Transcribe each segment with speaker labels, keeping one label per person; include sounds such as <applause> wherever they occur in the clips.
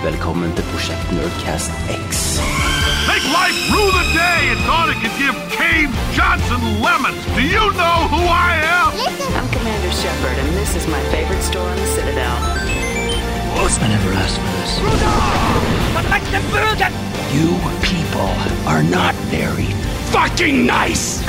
Speaker 1: velkommen til Prosjekt Nerdcast X.
Speaker 2: Make life rue the day and thought it could give Cave Johnson lemons. Do you know who I am?
Speaker 3: I'm Commander Shepard, and this is my favorite store in the Citadel.
Speaker 4: I never asked for this. You people are not very fucking nice!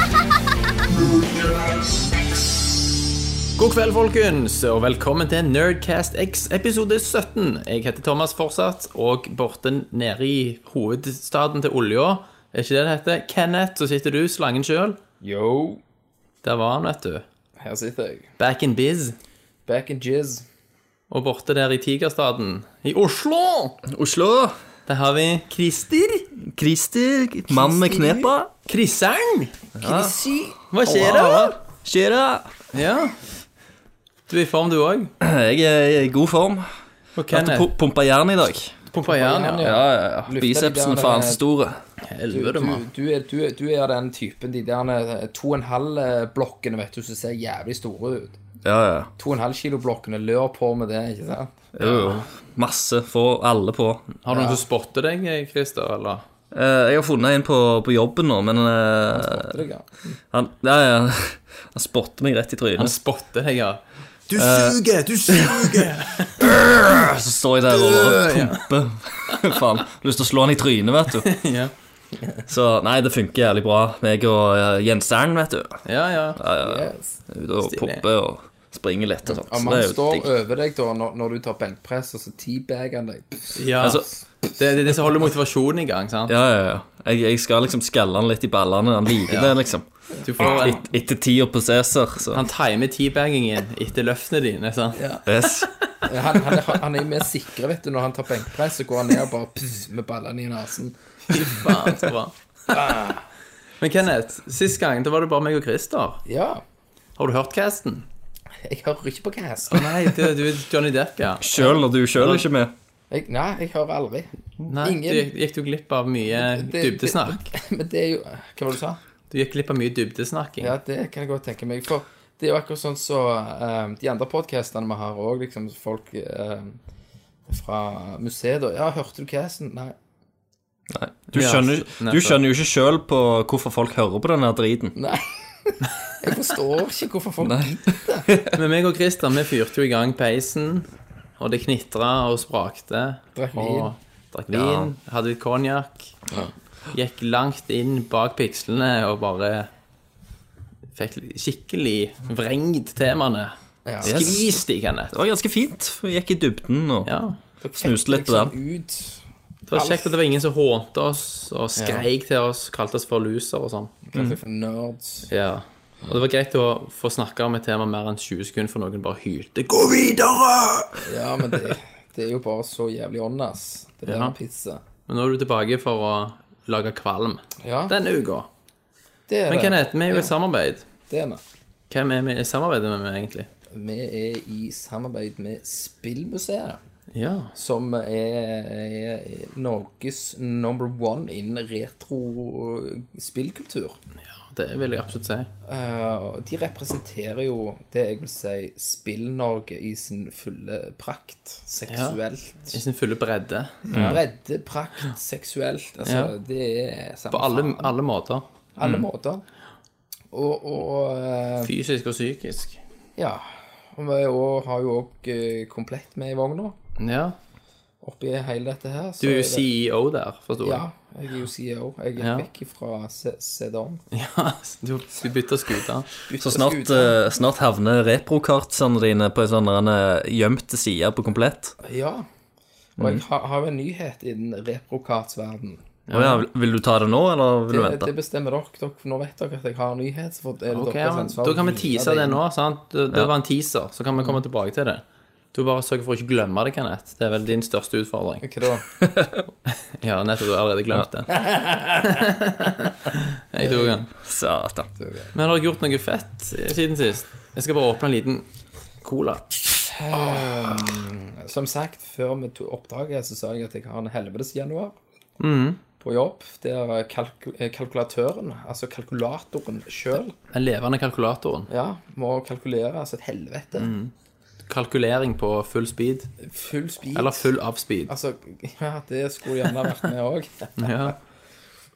Speaker 5: God kveld, folkens, og velkommen til Nerdcast X episode 17. Jeg heter Thomas fortsatt, og Borten nede i hovedstaden til olja, er ikke det det heter? Kenneth, så sitter du, slangen sjøl.
Speaker 6: Yo,
Speaker 5: Der var han, vet du.
Speaker 6: her sitter jeg.
Speaker 5: Back in biz.
Speaker 6: Back in jizz.
Speaker 5: Og borte der i Tigerstaden, i Oslo,
Speaker 7: Oslo.
Speaker 5: der har vi Christer.
Speaker 7: Christer, mann med knepa.
Speaker 5: Chriseren. Hva skjer da?
Speaker 7: Skjer det?
Speaker 5: Ja. Du er i form, du òg.
Speaker 7: Jeg er i god form.
Speaker 5: Og
Speaker 7: Vært og
Speaker 5: Kenneth.
Speaker 7: pu- pumpa jern i dag.
Speaker 5: Pumpa jern, ja.
Speaker 7: Ja, ja, ja.
Speaker 6: Lufta de
Speaker 7: Bicepsen
Speaker 6: der-
Speaker 7: faen så store.
Speaker 6: Du,
Speaker 5: Helvete,
Speaker 6: du,
Speaker 5: mann.
Speaker 6: du, er, du, er, du er den typen de der eh, to og en halv blokkene, vet du, som ser jævlig store ut.
Speaker 7: Ja, ja.
Speaker 6: To og en halv kilo blokkene lør på med det, ikke sant?
Speaker 7: Jo, jo. Masse. Få alle på.
Speaker 5: Har du noen som spotter deg, Christer, eller?
Speaker 7: Eh, Jeg har funnet en på, på jobben nå, men eh,
Speaker 6: Det er galt.
Speaker 7: han, ja, ja. han spotter meg rett i
Speaker 5: Han
Speaker 7: trynet.
Speaker 5: spotter deg, ja.
Speaker 7: Så Altså, står jeg der og pumper. <laughs> Faen. Lyst til å slå han i trynet, vet du.
Speaker 5: <laughs> Ja.
Speaker 7: Så nei, det funker jævlig bra. Meg og eh, Jenseren, vet du.
Speaker 5: Ja, ja.
Speaker 6: Yes.
Speaker 7: Ut og
Speaker 5: Stilig.
Speaker 7: popper og springer litt og sånt.
Speaker 6: Om
Speaker 7: Så det
Speaker 6: han
Speaker 7: er jo
Speaker 6: står
Speaker 7: digg.
Speaker 6: over deg da, når, når du tar benkpress, og så teabagger han deg. Pff,
Speaker 5: Ja,
Speaker 7: Altså,
Speaker 5: det er det, det som holder motivasjonen i gang. sant?
Speaker 7: Ja, ja, ja. Jeg, jeg skal liksom skalle han litt i ballene. Han liker det, liksom.
Speaker 5: Du får en,
Speaker 7: Et, etter tida på Cæsar, så
Speaker 5: han timer teabaggingen etter løftene dine. sant?
Speaker 7: yes.
Speaker 6: Eh, Han, han, er, han er mer sikre, vet du, når han tar benkpress, så går han ned og bare pff, med ballene i nesen.
Speaker 5: Fy faen, så bra.
Speaker 6: Ah.
Speaker 5: Men Kenneth, sist gang da var det bare meg og Christer.
Speaker 6: Ja,
Speaker 5: Har du hørt casten?
Speaker 6: jeg hører ikke på hva jeg
Speaker 5: Å
Speaker 6: sier.
Speaker 5: nei, det, du er Johnny Depp, ja.
Speaker 7: Sjøl når du sjøl er ikke med.
Speaker 6: Jeg- Nei, jeg hører aldri.
Speaker 5: Nei,
Speaker 6: Ingen-
Speaker 5: Du gikk, gikk du glipp av mye
Speaker 6: Det-
Speaker 5: dybdesnakk?
Speaker 6: Men det er jo Hva var det du sa?
Speaker 5: Du gikk glipp av mye dybdesnakking.
Speaker 6: Ja, det kan jeg godt tenke meg. For det er jo akkurat sånn så eh, de andre podkastene vi har òg, liksom folk eh, fra museet da Ja, hørte du casen? Nei.
Speaker 7: Du
Speaker 5: Ja,
Speaker 7: skjønner,
Speaker 5: nettopp.
Speaker 7: du skjønner jo ikke sjøl på hvorfor folk hører på den her driten.
Speaker 6: Nei. Jeg forstår ikke hvorfor folk
Speaker 7: <laughs> Nei.
Speaker 5: Men meg og Christer vi fyrte jo i gang peisen, og det knitra og sprakte.
Speaker 6: Drakk
Speaker 5: og drakk vin, hadde litt konjakk. Gikk langt inn bak pikslene og bare fikk skikkelig vrengt temaene.
Speaker 6: Ja.
Speaker 5: Skvist i Kenneth.
Speaker 7: Det var ganske fint. Vi gikk i dybden og
Speaker 5: Ja.
Speaker 7: snuste litt på
Speaker 6: liksom
Speaker 7: den.
Speaker 6: ut.
Speaker 5: Det var kjekt at det var ingen som hånte oss og skreik til oss, kalte oss for loser og sånn.
Speaker 6: Kalte
Speaker 7: Mm.
Speaker 6: for nerds.
Speaker 5: Ja. Og det var greit å få snakke om et tema mer enn 20 sekunder, for noen bare hylte 'gå videre'!
Speaker 6: Ja, men det, det er jo bare så jævlig ånd, ass. Det der
Speaker 5: Ja.
Speaker 6: med pizza.
Speaker 5: Men nå er du tilbake for å lage kvalm
Speaker 6: Ja, det,
Speaker 5: denne uka.
Speaker 6: er
Speaker 5: Men
Speaker 6: det.
Speaker 5: Kenneth, vi er jo i samarbeid.
Speaker 6: det er det.
Speaker 5: Hvem er vi i samarbeid med, egentlig?
Speaker 6: Vi er i samarbeid med Spillmuseet.
Speaker 5: Ja.
Speaker 6: som er, er Norges number one innen retro-spillkultur.
Speaker 5: Det vil jeg absolutt si.
Speaker 6: Eh, og de representerer jo det jeg vil si Spill-Norge i sin fulle prakt. Seksuelt.
Speaker 5: I sin fulle bredde.
Speaker 6: Bredde, prakt, seksuelt. Altså,
Speaker 5: Ja.
Speaker 6: det er samme
Speaker 5: På alle, Mm.
Speaker 6: faen.
Speaker 5: alle måter.
Speaker 6: Alle måter. Og, og eh,
Speaker 5: Fysisk og psykisk.
Speaker 6: ja. Og vi er jo- har jo òg komplett med i vogna
Speaker 5: Ja.
Speaker 6: oppi hele dette her. så
Speaker 5: Du er
Speaker 6: er
Speaker 5: jo
Speaker 6: det-
Speaker 5: CEO der, forstår
Speaker 6: Ja,
Speaker 5: jeg.
Speaker 6: jeg er jo CEO. Jeg er
Speaker 5: Ja.
Speaker 6: vekk fra Sedan.
Speaker 5: <laughs> Ja. Du, du bytter skute.
Speaker 7: Så snart, eh, snart havner reprokartsene dine på en sånn der, eh, gjemt side på komplett.
Speaker 6: Ja. Og
Speaker 5: Mm.
Speaker 6: jeg har, har jo en nyhet innen reprokartsverden.
Speaker 7: Å ja, vil- vil du ta det nå, eller
Speaker 6: Det,
Speaker 7: vil du vente?
Speaker 6: det bestemmer dere. dere. Nå vet dere at jeg har en nyhet. Så for, er det
Speaker 5: Ok,
Speaker 6: deres
Speaker 5: men
Speaker 6: ansvar
Speaker 5: Da kan
Speaker 6: å
Speaker 5: vi
Speaker 6: hive
Speaker 5: tease
Speaker 6: det
Speaker 5: det
Speaker 6: inn.
Speaker 5: Mm. nå. sant? Det, det var en teaser, så kan vi komme tilbake til det. Du bare sørger for å ikke glemme det, Kenneth. Det er vel din største utfordring.
Speaker 6: Hva da?
Speaker 5: Ja, nettopp. Du har allerede glemt <laughs> det. Jeg tok den.
Speaker 7: Satan.
Speaker 5: Men har dere gjort noe fett siden sist? Jeg skal bare åpne en liten cola.
Speaker 6: Som sagt, før vi to- oppdaget, så sa jeg at jeg har en helvetes januar
Speaker 5: Mm.
Speaker 6: på jobb. Der kalku eh, kalkulatøren, altså kalkulatoren sjøl,
Speaker 5: Den levende kalkulatoren.
Speaker 6: ja, må kalkulere. Altså et helvete.
Speaker 5: Mm. Kalkulering på full speed.
Speaker 6: Full speed.
Speaker 5: Eller full av speed.
Speaker 6: Altså, <laughs> ja, det skulle gjerne vært med òg.
Speaker 5: Ja.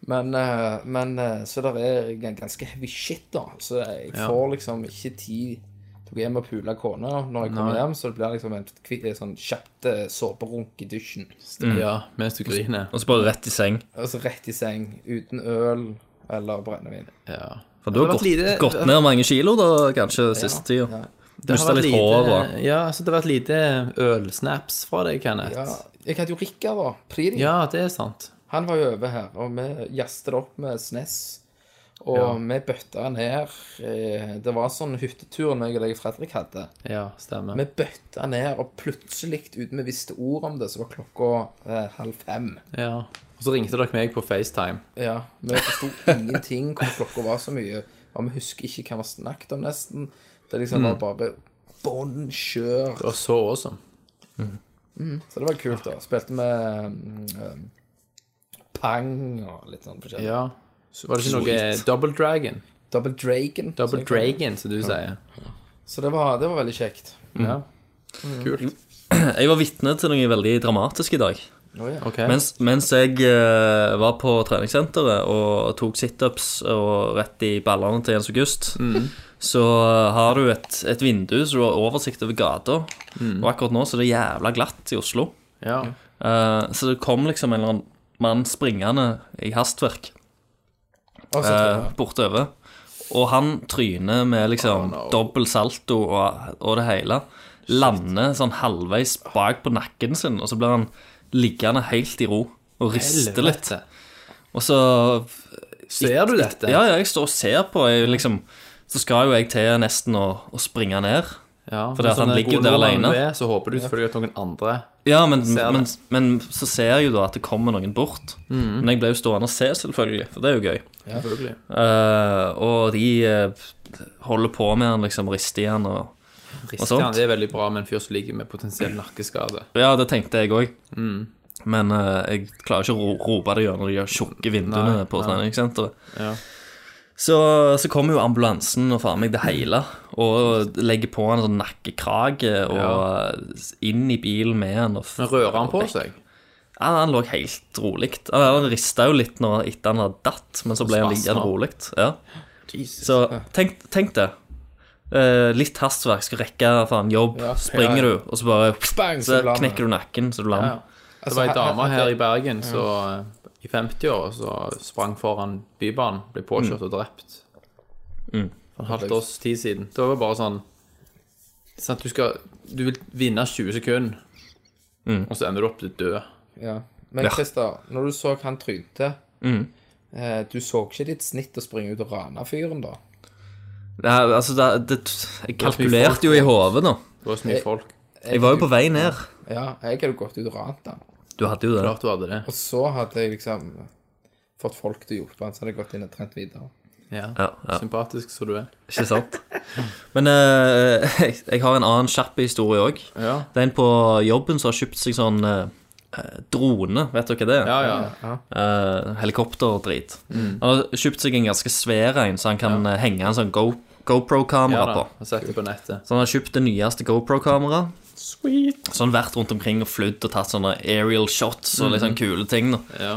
Speaker 6: Men, eh, men eh, så der er g- ganske heavy shit, da. Så jeg får liksom ikke tid til å gå hjem og pule kona når jeg kommer hjem, så det blir liksom en kvi- eh, sånn kjapt eh, såperunk i dusjen.
Speaker 7: Mm.
Speaker 5: ja, mens du griner.
Speaker 7: Og så bare rett i seng.
Speaker 6: Altså rett i seng, uten øl eller brennevin.
Speaker 5: Ja.
Speaker 7: For du
Speaker 5: Det har vært
Speaker 7: har gått,
Speaker 5: lite-
Speaker 7: gått ned mange kilo da, kanskje, siste tida. Mista litt hår og
Speaker 5: Ja, så det har vært lite ølsnaps fra deg, Kenneth.
Speaker 6: Ja,
Speaker 5: Ja.
Speaker 6: jeg hadde jo Rikard, da. Pridi.
Speaker 5: det er sant.
Speaker 6: Han var jo over her, og vi jazzet det opp med SNES. Og vi bøtta ned eh, Det var sånn hyttetur jeg og deg og Fredrik hadde.
Speaker 5: Ja, stemmer.
Speaker 6: Vi bøtta ned, og plutselig, uten vi visste ord om det, så var klokka eh, halv fem.
Speaker 5: Ja. Og så ringte dere meg på FaceTime.
Speaker 6: Ja, Vi forsto ingenting hvor klokka var så mye. Og vi husker ikke hva vi snakket om, nesten. Det liksom
Speaker 5: Mm.
Speaker 6: var bare bånn skjør.
Speaker 5: Det var så awesome.
Speaker 6: Så det var kult, da. Spilte med mm, um, Pang og litt sånn forskjellig.
Speaker 5: Ja. Så var det ikke noe Double Dragon?
Speaker 6: Double Dragon.
Speaker 5: Double
Speaker 6: Så-
Speaker 5: Dragon, som du sier.
Speaker 6: Så det var, det var veldig kjekt.
Speaker 5: Ja. Kult.
Speaker 7: og Jeg var vitne til noe veldig dramatisk i dag.
Speaker 5: Mm.
Speaker 6: Oh,
Speaker 5: Ok.
Speaker 7: Mens, mens jeg eh, var på treningssenteret og tok situps og rett i ballene til Jens August, så har du et, et vindu så du har oversikt over gata. Og akkurat nå så er det jævla glatt i Oslo.
Speaker 5: ja.
Speaker 7: Eh, så det kom liksom en eller annen mann springende i hastverk
Speaker 6: Og så
Speaker 7: eh, bortover. Og han tryner med liksom
Speaker 5: Oh,
Speaker 7: dobbel salto og, og det hele. Lander sånn halvveis bak på nakken sin, og så blir han liggende helt i ro og rister litt.
Speaker 5: Helvete.
Speaker 7: Og så
Speaker 5: Ser du dette?
Speaker 7: Ja, ja, jeg står og ser på. Jeg, liksom, så skal jo jeg til nesten å, å springe ned.
Speaker 5: Ja, Sånn
Speaker 7: Fordi at han ligger der alene.
Speaker 5: Ved, så håper du selvfølgelig at noen andre
Speaker 7: Ja, men,
Speaker 5: Ser det. Mm.
Speaker 7: men, men så ser jeg jo da at det kommer noen bort. Men jeg ble jo stående og se, selvfølgelig, for det er jo gøy.
Speaker 5: Selvfølgelig.
Speaker 7: Eh, og de eh, holder på med han, liksom rister i han og
Speaker 5: Rister
Speaker 7: sånt.
Speaker 5: han. Det er veldig bra med en fyr som ligger med potensiell nakkeskade.
Speaker 7: Ja, det tenkte jeg òg.
Speaker 5: Mm.
Speaker 7: Men eh, jeg klarer ikke å ro rope det gjennom de her tjukke vinduene
Speaker 5: Nei,
Speaker 7: på
Speaker 5: nei.
Speaker 7: treningssenteret.
Speaker 5: Ja.
Speaker 7: Så, så kommer jo ambulansen og faen meg det hele og legger på en sånn nakkekrage og
Speaker 5: Ja.
Speaker 7: eh, inn i bilen med han. Og f-
Speaker 5: Men rører han på seg?
Speaker 7: Ja, han lå helt rolig. Han rista jo litt når, etter han hadde datt, men så ble han
Speaker 5: Spasmer.
Speaker 7: liggende rolig. Ja.
Speaker 5: Jesus.
Speaker 7: Så tenk, tenk det. Eh, litt hastverk, skal rekke faen jobb,
Speaker 6: Ja,
Speaker 7: springer
Speaker 6: ja, ja.
Speaker 7: du, og så bare
Speaker 6: Bang,
Speaker 7: så
Speaker 6: så lam.
Speaker 7: knekker du nakken, så du lam.
Speaker 5: Ja.
Speaker 6: Altså,
Speaker 5: Det var ei dame her i Bergen så eh, i 50-åra så sprang foran Bybanen, ble påkjørt og drept. For et halvt års tid siden. Det var bare sånn sant, du, skal, du vil vinne 20 sekunder, og så ender du opp til død.
Speaker 6: ja. Men Christer, når du så han trynte
Speaker 7: Mm.
Speaker 6: eh, Du så ikke ditt snitt å springe ut og rane fyren, da?
Speaker 7: Ja, altså, det, det, jeg
Speaker 5: var så mye folk,
Speaker 7: kalkulerte jo i hodet nå.
Speaker 5: Det var så mye folk.
Speaker 7: Jeg var jo på vei ned.
Speaker 6: Ja, jeg hadde gått ut og rant han.
Speaker 7: Du hadde jo det.
Speaker 5: Klart du hadde det.
Speaker 6: Og så hadde jeg liksom fått folk til å hjelpe han, så hadde jeg gått inn og trent videre.
Speaker 5: Ja.
Speaker 7: Ja, ja,
Speaker 5: Sympatisk som du er.
Speaker 7: ikke sant? Men eh, <laughs> jeg, jeg har en annen kjapp historie òg.
Speaker 5: Ja.
Speaker 7: Det er en på jobben som har kjøpt seg sånn eh, eh, drone. Vet dere det?
Speaker 5: Ja, ja.
Speaker 7: Eh, helikopterdrit. Han har kjøpt seg en ganske svær en, så han kan eh, henge en sånn Go
Speaker 5: Mm. ja
Speaker 7: GoPro-kamera
Speaker 5: da.
Speaker 7: på.
Speaker 5: Har sett det på nettet.
Speaker 7: Så han har kjøpt det nyeste GoPro-kameraet. Så han har vært rundt omkring og flydd og tatt sånne aerial shots og
Speaker 5: Mm.
Speaker 7: litt sånn kule ting. Da.
Speaker 5: Ja.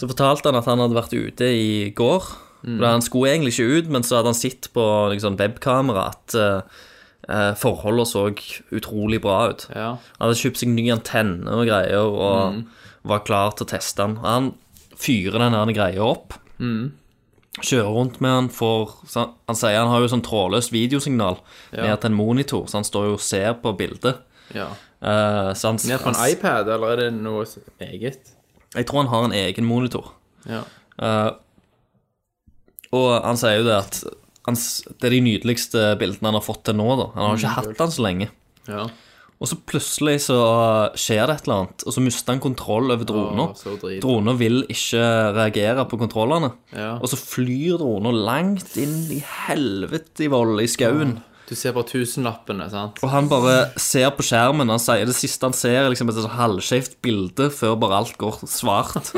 Speaker 7: Så fortalte han at han hadde vært ute i går.
Speaker 5: Mm.
Speaker 7: Da Han skulle egentlig ikke ut, men så hadde han sett på liksom, webkamera at eh, eh, forholdene så utrolig bra ut.
Speaker 5: Ja.
Speaker 7: Han hadde kjøpt seg ny antenne og greier og
Speaker 5: Mm.
Speaker 7: var klar til å teste den. Og Han fyrer den her greia opp.
Speaker 5: Mm.
Speaker 7: Kjører rundt med den, får så han, han sier han har jo sånn trådløst videosignal ned til en monitor, så han står jo og ser på bildet.
Speaker 5: ja.
Speaker 7: Eh, så han,
Speaker 5: Ned på en
Speaker 7: han-
Speaker 5: iPad, eller er det noe s- eget?
Speaker 7: Jeg tror han har en egen monitor.
Speaker 5: Ja.
Speaker 7: Eh, og han sier jo det at
Speaker 5: Mm.
Speaker 7: han, s- det er de nydeligste bildene han har fått til nå, da. Han har jo ikke hatt den så lenge.
Speaker 5: ja.
Speaker 7: Og så plutselig så skjer det et eller annet, og så mister han kontroll over drona.
Speaker 5: Åh, så drit.
Speaker 7: Drona vil ikke reagere på kontrollene.
Speaker 5: Ja.
Speaker 7: Og så flyr drona langt inn i helvete i vold i skauen.
Speaker 5: Du ser bare tusenlappene, sant?
Speaker 7: Og han bare ser på skjermen, han sier det siste han ser, er liksom et sånn halvskjevt bilde før bare alt går svart.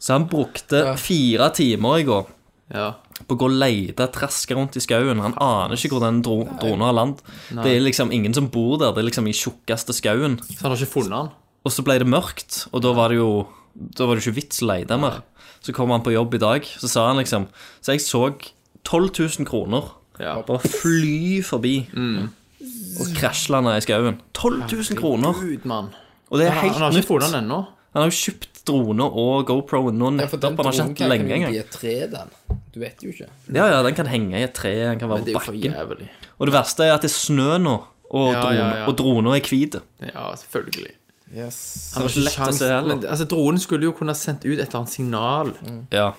Speaker 7: Så han brukte fire timer i går
Speaker 5: Ja.
Speaker 7: på å gå og lete, traske rundt i skauen. Han aner ikke hvor den dro drona har land. Det er liksom ingen som bor der, det er liksom i tjukkeste skauen.
Speaker 5: Så han har ikke funnet han?
Speaker 7: Og så ble det mørkt, og da var det jo Da var det ikke vits å lete mer. Så kom han på jobb i dag, så sa han liksom Så jeg så 12 000 kroner
Speaker 5: Ja. Mm.
Speaker 7: bare fly forbi og krasjlande i skauen. 12 000 kroner!
Speaker 5: Gud, mann.
Speaker 7: Og det er
Speaker 5: Han,
Speaker 7: helt
Speaker 5: han har ikke
Speaker 7: nytt.
Speaker 5: funnet han ennå.
Speaker 7: Han har jo kjøpt drone og GoPro nå
Speaker 6: Ja, for
Speaker 7: nettopp.
Speaker 6: den
Speaker 7: Han har ikke
Speaker 6: dronen
Speaker 7: hatt den
Speaker 6: kan
Speaker 7: lenge
Speaker 6: ikke
Speaker 7: engang.
Speaker 6: bli et tre, den. Du vet jo ikke.
Speaker 7: Ja, ja, den kan henge i et tre, den kan være
Speaker 5: Det er jo
Speaker 7: på
Speaker 5: for
Speaker 7: bakken.
Speaker 5: jævlig.
Speaker 7: Og det verste er at det er snø nå, og,
Speaker 5: Ja,
Speaker 7: drone,
Speaker 5: ja, ja.
Speaker 7: og droner er hvite.
Speaker 5: Ja, selvfølgelig.
Speaker 6: Yes.
Speaker 5: Han har
Speaker 7: ikke lett å se heller.
Speaker 5: Men altså, dronen skulle jo kunne ha sendt ut et eller annet signal.
Speaker 7: Ja.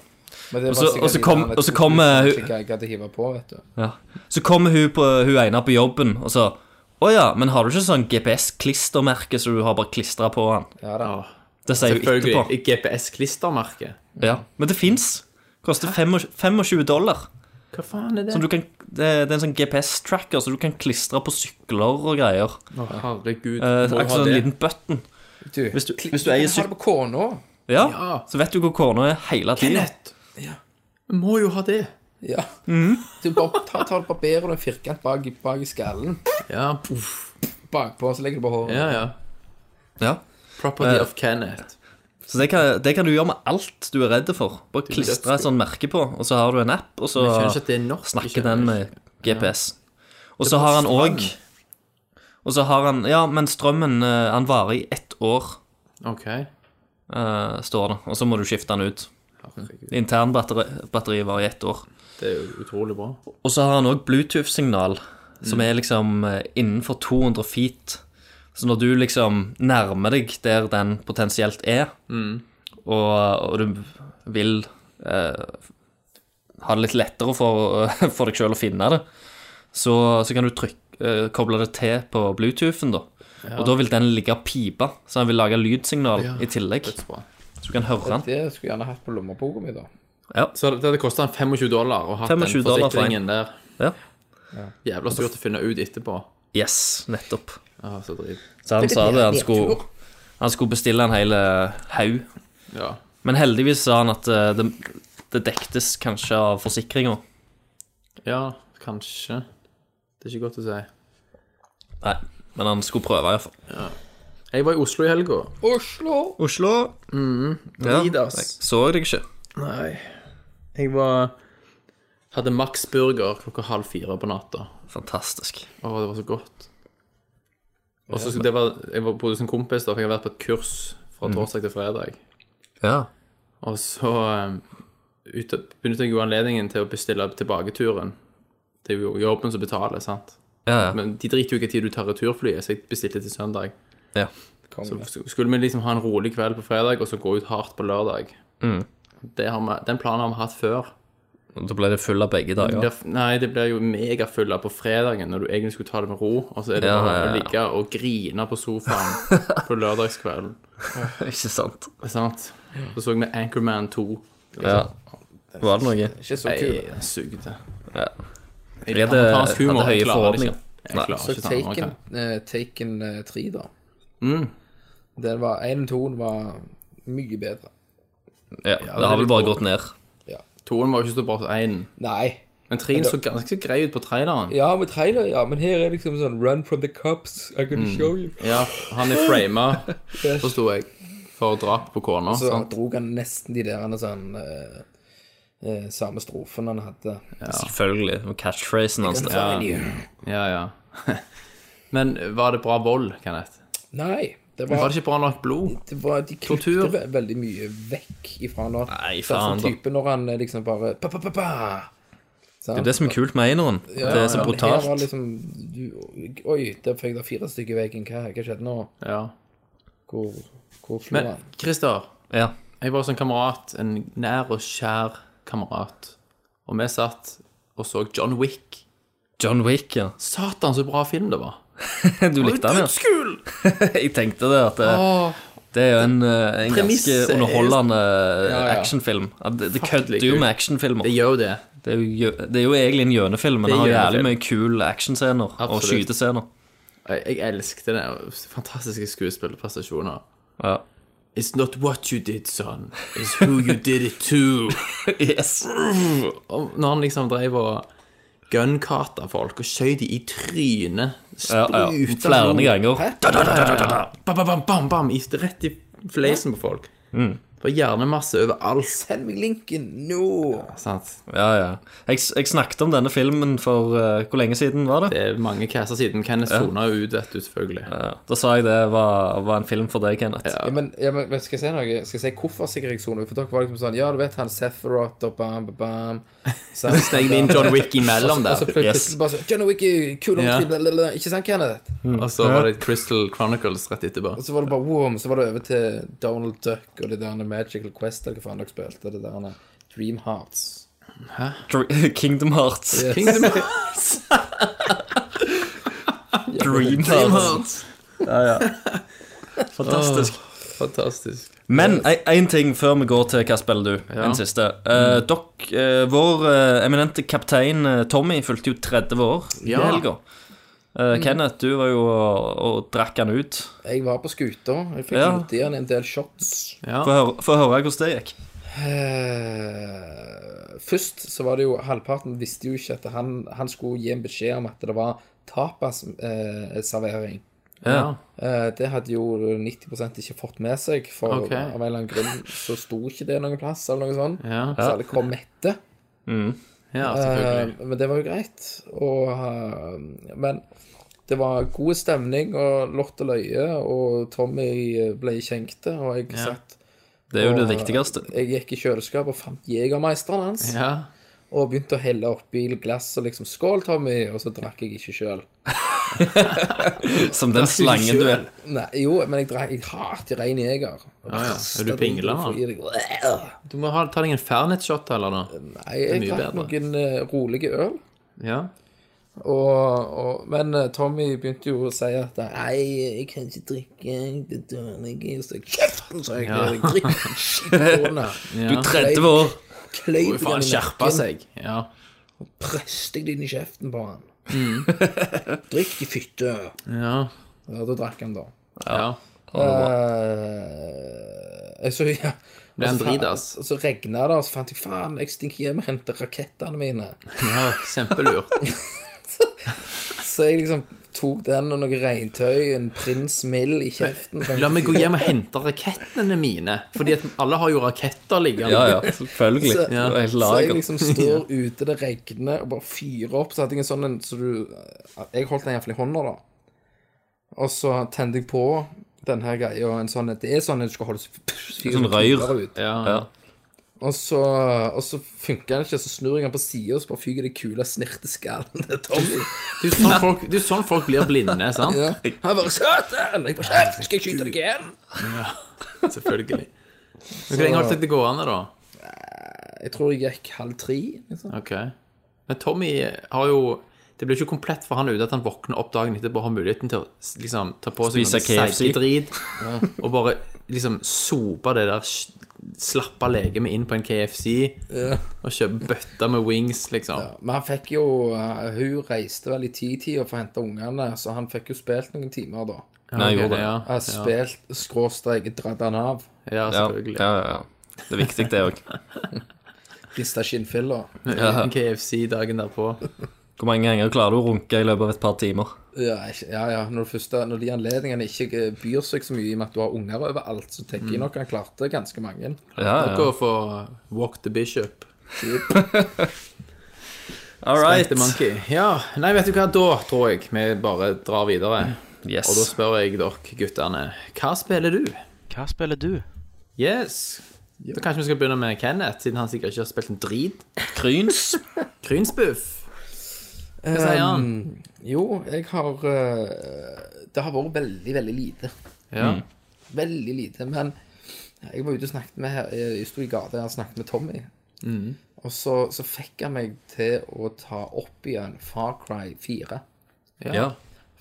Speaker 6: Men det er
Speaker 7: Og så-
Speaker 6: bare sikkert
Speaker 7: og så
Speaker 6: de
Speaker 7: kom-
Speaker 6: der
Speaker 7: og så kom, eh,
Speaker 6: 2000 som jeg gadd å hive på, vet du.
Speaker 7: Ja. Så kommer hun, på, hun ene på jobben og så Å ja, men har du ikke sånn GPS-klistermerke så du har bare klistra på den?
Speaker 6: Ja da.
Speaker 5: Åh,
Speaker 7: Det sier hun etterpå.
Speaker 5: selvfølgelig. GPS-klistermerke.
Speaker 7: Ja. Men det fins. Koster 25 dollar.
Speaker 5: Hva faen er det?
Speaker 7: Som du kan, det, det er en sånn GPS-tracker, så du kan klistre på sykler og greier.
Speaker 5: Å, herregud.
Speaker 7: Eh,
Speaker 5: må
Speaker 7: akkurat
Speaker 5: ha
Speaker 7: sånn en
Speaker 5: det.
Speaker 7: liten button.
Speaker 6: Du,
Speaker 7: Hvis du-
Speaker 6: klikk-
Speaker 7: hvis du eier
Speaker 6: kan ha det på kona.
Speaker 7: Ja,
Speaker 5: Ja.
Speaker 7: Så vet du hvor korna er hele tida.
Speaker 5: Kenneth! Vi Må jo ha det.
Speaker 6: Ja.
Speaker 7: Mm.
Speaker 6: Du bare tar, tar det barberer og en firkant bak, i- bak i skallen.
Speaker 5: Ja, puff.
Speaker 6: Bakpå, så legger du på håret.
Speaker 5: Ja, ja.
Speaker 7: Ja.
Speaker 5: Property
Speaker 7: Eh,
Speaker 5: of Kenneth.
Speaker 7: Så det kan, det kan du gjøre med alt du er redd for. Bare klistre et sånt merke på, og så har du en app, og så
Speaker 5: Jeg skjønner ikke at det er nok.
Speaker 7: snakker
Speaker 5: ikke?
Speaker 7: den med GPS. Og så har han òg Og så har han Ja, men strømmen eh, Han varer i ett år,
Speaker 5: Ok.
Speaker 7: eh, står det. Og så må du skifte den ut. Internbatteriet batteri varer i ett år.
Speaker 5: Det er jo utrolig bra.
Speaker 7: Og så har han òg Bluetooth-signal, som er liksom eh, innenfor 200 feet. Så når du liksom nærmer deg der den potensielt er, og, og du vil eh, ha det litt lettere for, eh, for deg sjøl å finne det, så, så kan du trykke, eh, koble det til på Bluetoothen, da. Og da vil den ligge og pipe, så han vil lage lydsignal i tillegg.
Speaker 5: dødsbra.
Speaker 7: Så du kan høre den.
Speaker 6: Det skulle jeg gjerne hatt på lommeboka mi, da.
Speaker 5: Så det hadde kosta 25 dollar å ha den
Speaker 7: 25 dollar for
Speaker 5: forsikringen der.
Speaker 7: Ja.
Speaker 5: Jævla styrt å finne ut etterpå.
Speaker 7: Yes, nettopp.
Speaker 5: Ja, så driv.
Speaker 7: Så han sa det, han skulle, han skulle bestille en hel eh, haug.
Speaker 5: Ja.
Speaker 7: Men heldigvis sa han at eh, det, det dektes kanskje av forsikringa.
Speaker 5: ja, kanskje. Det er ikke godt å si.
Speaker 7: Nei, men han skulle prøve iallfall.
Speaker 5: Jeg var i Oslo i helga.
Speaker 6: Oslo!
Speaker 7: Oslo Mm. ja.
Speaker 5: Dridas.
Speaker 7: Jeg så deg ikke.
Speaker 5: Nei. Jeg var Hadde Max Burger klokka halv fire på natta.
Speaker 7: Fantastisk.
Speaker 5: Å, det var så godt. Og så skulle- det var, Jeg var bodde hos en kompis, da, for jeg har vært på et kurs fra
Speaker 7: Mm.
Speaker 5: torsdag til fredag.
Speaker 7: Ja.
Speaker 5: Og så um, ut, benyttet jeg jo anledningen til å bestille tilbake turen. Det er jo jobben som betaler, sant.
Speaker 7: Ja, ja.
Speaker 5: Men de driter jo ikke i tid du tar returflyet, så jeg bestilte til søndag.
Speaker 7: ja.
Speaker 5: Så sk- skulle vi liksom ha en rolig kveld på fredag, og så gå ut hardt på lørdag.
Speaker 7: Mm.
Speaker 5: Det har vi, den planen har vi hatt før.
Speaker 7: Og Da ble det full av
Speaker 5: Det
Speaker 7: begge dager.
Speaker 5: blir- Nei, det blir jo megafulla på fredagen når du egentlig skulle ta det med ro, og så er det
Speaker 7: Ja,
Speaker 5: bare
Speaker 7: ja, ja.
Speaker 5: å ligge og grine på
Speaker 7: <laughs>
Speaker 5: sofaen på lørdagskvelden.
Speaker 7: ikke sant?
Speaker 5: Sant? Så så vi Anchorman 2.
Speaker 7: Ja. Var det noe?
Speaker 6: Ikke så
Speaker 5: Nei, sånn,
Speaker 6: kul.
Speaker 5: den sugde.
Speaker 7: Jeg hadde,
Speaker 5: Amerikansk humor
Speaker 7: hadde
Speaker 5: klarer
Speaker 7: høye
Speaker 5: det ikke.
Speaker 7: forhåpninger. Nei.
Speaker 5: Jeg klarer
Speaker 6: Så
Speaker 5: ikke sånn
Speaker 6: Taken,
Speaker 5: amerikan-
Speaker 6: eh, taken eh, 3, da. Den var, en og toen var mye bedre.
Speaker 7: Ja, det har vel bare gått ned.
Speaker 5: Toen var jo ikke så bra som én.
Speaker 6: Nei.
Speaker 5: Men treen så ganske grei ut på traileren.
Speaker 6: Ja, med trailer, ja, men her er liksom sånn Run from the cups, I can show you.
Speaker 5: Ja, han er frama,
Speaker 6: <laughs>
Speaker 5: forsto jeg, for drap på Sånn. kona.
Speaker 6: Så
Speaker 5: sant?
Speaker 6: drog han nesten de der han er sånn eh, eh, samme strofen han hadde.
Speaker 7: Selvfølgelig. og Catchphrasen hans. der.
Speaker 5: Ja, ja. <laughs> Men var det bra vold, Kenneth?
Speaker 6: Nei, det
Speaker 5: Var
Speaker 6: var,
Speaker 5: det ikke bra nok blod?
Speaker 6: det var De
Speaker 5: Tortur?
Speaker 6: klippte ve veldig mye vekk ifra når
Speaker 7: Nei,
Speaker 6: Så
Speaker 7: faen,
Speaker 6: sånn
Speaker 7: da.
Speaker 6: type når han eh, liksom bare pa, pa, pa, pa.
Speaker 7: Det er jo det som er kult med eneren. det er så
Speaker 6: Men Her var
Speaker 7: brutalt.
Speaker 6: liksom du, Oi, der fikk jeg da fire stykker i veggen. Hva, hva skjedde nå?
Speaker 5: Ja.
Speaker 6: Hvor, hvor slo
Speaker 5: Men
Speaker 6: han?
Speaker 5: Christer,
Speaker 7: Ja.
Speaker 5: jeg var hos en kamerat, en nær og kjær kamerat, og vi satt og så John Wick.
Speaker 7: John Wick, ja.
Speaker 5: Satan, så bra film det var.
Speaker 7: Du likte den, ja.
Speaker 5: Dødskul!
Speaker 7: <laughs> Jeg tenkte det at det, det er jo en, eh, en ganske
Speaker 5: Premisset er-
Speaker 7: underholdende eh,
Speaker 6: Ja, ja.
Speaker 7: actionfilm. Ja, Det, det
Speaker 5: Fuck,
Speaker 7: kødder
Speaker 5: liker
Speaker 7: jo
Speaker 5: du.
Speaker 7: med actionfilmer.
Speaker 5: Det gjør jo det.
Speaker 7: Det er jo, gjø- det er jo egentlig en gjønefilm, men
Speaker 5: Det er
Speaker 7: det har
Speaker 5: gjønefilm.
Speaker 7: jævlig mye kul actionscener og
Speaker 5: Absolutt.
Speaker 7: skytescener.
Speaker 5: Jeg, jeg elsket det. og Fantastiske skuespillerprestasjoner.
Speaker 7: Ja.
Speaker 5: It's not what you did, son. It's who you did it to.
Speaker 7: Yes.
Speaker 5: Og når han liksom drev og gunkata folk og skjøy de i trynet.
Speaker 7: Ja, ja.
Speaker 5: Spruta
Speaker 7: Flere
Speaker 5: blod.
Speaker 7: ganger.
Speaker 5: Bam, bam, bam, bam, bam, i- rett i fleisen på folk. Det var hjernemasse overalt.
Speaker 6: Send meg linken nå!
Speaker 5: Sant?
Speaker 7: Ja, ja. Jeg, s- jeg snakket om denne filmen for eh, Hvor lenge siden var det?
Speaker 5: Det er mange caster siden. Kenneth sona jo ut, vet du, selvfølgelig.
Speaker 7: Ja. Da sa jeg det var, var en film for deg, Kenneth.
Speaker 6: Ja, men, ja, men, men skal jeg si noe? Skal jeg si hvorfor sikkert jeg soner ut? For dere var liksom sånn Ja, du vet han Sephiroth og bam, bam, bam.
Speaker 5: <laughs>
Speaker 6: Så
Speaker 5: Steg vi inn John Wick imellom
Speaker 6: <laughs> Og så
Speaker 5: der.
Speaker 6: plutselig
Speaker 7: Yes.
Speaker 6: bare sånn John Wiki, kul
Speaker 5: Ja.
Speaker 6: omtid, blablabla. Ikke sant, Kenneth?
Speaker 5: Og så var det Crystal Chronicles rett etterpå.
Speaker 6: Og så var det bare wow, så var det over til Donald Duck og det der Magical Quest eller hva faen dere spilte. Det der Dream Hearts.
Speaker 7: Dr- <laughs> Kingdom Hearts.
Speaker 5: Kingdom Hearts.
Speaker 7: Dream Hearts.
Speaker 5: <laughs>
Speaker 7: Fantastisk.
Speaker 5: Fantastisk.
Speaker 7: Men én ting før vi går til hva spiller du? En siste. Eh,
Speaker 5: Mm.
Speaker 7: dok, eh, vår eh, eminente kaptein eh, Tommy fylte jo 30 år i
Speaker 5: Ja. Mm.
Speaker 7: helga. Eh, Kenneth, du var jo og, og drakk han ut.
Speaker 6: Jeg var på skuta. Jeg fikk
Speaker 7: Ja.
Speaker 6: uti han en del shots.
Speaker 5: Ja.
Speaker 7: Få høre, få høre hvordan det gikk.
Speaker 6: Eh, først så var det jo Halvparten visste jo ikke at han, han skulle gi en beskjed om at det var tapasservering.
Speaker 7: Ja.
Speaker 6: Eh, Det hadde jo 90 ikke fått med seg, for
Speaker 5: Ok.
Speaker 6: av en eller annen grunn så sto ikke det noen plass, eller noe sånt.
Speaker 5: Ja.
Speaker 6: Så alle kom mette.
Speaker 5: ja,
Speaker 6: Eh,
Speaker 5: selvfølgelig.
Speaker 6: Men det var jo greit. Og, eh, men det var god stemning og lott og løye, og Tommy ble kjenkt, og jeg satt
Speaker 7: Det er jo det
Speaker 6: og, eh,
Speaker 7: viktigste.
Speaker 6: Jeg gikk i kjøleskapet og fant Jegermeisteren hans,
Speaker 5: Ja.
Speaker 6: og begynte å helle oppi glass og liksom 'Skål, Tommy', og så drakk jeg ikke sjøl.
Speaker 7: Som den slangen du er.
Speaker 6: Nei, jo, men jeg drakk Jeg hater rein jeger.
Speaker 5: ja. Er du pingla, da? Du må ha, ta deg en Fernet-shot eller noe.
Speaker 6: Nei, jeg
Speaker 5: mye
Speaker 6: drakk
Speaker 5: bedre.
Speaker 6: noen eh, rolige øl.
Speaker 5: Ja.
Speaker 6: Og, og, men eh, Tommy begynte jo å si at Nei, jeg kan ikke drikke, jeg blir dårlig. Og så kjeften, sa jeg. Jeg drikker
Speaker 5: <laughs>
Speaker 6: skitkorna.
Speaker 7: Du er 30 år.
Speaker 6: Kløyv
Speaker 5: Må faen skjerpe seg. Ja.
Speaker 6: Presset jeg det inn i kjeften på han.
Speaker 5: Mm.
Speaker 6: Drikk, i fytte.
Speaker 5: Ja.
Speaker 6: Ja, da drakk han, da.
Speaker 5: ja.
Speaker 6: Eh, jeg så, ja.
Speaker 5: Ble han
Speaker 6: Og så fa-
Speaker 5: dritas?
Speaker 6: Og så regna det, og så fant jeg faen, jeg stinker hjem og henter rakettene mine.
Speaker 5: ja. Kjempelurt.
Speaker 6: Så jeg liksom tok den og noe regntøy, en prins mild i kjeften.
Speaker 5: <laughs> La meg gå hjem og hente rakettene mine. Fordi at alle har jo raketter liggende.
Speaker 7: Ja, ja, selvfølgelig.
Speaker 6: Så,
Speaker 7: Det var helt
Speaker 6: så jeg
Speaker 7: lager.
Speaker 6: liksom
Speaker 5: <laughs>
Speaker 6: står ute, det regner, og bare fyrer opp. Så hadde jeg en sånn en så du Jeg holdt den iallfall i hånda, da. Og så tente jeg på den her greia, og en sånn Det er sånn en du skal holde fyr,
Speaker 7: Sånn røyr.
Speaker 6: Ut.
Speaker 5: Ja,
Speaker 7: Ja.
Speaker 6: Og så, og så funker den ikke, så snur jeg den på sida, og så bare fyker det kule snerteskallen til Tommy.
Speaker 5: Det er jo sånn folk, det er jo sånn folk blir blinde, sant?
Speaker 6: Ja. Han bare 'Satan!' Jeg bare 'Kjeft, skal jeg skyte deg igjen?'
Speaker 5: Selvfølgelig. Men Hvor lenge holdt dere det gående, da?
Speaker 6: Jeg tror jeg gikk halv tre. Liksom.
Speaker 5: Ok. Men Tommy har jo Det blir jo ikke komplett for han ute at han våkner opp dagen etterpå og har muligheten til å s- liksom, ta på seg
Speaker 7: Spise KFC.
Speaker 5: drit og bare liksom sope det der s- slappa legemet inn på en KFC og kjøpe bøtter med wings, liksom.
Speaker 6: Men han fikk jo eh, Hun reiste vel i titida for å hente ungene, så han fikk jo spilt noen timer, da.
Speaker 7: Nei, jeg
Speaker 5: Ok,
Speaker 7: gjorde det.
Speaker 5: Ja,
Speaker 6: Jeg har spilt skråstrek, dratt han av,
Speaker 5: ja
Speaker 7: Ja,
Speaker 5: selvfølgelig.
Speaker 7: ja, ja. Det er viktig, det òg.
Speaker 6: rista skinnfiller.
Speaker 5: Uten KFC dagen derpå.
Speaker 7: Hvor mange ganger klarer du å runke i løpet av et par timer?
Speaker 6: Ja, ikke- ja. ja. Når, det første, når de anledningene ikke eh, byr seg så mye i og med at du har unger overalt, så tenker jeg nok han klarte ganske mange.
Speaker 7: Ja,
Speaker 5: Dere får Walk the Bishop.
Speaker 7: All
Speaker 5: Right. The
Speaker 7: right.
Speaker 5: Monkey. Ja, nei, vet du hva, da tror jeg vi bare drar videre. Og da
Speaker 7: Yes.
Speaker 5: spør jeg dere guttene, hva spiller du?
Speaker 1: Hva spiller du?
Speaker 5: Yes. Da kanskje vi skal begynne med Kenneth, siden han sikkert ikke har spilt en drit.
Speaker 7: Kryns.
Speaker 5: <laughs> Krynsbuff. Hva sier han?
Speaker 6: Jo, jeg har eh, Det har vært veldig, veldig lite.
Speaker 5: Ja.
Speaker 7: Mm,
Speaker 6: Veldig lite. Men jeg var ute og snakket med her, jeg sto i gata og snakket med Tommy.
Speaker 5: Mm.
Speaker 6: Og så, så fikk han meg til å ta opp igjen Far Cry 4.
Speaker 7: Ja.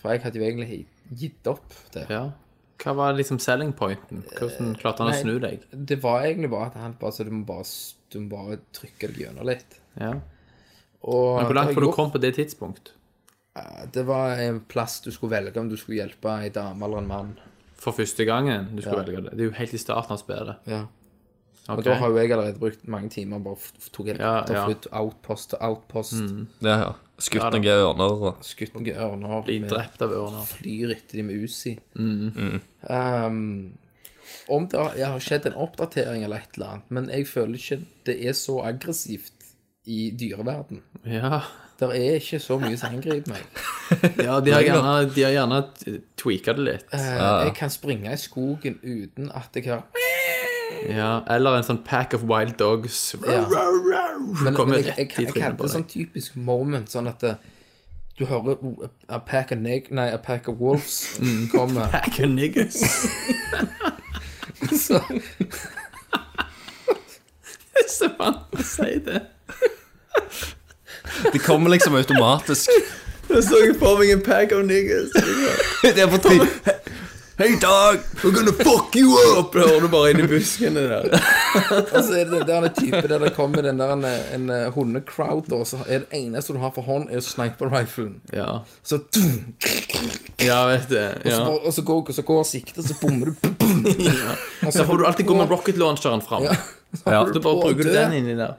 Speaker 6: For jeg hadde jo egentlig gitt opp det.
Speaker 5: Ja. Hva var liksom selling pointen? Hvordan klarte han å
Speaker 6: Nei.
Speaker 5: snu deg?
Speaker 6: Det var egentlig bare at han bare sa du må bare, s- du må bare trykke deg gjennom litt.
Speaker 5: Ja.
Speaker 6: Og
Speaker 5: Men hvor langt
Speaker 6: det
Speaker 5: var du
Speaker 6: gjorde-
Speaker 5: kom på det tidspunkt?
Speaker 6: Det var en plass du skulle velge om du skulle hjelpe ei dame eller en mann.
Speaker 5: For første gangen du skulle velge det? Det er jo helt i starten av spillet.
Speaker 6: Ja.
Speaker 5: Ok.
Speaker 6: Og da har jo jeg allerede brukt mange timer bare f- f- tok helt
Speaker 5: Ja,
Speaker 6: ja,
Speaker 5: ja. Mm.
Speaker 6: flytt outpost til outpost,
Speaker 7: Ja, ja. Skutt noen ørner og
Speaker 6: skutt noen ørner,
Speaker 5: Bli
Speaker 6: med-
Speaker 5: drept Mm. av ørner.
Speaker 6: flyr etter de med Uzi. Um, om det har, ja, har skjedd en oppdatering eller et eller annet, men jeg føler ikke det er så aggressivt i dyreverden.
Speaker 5: Ja.
Speaker 6: Der er ikke så mye som
Speaker 5: <laughs>
Speaker 6: angriper meg.
Speaker 5: ja, de <laughs> har gjerne, de har gjerne t- tweaka det litt.
Speaker 6: Eh, Jeg kan springe i skogen uten at jeg har
Speaker 5: Ja, eller en sånn pack of wild dogs.
Speaker 6: Ja. Men, men
Speaker 5: Kommer
Speaker 6: jeg, jeg,
Speaker 5: rett i
Speaker 6: jeg, jeg
Speaker 5: trynet på
Speaker 6: hadde
Speaker 5: deg.
Speaker 6: sånn typisk moment, sånn at eh, du hører oh, a pack of neg... Nei, a pack of wolves
Speaker 5: <laughs> Mm.
Speaker 6: komme.
Speaker 5: Pack of niggas. <laughs>
Speaker 6: Så,
Speaker 5: Så faen, si det.
Speaker 7: Det kommer liksom automatisk.
Speaker 5: Jeg så jeg for meg en pack of niggas.
Speaker 7: <laughs> Det er på tide. Hei, Dag!
Speaker 5: We're gonna fuck you up! Hører du bare inn i buskene der.
Speaker 6: og så er det den der en type der det kommer den der en, en eh, hundecrowd, og så er det eneste du har for hånd, er sniper-riflen.
Speaker 5: Ja,
Speaker 6: Så, dum,
Speaker 5: ja vet du.
Speaker 6: og, så,
Speaker 5: Ja.
Speaker 6: bare- og så går, så går siktet, så bommer du.
Speaker 5: <laughs>
Speaker 6: Og
Speaker 5: Da får du alltid gå med
Speaker 6: på-
Speaker 5: rocket launcheren fram.
Speaker 6: Ja.
Speaker 5: Ja,
Speaker 6: holder
Speaker 5: du bare
Speaker 6: på å
Speaker 5: bruker du
Speaker 6: dø.
Speaker 5: den inni der.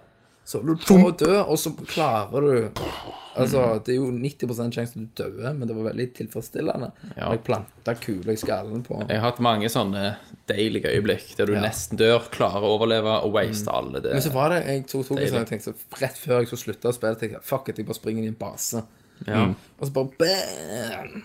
Speaker 6: Så holder du på å dø, og så klarer du Altså, det er jo 90 sjanse til du dør, men det var veldig tilfredsstillende.
Speaker 5: Ja.
Speaker 6: Og Jeg planta kula i skallen på han.
Speaker 5: Jeg har hatt mange sånne deilige øyeblikk der du nesten dør, klarer å overleve og waste alle det.
Speaker 6: Men så var det jeg tok tok en
Speaker 5: Deilig.
Speaker 6: sånn, jeg tenkte, så rett før jeg skulle slutte å spille, tenkte jeg fuck it, jeg bare springer inn i en base.
Speaker 5: Ja,
Speaker 6: Og så bare bam!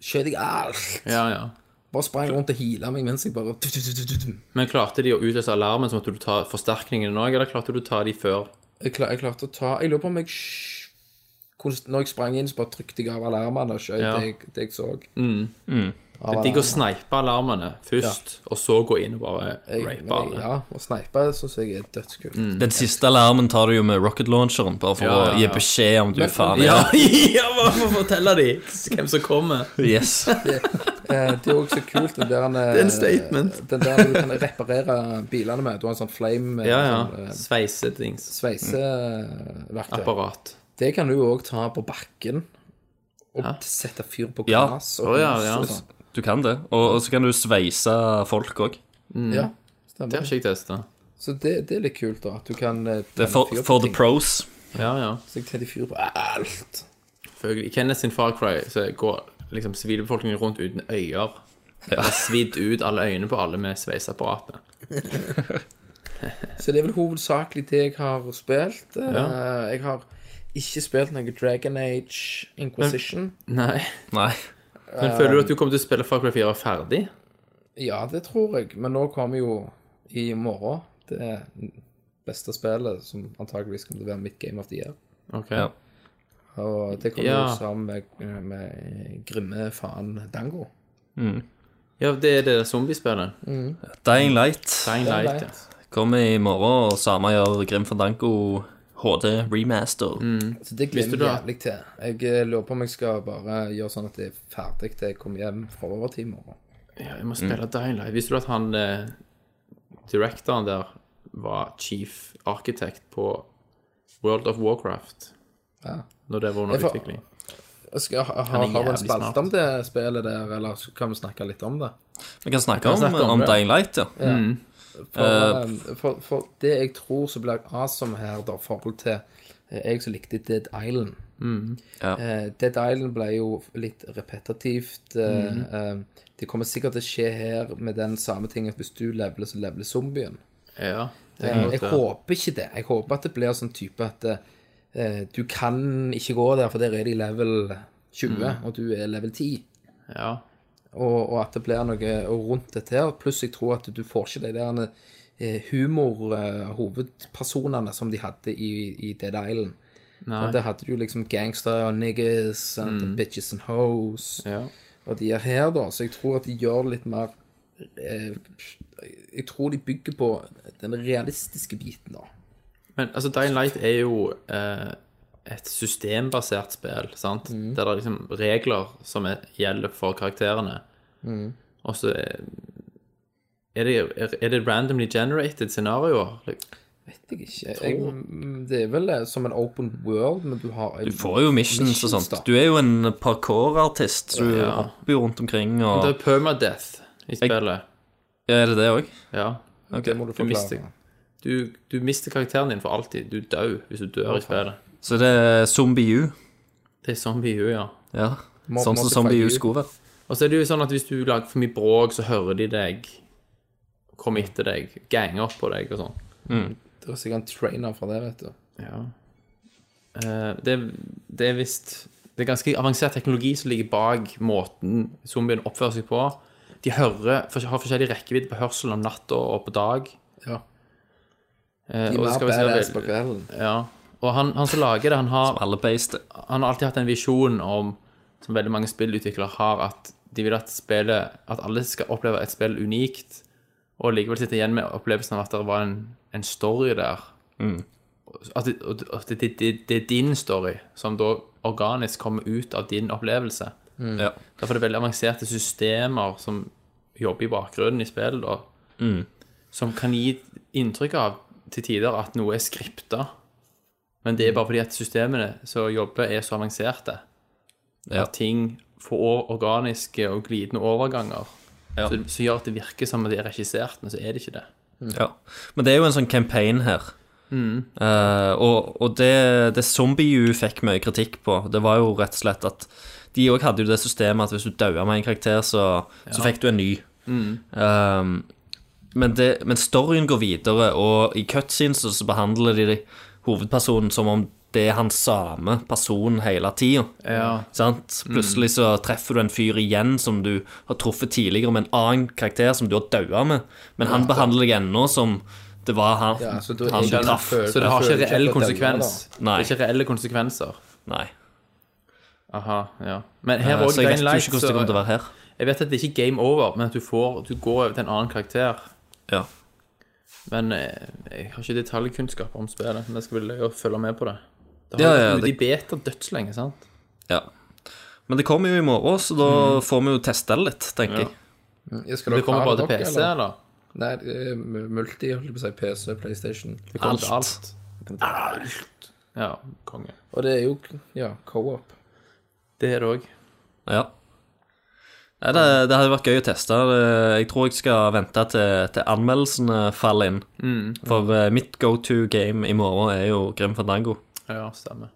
Speaker 6: Skjøt jeg alt.
Speaker 5: ja, ja.
Speaker 6: Bare sprang rundt og heala meg mens jeg bare du, du, du, du, du.
Speaker 5: Men klarte de å utløse alarmen, så måtte du ta forsterkningene òg, eller klarte du å ta de før?
Speaker 6: Jeg, klar, jeg klarte å ta Jeg lurer på om jeg sj- hvordan- Når jeg sprang inn, så bare trykte jeg av alarmene og skjøt
Speaker 5: Ja. Mm.
Speaker 6: det, jeg- det jeg så.
Speaker 5: Det er digg å sneipe alarmene først, og så gå inn og bare
Speaker 6: Jeg, men
Speaker 5: rape
Speaker 6: jeg,
Speaker 5: alle.
Speaker 6: ja, og sneipe syns jeg er dødskult.
Speaker 5: Mm.
Speaker 7: Den siste alarmen tar du jo med rocket launcheren, bare for
Speaker 5: Ja, ja,
Speaker 7: å gi
Speaker 5: ja.
Speaker 7: beskjed om du
Speaker 6: Men-
Speaker 7: faen
Speaker 5: Ja,
Speaker 7: er
Speaker 5: ja, <laughs> hva må fortelle de hvem som kommer?
Speaker 7: <laughs> Yes.
Speaker 6: Eh, Det er jo også så kult
Speaker 5: <laughs>
Speaker 6: den der Det
Speaker 5: er en statement.
Speaker 6: Den der du kan reparere bilene med. Du har en sånn flame med
Speaker 5: Ja,
Speaker 6: sånn,
Speaker 5: ja.
Speaker 6: eh,
Speaker 5: Sveisedings.
Speaker 6: sveiseverktøy.
Speaker 5: Apparat.
Speaker 6: Det kan du jo òg ta på bakken. Og sette fyr på
Speaker 7: Ja.
Speaker 6: glass
Speaker 5: Å,
Speaker 6: og
Speaker 5: ja,
Speaker 6: hus
Speaker 5: ja.
Speaker 6: og sånn.
Speaker 7: Du kan det. Og, og så kan du sveise folk òg.
Speaker 6: Ja,
Speaker 5: Mm. Det
Speaker 6: stemmer.
Speaker 5: har ikke jeg testa.
Speaker 6: Så det, det er litt kult, da. At du kan eh,
Speaker 7: Det er for,
Speaker 6: tenne fyr på
Speaker 7: for the
Speaker 6: ting.
Speaker 7: pros.
Speaker 5: Ja, ja.
Speaker 6: Så jeg tenner fyr på alt.
Speaker 5: For I Kenneth sin Far Cry så går liksom sivilbefolkningen rundt uten øyer. Det har svidd ut alle øynene på alle med sveiseapparatet.
Speaker 6: Så det er vel hovedsakelig det jeg har spilt. Eh, Jeg har ikke spilt noe Dragon Age Inquisition.
Speaker 5: Nei.
Speaker 7: Nei.
Speaker 5: Men føler du at du kommer til å spille Far Cry 4 ferdig?
Speaker 6: Ja, det tror jeg. Men nå kommer jo i morgen det beste spillet som antageligvis kommer til å være mitt game of the year.
Speaker 5: Ok.
Speaker 7: Ja.
Speaker 6: Og det kommer
Speaker 5: Ja.
Speaker 6: jo sammen med, eh, med grimme faen Dango.
Speaker 5: Ja, det er det zombiespillet.
Speaker 7: Dying Light
Speaker 5: Dying Light. ja.
Speaker 7: kommer i morgen, og samme gjør Grim Fandango HD remaster.
Speaker 6: Så det
Speaker 5: Visste
Speaker 6: gleder
Speaker 5: du
Speaker 6: jeg
Speaker 5: det?
Speaker 6: jævlig til. Jeg eh, lurer på om jeg skal bare gjøre sånn at det er ferdig til jeg kommer hjem fra overtid i morgen.
Speaker 5: Ja, jeg må
Speaker 6: Mm.
Speaker 5: spille Dying Light. Visste du at han eh, directoren der var chief architect på World of Warcraft?
Speaker 6: Ja.
Speaker 5: Når det var under
Speaker 6: Jeg får-
Speaker 5: utvikling.
Speaker 6: Jeg Skal, ha,
Speaker 5: er
Speaker 6: ha, har vi
Speaker 5: jævlig
Speaker 6: en spalte
Speaker 5: smart.
Speaker 6: om det spillet der, eller kan vi snakke litt om det?
Speaker 7: Vi kan snakke
Speaker 5: kan
Speaker 7: om,
Speaker 5: snakke om
Speaker 7: om
Speaker 5: det.
Speaker 7: Dying Light, ja.
Speaker 6: For, eh, for, for det jeg tror som blir awesome her, da, i forhold til eh, jeg som likte Dead Island
Speaker 7: Ja.
Speaker 6: Eh, Dead Island ble jo litt repetitivt. eh,
Speaker 5: Mhm.
Speaker 6: eh, det kommer sikkert til å skje her med den samme tingen at hvis du leveler, så leveler zombien.
Speaker 5: Ja. Det
Speaker 6: Eh,
Speaker 5: kan godt
Speaker 6: jeg
Speaker 5: være.
Speaker 6: håper ikke det. Jeg håper at det blir sånn type at eh, du kan ikke gå der, for der er de level 20,
Speaker 5: Mm.
Speaker 6: og du er level 10
Speaker 5: Ja.
Speaker 6: og, og at det blir noe rundt dette her. Pluss jeg tror at du får ikke de der eh, humor-hovedpersonene som de hadde i, i Dead Island.
Speaker 5: Nei.
Speaker 6: Og Der hadde du liksom gangster og niggas and bitches and hoes.
Speaker 5: ja.
Speaker 6: Og de er her, da. Så jeg tror at de gjør litt mer eh, Jeg tror de bygger på den realistiske biten, da.
Speaker 5: Men altså, Dying Light er jo eh, et systembasert spill, sant?
Speaker 6: Mm.
Speaker 5: der det er liksom regler som er, gjelder for karakterene.
Speaker 6: Mm.
Speaker 5: Og så er er det, er, er det randomly generated scenarioer? Like,
Speaker 6: Vet jeg ikke. Jeg, det er vel eh, som en open world, men du har
Speaker 7: Du får jo missions og sånt. Du er jo en parkourartist, så du
Speaker 5: Ja.
Speaker 7: hopper jo rundt omkring
Speaker 5: Det
Speaker 7: og
Speaker 5: er permadeath i spillet.
Speaker 7: Er det det òg?
Speaker 5: Ja.
Speaker 6: Det må du
Speaker 5: Du mister,
Speaker 6: forklare.
Speaker 5: du, du mister karakteren din for alltid. Du dør hvis du dør i spillet.
Speaker 7: Så det er Zombie U.
Speaker 5: Det er zombie U, ja.
Speaker 7: Ja.
Speaker 6: Mo-
Speaker 7: Sånn som
Speaker 6: Modify
Speaker 7: Zombie U
Speaker 6: U.
Speaker 7: skulle være.
Speaker 5: Og så er det jo sånn at hvis du lager for mye bråk, så hører de deg komme etter deg, gange opp på deg og sånn.
Speaker 6: Det er sikkert en trainer fra det, vet du.
Speaker 5: Ja. Eh, det, det er visst Det er ganske avansert teknologi som ligger bak måten zombien oppfører seg på. De hører, for- har forskjellig rekkevidde på hørselen om natta og på dag.
Speaker 6: Ja.
Speaker 5: Eh,
Speaker 6: De
Speaker 5: og
Speaker 6: er
Speaker 5: det
Speaker 6: mer
Speaker 5: skal vi si
Speaker 6: badass på
Speaker 5: vel-
Speaker 6: kvelden.
Speaker 5: ja. Og han, han som lager det, han har
Speaker 7: Alle beiste.
Speaker 5: han har alltid hatt en visjon om, som veldig mange spillutviklere har, at de vil at spillet, at alle skal oppleve et spill unikt, og likevel sitte igjen med opplevelsen av at det var en, en story der. At, det, og- at det, det, det er din story, som da organisk kommer ut av din opplevelse.
Speaker 7: Ja.
Speaker 5: Derfor er det veldig avanserte systemer som jobber i bakgrunnen i spillet, da,
Speaker 7: Mm.
Speaker 5: som kan gi inntrykk av til tider at noe er skripta. Men det er bare fordi at systemene som jobber, er så avanserte.
Speaker 7: Ja.
Speaker 5: At ting får or- organiske og glidende overganger.
Speaker 7: Ja.
Speaker 5: Så, så gjør at det virker som om det er regissert, men så er det ikke det.
Speaker 7: ja. Men det er jo en sånn campaign her. Eh, og og det, det Zombie U fikk mye kritikk på, det var jo rett og slett at de òg hadde jo det systemet at hvis du daua med en karakter, så, så fikk du en ny. Um, men, det, men storyen går videre, og i cutscenes så, så behandler de hovedpersonen som om det er han samme personen hele tida.
Speaker 5: Ja.
Speaker 7: Sant? Plutselig så treffer du en fyr igjen som du har truffet tidligere med en annen karakter som du har daua med, men han behandler deg ennå som det var han,
Speaker 6: Ja, så da-
Speaker 7: han du
Speaker 6: skjønner,
Speaker 7: traff.
Speaker 6: føler-
Speaker 5: Så det har
Speaker 6: føler
Speaker 5: ikke reell
Speaker 6: at det er
Speaker 5: konsekvens.
Speaker 6: det,
Speaker 5: Det
Speaker 7: Nei.
Speaker 5: er ikke reelle konsekvenser.
Speaker 7: Nei.
Speaker 5: Aha, ja. Men her
Speaker 7: Eh,
Speaker 5: òg
Speaker 7: Så jeg vet jo ikke
Speaker 5: Light,
Speaker 7: hvordan det kommer til å
Speaker 5: så
Speaker 7: være her.
Speaker 5: jeg vet at det ikke er game over, men at du, får, du går over til en annen karakter.
Speaker 7: Ja.
Speaker 5: Men eh, jeg har ikke detaljkunnskap om spillet. Men jeg skal vel jo følge med på det. Det
Speaker 7: Ja,
Speaker 5: har
Speaker 7: ja,
Speaker 5: vært ute
Speaker 7: det-
Speaker 5: i beta dødslenge, sant?
Speaker 7: ja. Men det kommer jo i morgen, så da får vi jo teste det litt, tenker jeg.
Speaker 6: Ja, skal
Speaker 5: Det
Speaker 6: dere
Speaker 5: kommer
Speaker 6: ha
Speaker 5: bare til
Speaker 6: dere,
Speaker 5: PC, eller?
Speaker 6: Nei, det er multi, jeg holdt på å si PC, PlayStation.
Speaker 5: Det kommer til
Speaker 7: Alt.
Speaker 5: alt. Ja, konge.
Speaker 6: Og det er jo ja, co-op.
Speaker 5: Det er det òg.
Speaker 7: Ja. Nei, det, det hadde vært gøy å teste. Det- Jeg tror jeg skal vente til, til anmeldelsene faller inn. For eh, mitt go to game i morgen er jo Grim Fandango.
Speaker 5: Ja, stemmer.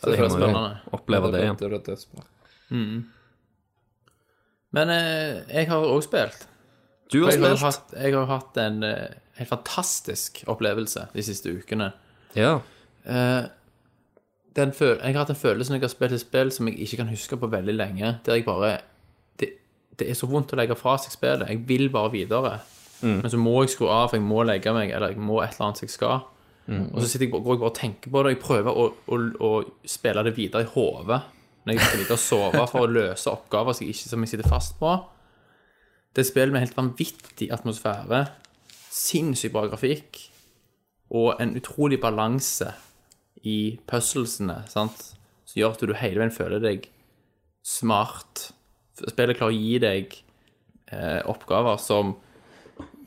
Speaker 6: Så
Speaker 7: Jeg må jo
Speaker 5: spennende.
Speaker 7: oppleve det igjen.
Speaker 6: Det er dødsbra.
Speaker 5: Men eh, jeg har òg spilt.
Speaker 7: Du har
Speaker 5: Jeg har, hatt,
Speaker 7: spilt?
Speaker 5: jeg har hatt en eh, helt fantastisk opplevelse de siste ukene.
Speaker 7: Ja.
Speaker 5: Den føl jeg har hatt en følelse når jeg har spilt et spill som jeg ikke kan huske på veldig lenge, der jeg bare Det, det er så vondt å legge fra seg spillet. Jeg vil bare videre. Men så må jeg skru av, for jeg må legge meg, eller jeg må et eller annet som jeg skal. Og så sitter jeg, bare- går jeg bare og tenker på det. Jeg prøver å, å, å spille det videre i hodet når jeg skal ligge og sove for å løse oppgaver som jeg, ikke, som jeg sitter fast på. Det er et spill med helt vanvittig atmosfære, sinnssykt bra grafikk og en utrolig balanse i puzzlesene, sant? som gjør at du hele veien føler deg smart. Spillet klarer å gi deg eh, oppgaver som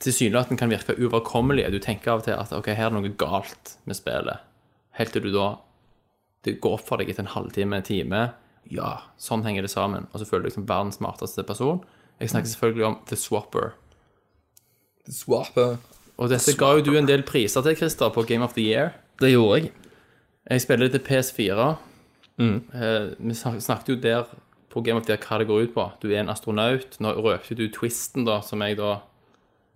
Speaker 5: tilsynelatende kan virke uoverkommelige. Du tenker av og til at ok, her er det noe galt med spillet. Helt til du da det går opp for deg etter en halvtime, en time. Ja, sånn henger det sammen. Og så føler du deg som verdens smarteste person. Jeg snakker selvfølgelig om The Swapper.
Speaker 6: Swapper.
Speaker 5: Og dette ga jo du en del priser til, Christer, på Game of the Year.
Speaker 7: Det gjorde jeg.
Speaker 5: Jeg spiller det til PS4. Eh, vi snak- snakket jo der på Game of the Year hva det går ut på. Du er en astronaut. Nå røpte du twisten, da, som jeg da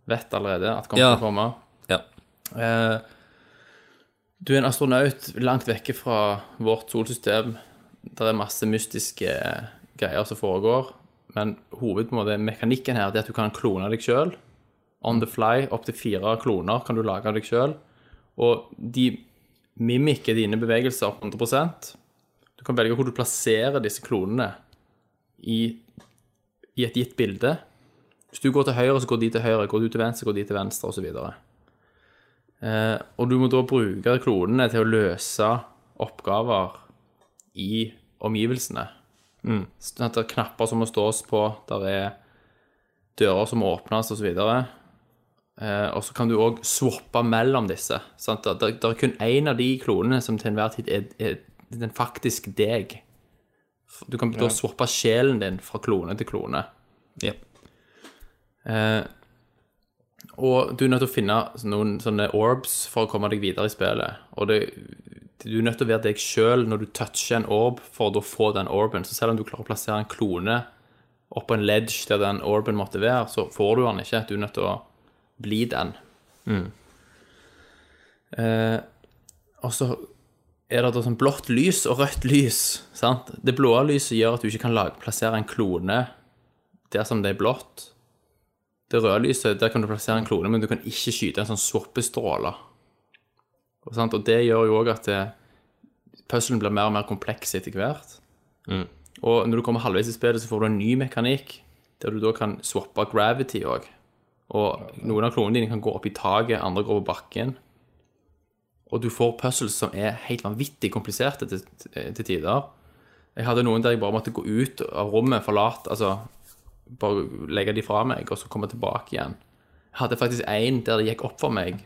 Speaker 5: vet allerede at kommer
Speaker 7: Ja.
Speaker 5: til å komme.
Speaker 7: Ja.
Speaker 5: Eh, du er en astronaut langt vekke fra vårt solsystem. Det er masse mystiske eh, greier som foregår. Men hovedmålet, mekanikken her, det er at du kan klone deg sjøl. On the fly, opptil fire kloner kan du lage av deg sjøl. Og de mimikker dine bevegelser 100 Du kan velge hvor du plasserer disse klonene i, i et gitt bilde. Hvis du går til høyre, så går de til høyre. Går du til venstre, går de til venstre, osv. Eh, og du må da bruke klonene til å løse oppgaver i omgivelsene. Sånn at det er knapper som må stås på, der er dører som må åpnes osv. Og så kan du òg swappe mellom disse. Sant? Det, det er kun én av de klonene som til enhver tid er, er den faktisk deg. Du kan da swappe sjelen din fra klone til klone.
Speaker 7: Jep.
Speaker 5: Eh, og du er nødt til å finne noen sånne orbs for å komme deg videre i spillet. Og det, du er nødt til å være deg sjøl når du toucher en orb for å da få den orben. Så selv om du klarer å plassere en klone oppå en ledge der den orben måtte være, så får du den ikke. Du er nødt til å bli den. Mm. Eh, og så er det da sånn blått lys og rødt lys. sant? Det blå lyset gjør at du ikke kan lage, plassere en klone der som det er blått. Det røde lyset, der kan du plassere en klone, men du kan ikke skyte en sånn soppestråle. Og, sant? og det gjør jo òg at det, puzzlen blir mer og mer kompleks etter hvert. Og når du kommer halvveis i spillet, så får du en ny mekanikk, der du da kan swappe gravity òg. Og noen av klonene dine kan gå opp i taket, andre går på bakken. Og du får puzzles som er helt vanvittig kompliserte til, til tider. Jeg hadde noen der jeg bare måtte gå ut av rommet, forlate Altså bare legge de fra meg, og så komme tilbake igjen. Jeg hadde faktisk en der det gikk opp for meg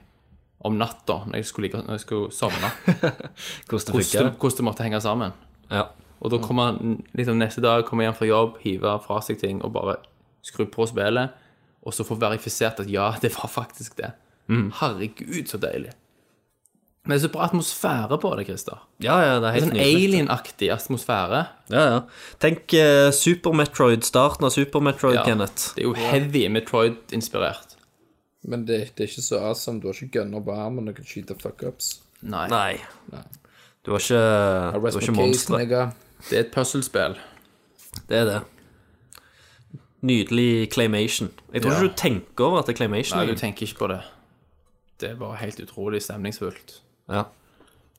Speaker 5: om natta når jeg skulle, ligge, når jeg skulle <laughs> sovne,
Speaker 7: Hvordan det
Speaker 5: hvordan
Speaker 7: funker.
Speaker 5: det- hvordan det måtte henge sammen.
Speaker 7: Ja.
Speaker 5: Og da kommer han liksom neste dag, kommer hjem fra jobb, hiver fra seg ting og bare skru på spillet, og så få verifisert at ja, det var faktisk det. Mm. Herregud, så deilig. Men det er så bra atmosfære på det, Christer.
Speaker 7: ja, ja, det er
Speaker 5: Det er
Speaker 7: helt
Speaker 5: Sånn
Speaker 7: nydelig.
Speaker 5: alien-aktig atmosfære.
Speaker 7: Ja, ja. Tenk eh, Super Metroid, starten av Super Metroid,
Speaker 5: Ja.
Speaker 7: Kenneth.
Speaker 5: Det er jo heavy Metroid-inspirert.
Speaker 6: Men det, det er ikke så awesome. Du har ikke gunner på armen og kan skyte fuckups.
Speaker 5: Nei.
Speaker 7: Nei.
Speaker 6: Nei.
Speaker 7: Du var ikke, du var
Speaker 6: Arrest
Speaker 7: ikke
Speaker 6: my case,
Speaker 7: monstre.
Speaker 6: nigga.
Speaker 5: Det er et puzzlespill.
Speaker 7: Det er det. Nydelig claymation. Jeg tror
Speaker 5: Ja.
Speaker 7: ikke du tenker over at det er claymation.
Speaker 5: Nei, du
Speaker 7: egentlig.
Speaker 5: tenker ikke på det. Det er bare helt utrolig stemningsfullt.
Speaker 7: ja.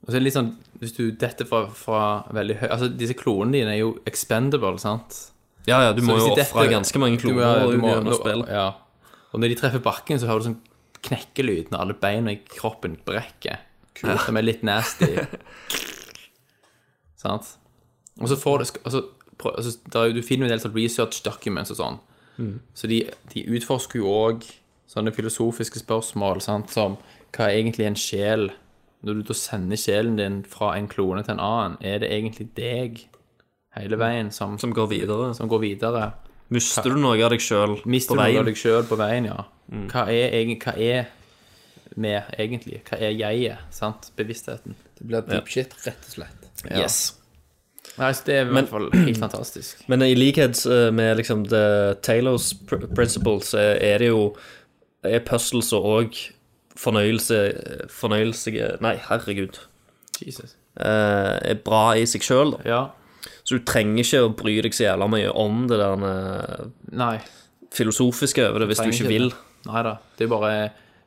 Speaker 5: Og så er det litt sånn, hvis du detter fra, fra veldig høy Altså, disse klonene dine er jo expendable, sant?
Speaker 7: ja, ja, du må
Speaker 5: hvis
Speaker 7: jo
Speaker 5: de
Speaker 7: ofre
Speaker 5: detter-
Speaker 7: ganske mange
Speaker 5: Du må-
Speaker 7: kloner
Speaker 5: du må-
Speaker 7: gjennom
Speaker 5: nå-
Speaker 7: spillet.
Speaker 5: Ja. Og når de treffer bakken, så hører du sånn knekkelyd når alle beina i kroppen brekker. Kult. Som er litt <laughs> nasty. Sant? Og så får du altså, prøv, altså, der, er jo- Du finner jo en del sånn research documents og sånn. Så de, de utforsker jo òg sånne filosofiske spørsmål sant? som hva er egentlig en sjel? Når du da sender sjelen din fra en klone til en annen, er det egentlig deg hele veien som,
Speaker 7: Som går videre. liksom.
Speaker 5: som går videre?
Speaker 7: Mister du noe av deg sjøl på
Speaker 5: Mister du noe av
Speaker 7: veien?
Speaker 5: deg sjøl på veien, Mm. ja. Hva er, egen- hva er vi egentlig? Hva er jeget? Sant? Bevisstheten.
Speaker 6: Det blir deep shit, rett og slett.
Speaker 7: Yes.
Speaker 5: Nei, så det er i hvert <clears throat> fall helt fantastisk.
Speaker 7: Men i likhet eh, med liksom The Taylors pr Principle, så er det jo er puzzles og òg fornøyelse Fornøyelse Nei, herregud.
Speaker 5: Jesus.
Speaker 7: Eh, er bra i seg sjøl, da.
Speaker 5: Ja.
Speaker 7: Så du trenger ikke å bry deg så jævla mye om det der eh,
Speaker 5: Nei.
Speaker 7: filosofiske over det hvis du
Speaker 5: trenger
Speaker 7: ikke
Speaker 5: ikke
Speaker 7: vil.
Speaker 5: det. Nei da. Det er bare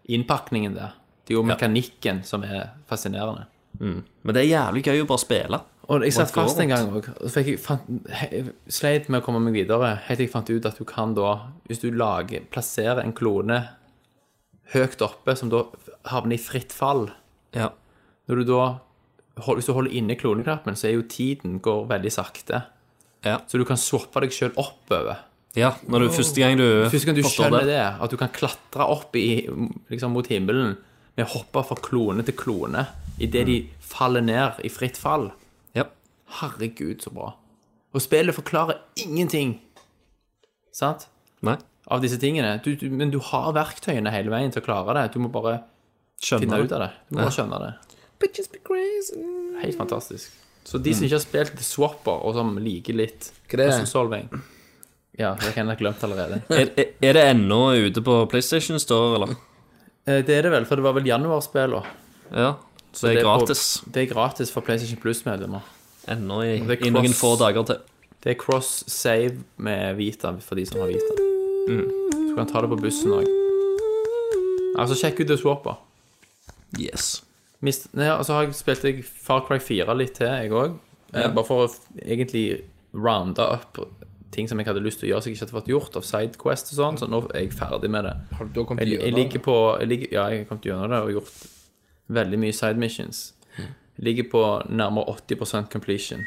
Speaker 5: innpakningen der. Det er jo mekanikken som er fascinerende.
Speaker 7: Men det er jævlig gøy å bare spille.
Speaker 5: Og jeg satt
Speaker 7: går
Speaker 5: fast en gang òg. og så fikk jeg fant- he- Sleit med å komme meg videre helt til jeg fant ut at du kan da, hvis du lager, plasserer en klone høyt oppe, som da havner i fritt fall
Speaker 7: Ja.
Speaker 5: Når du da hold- Hvis du holder inne kloneknappen, så er jo tiden går veldig sakte.
Speaker 7: Ja.
Speaker 5: Så du kan swappe deg sjøl oppover.
Speaker 7: ja når du første gang du
Speaker 5: Første gang du
Speaker 7: forstår
Speaker 5: skjønner det, at du kan klatre opp i, liksom mot himmelen med å hoppe fra klone til klone
Speaker 7: Mm.
Speaker 5: idet de faller ned i fritt fall.
Speaker 7: Ja.
Speaker 5: Herregud, så bra. Og spillet forklarer ingenting sant?
Speaker 7: Nei.
Speaker 5: av disse tingene. Du, du, men du har verktøyene hele veien til å klare det. Du må bare finne
Speaker 7: Skjønner
Speaker 5: ut
Speaker 7: du.
Speaker 5: av det. Du må bare skjønne det. Helt fantastisk. Så de som ikke har spilt The Swapper, og som liker litt
Speaker 6: Hva det er?
Speaker 5: Puzzle Solving Ja, det kan jeg ha glemt allerede.
Speaker 7: Er, er, er det ennå ute på PlayStation Store, eller?
Speaker 5: <laughs> Eh, Det er det vel, for det var vel januarspill òg.
Speaker 7: Ja. Så det er gratis.
Speaker 5: På, det er gratis for PlayStation Plus-medlemmer.
Speaker 7: Ennå i,
Speaker 5: Det er
Speaker 7: i noen
Speaker 5: cross-
Speaker 7: få dager til.
Speaker 5: Det er cross-save med Vita for de som har Vita. Så Mm. du kan ta det på bussen òg. Altså, sjekk ut The Swapper.
Speaker 7: Yes.
Speaker 5: Mist, nei, og så har jeg spilt jeg Far Cry 4 litt til, jeg òg. Eh, Bare for å f- egentlig rounde opp ting som jeg hadde lyst til å gjøre som jeg ikke hadde fått gjort, av Sidequest og sånn, så nå er jeg ferdig med det.
Speaker 6: Har du da kommet
Speaker 5: Jeg, jeg
Speaker 6: gjennom? Mm.
Speaker 5: ligger på jeg ligger, Ja, jeg har kommet gjennom det og gjort veldig mye side missions. ligger på nærmere 80 completion.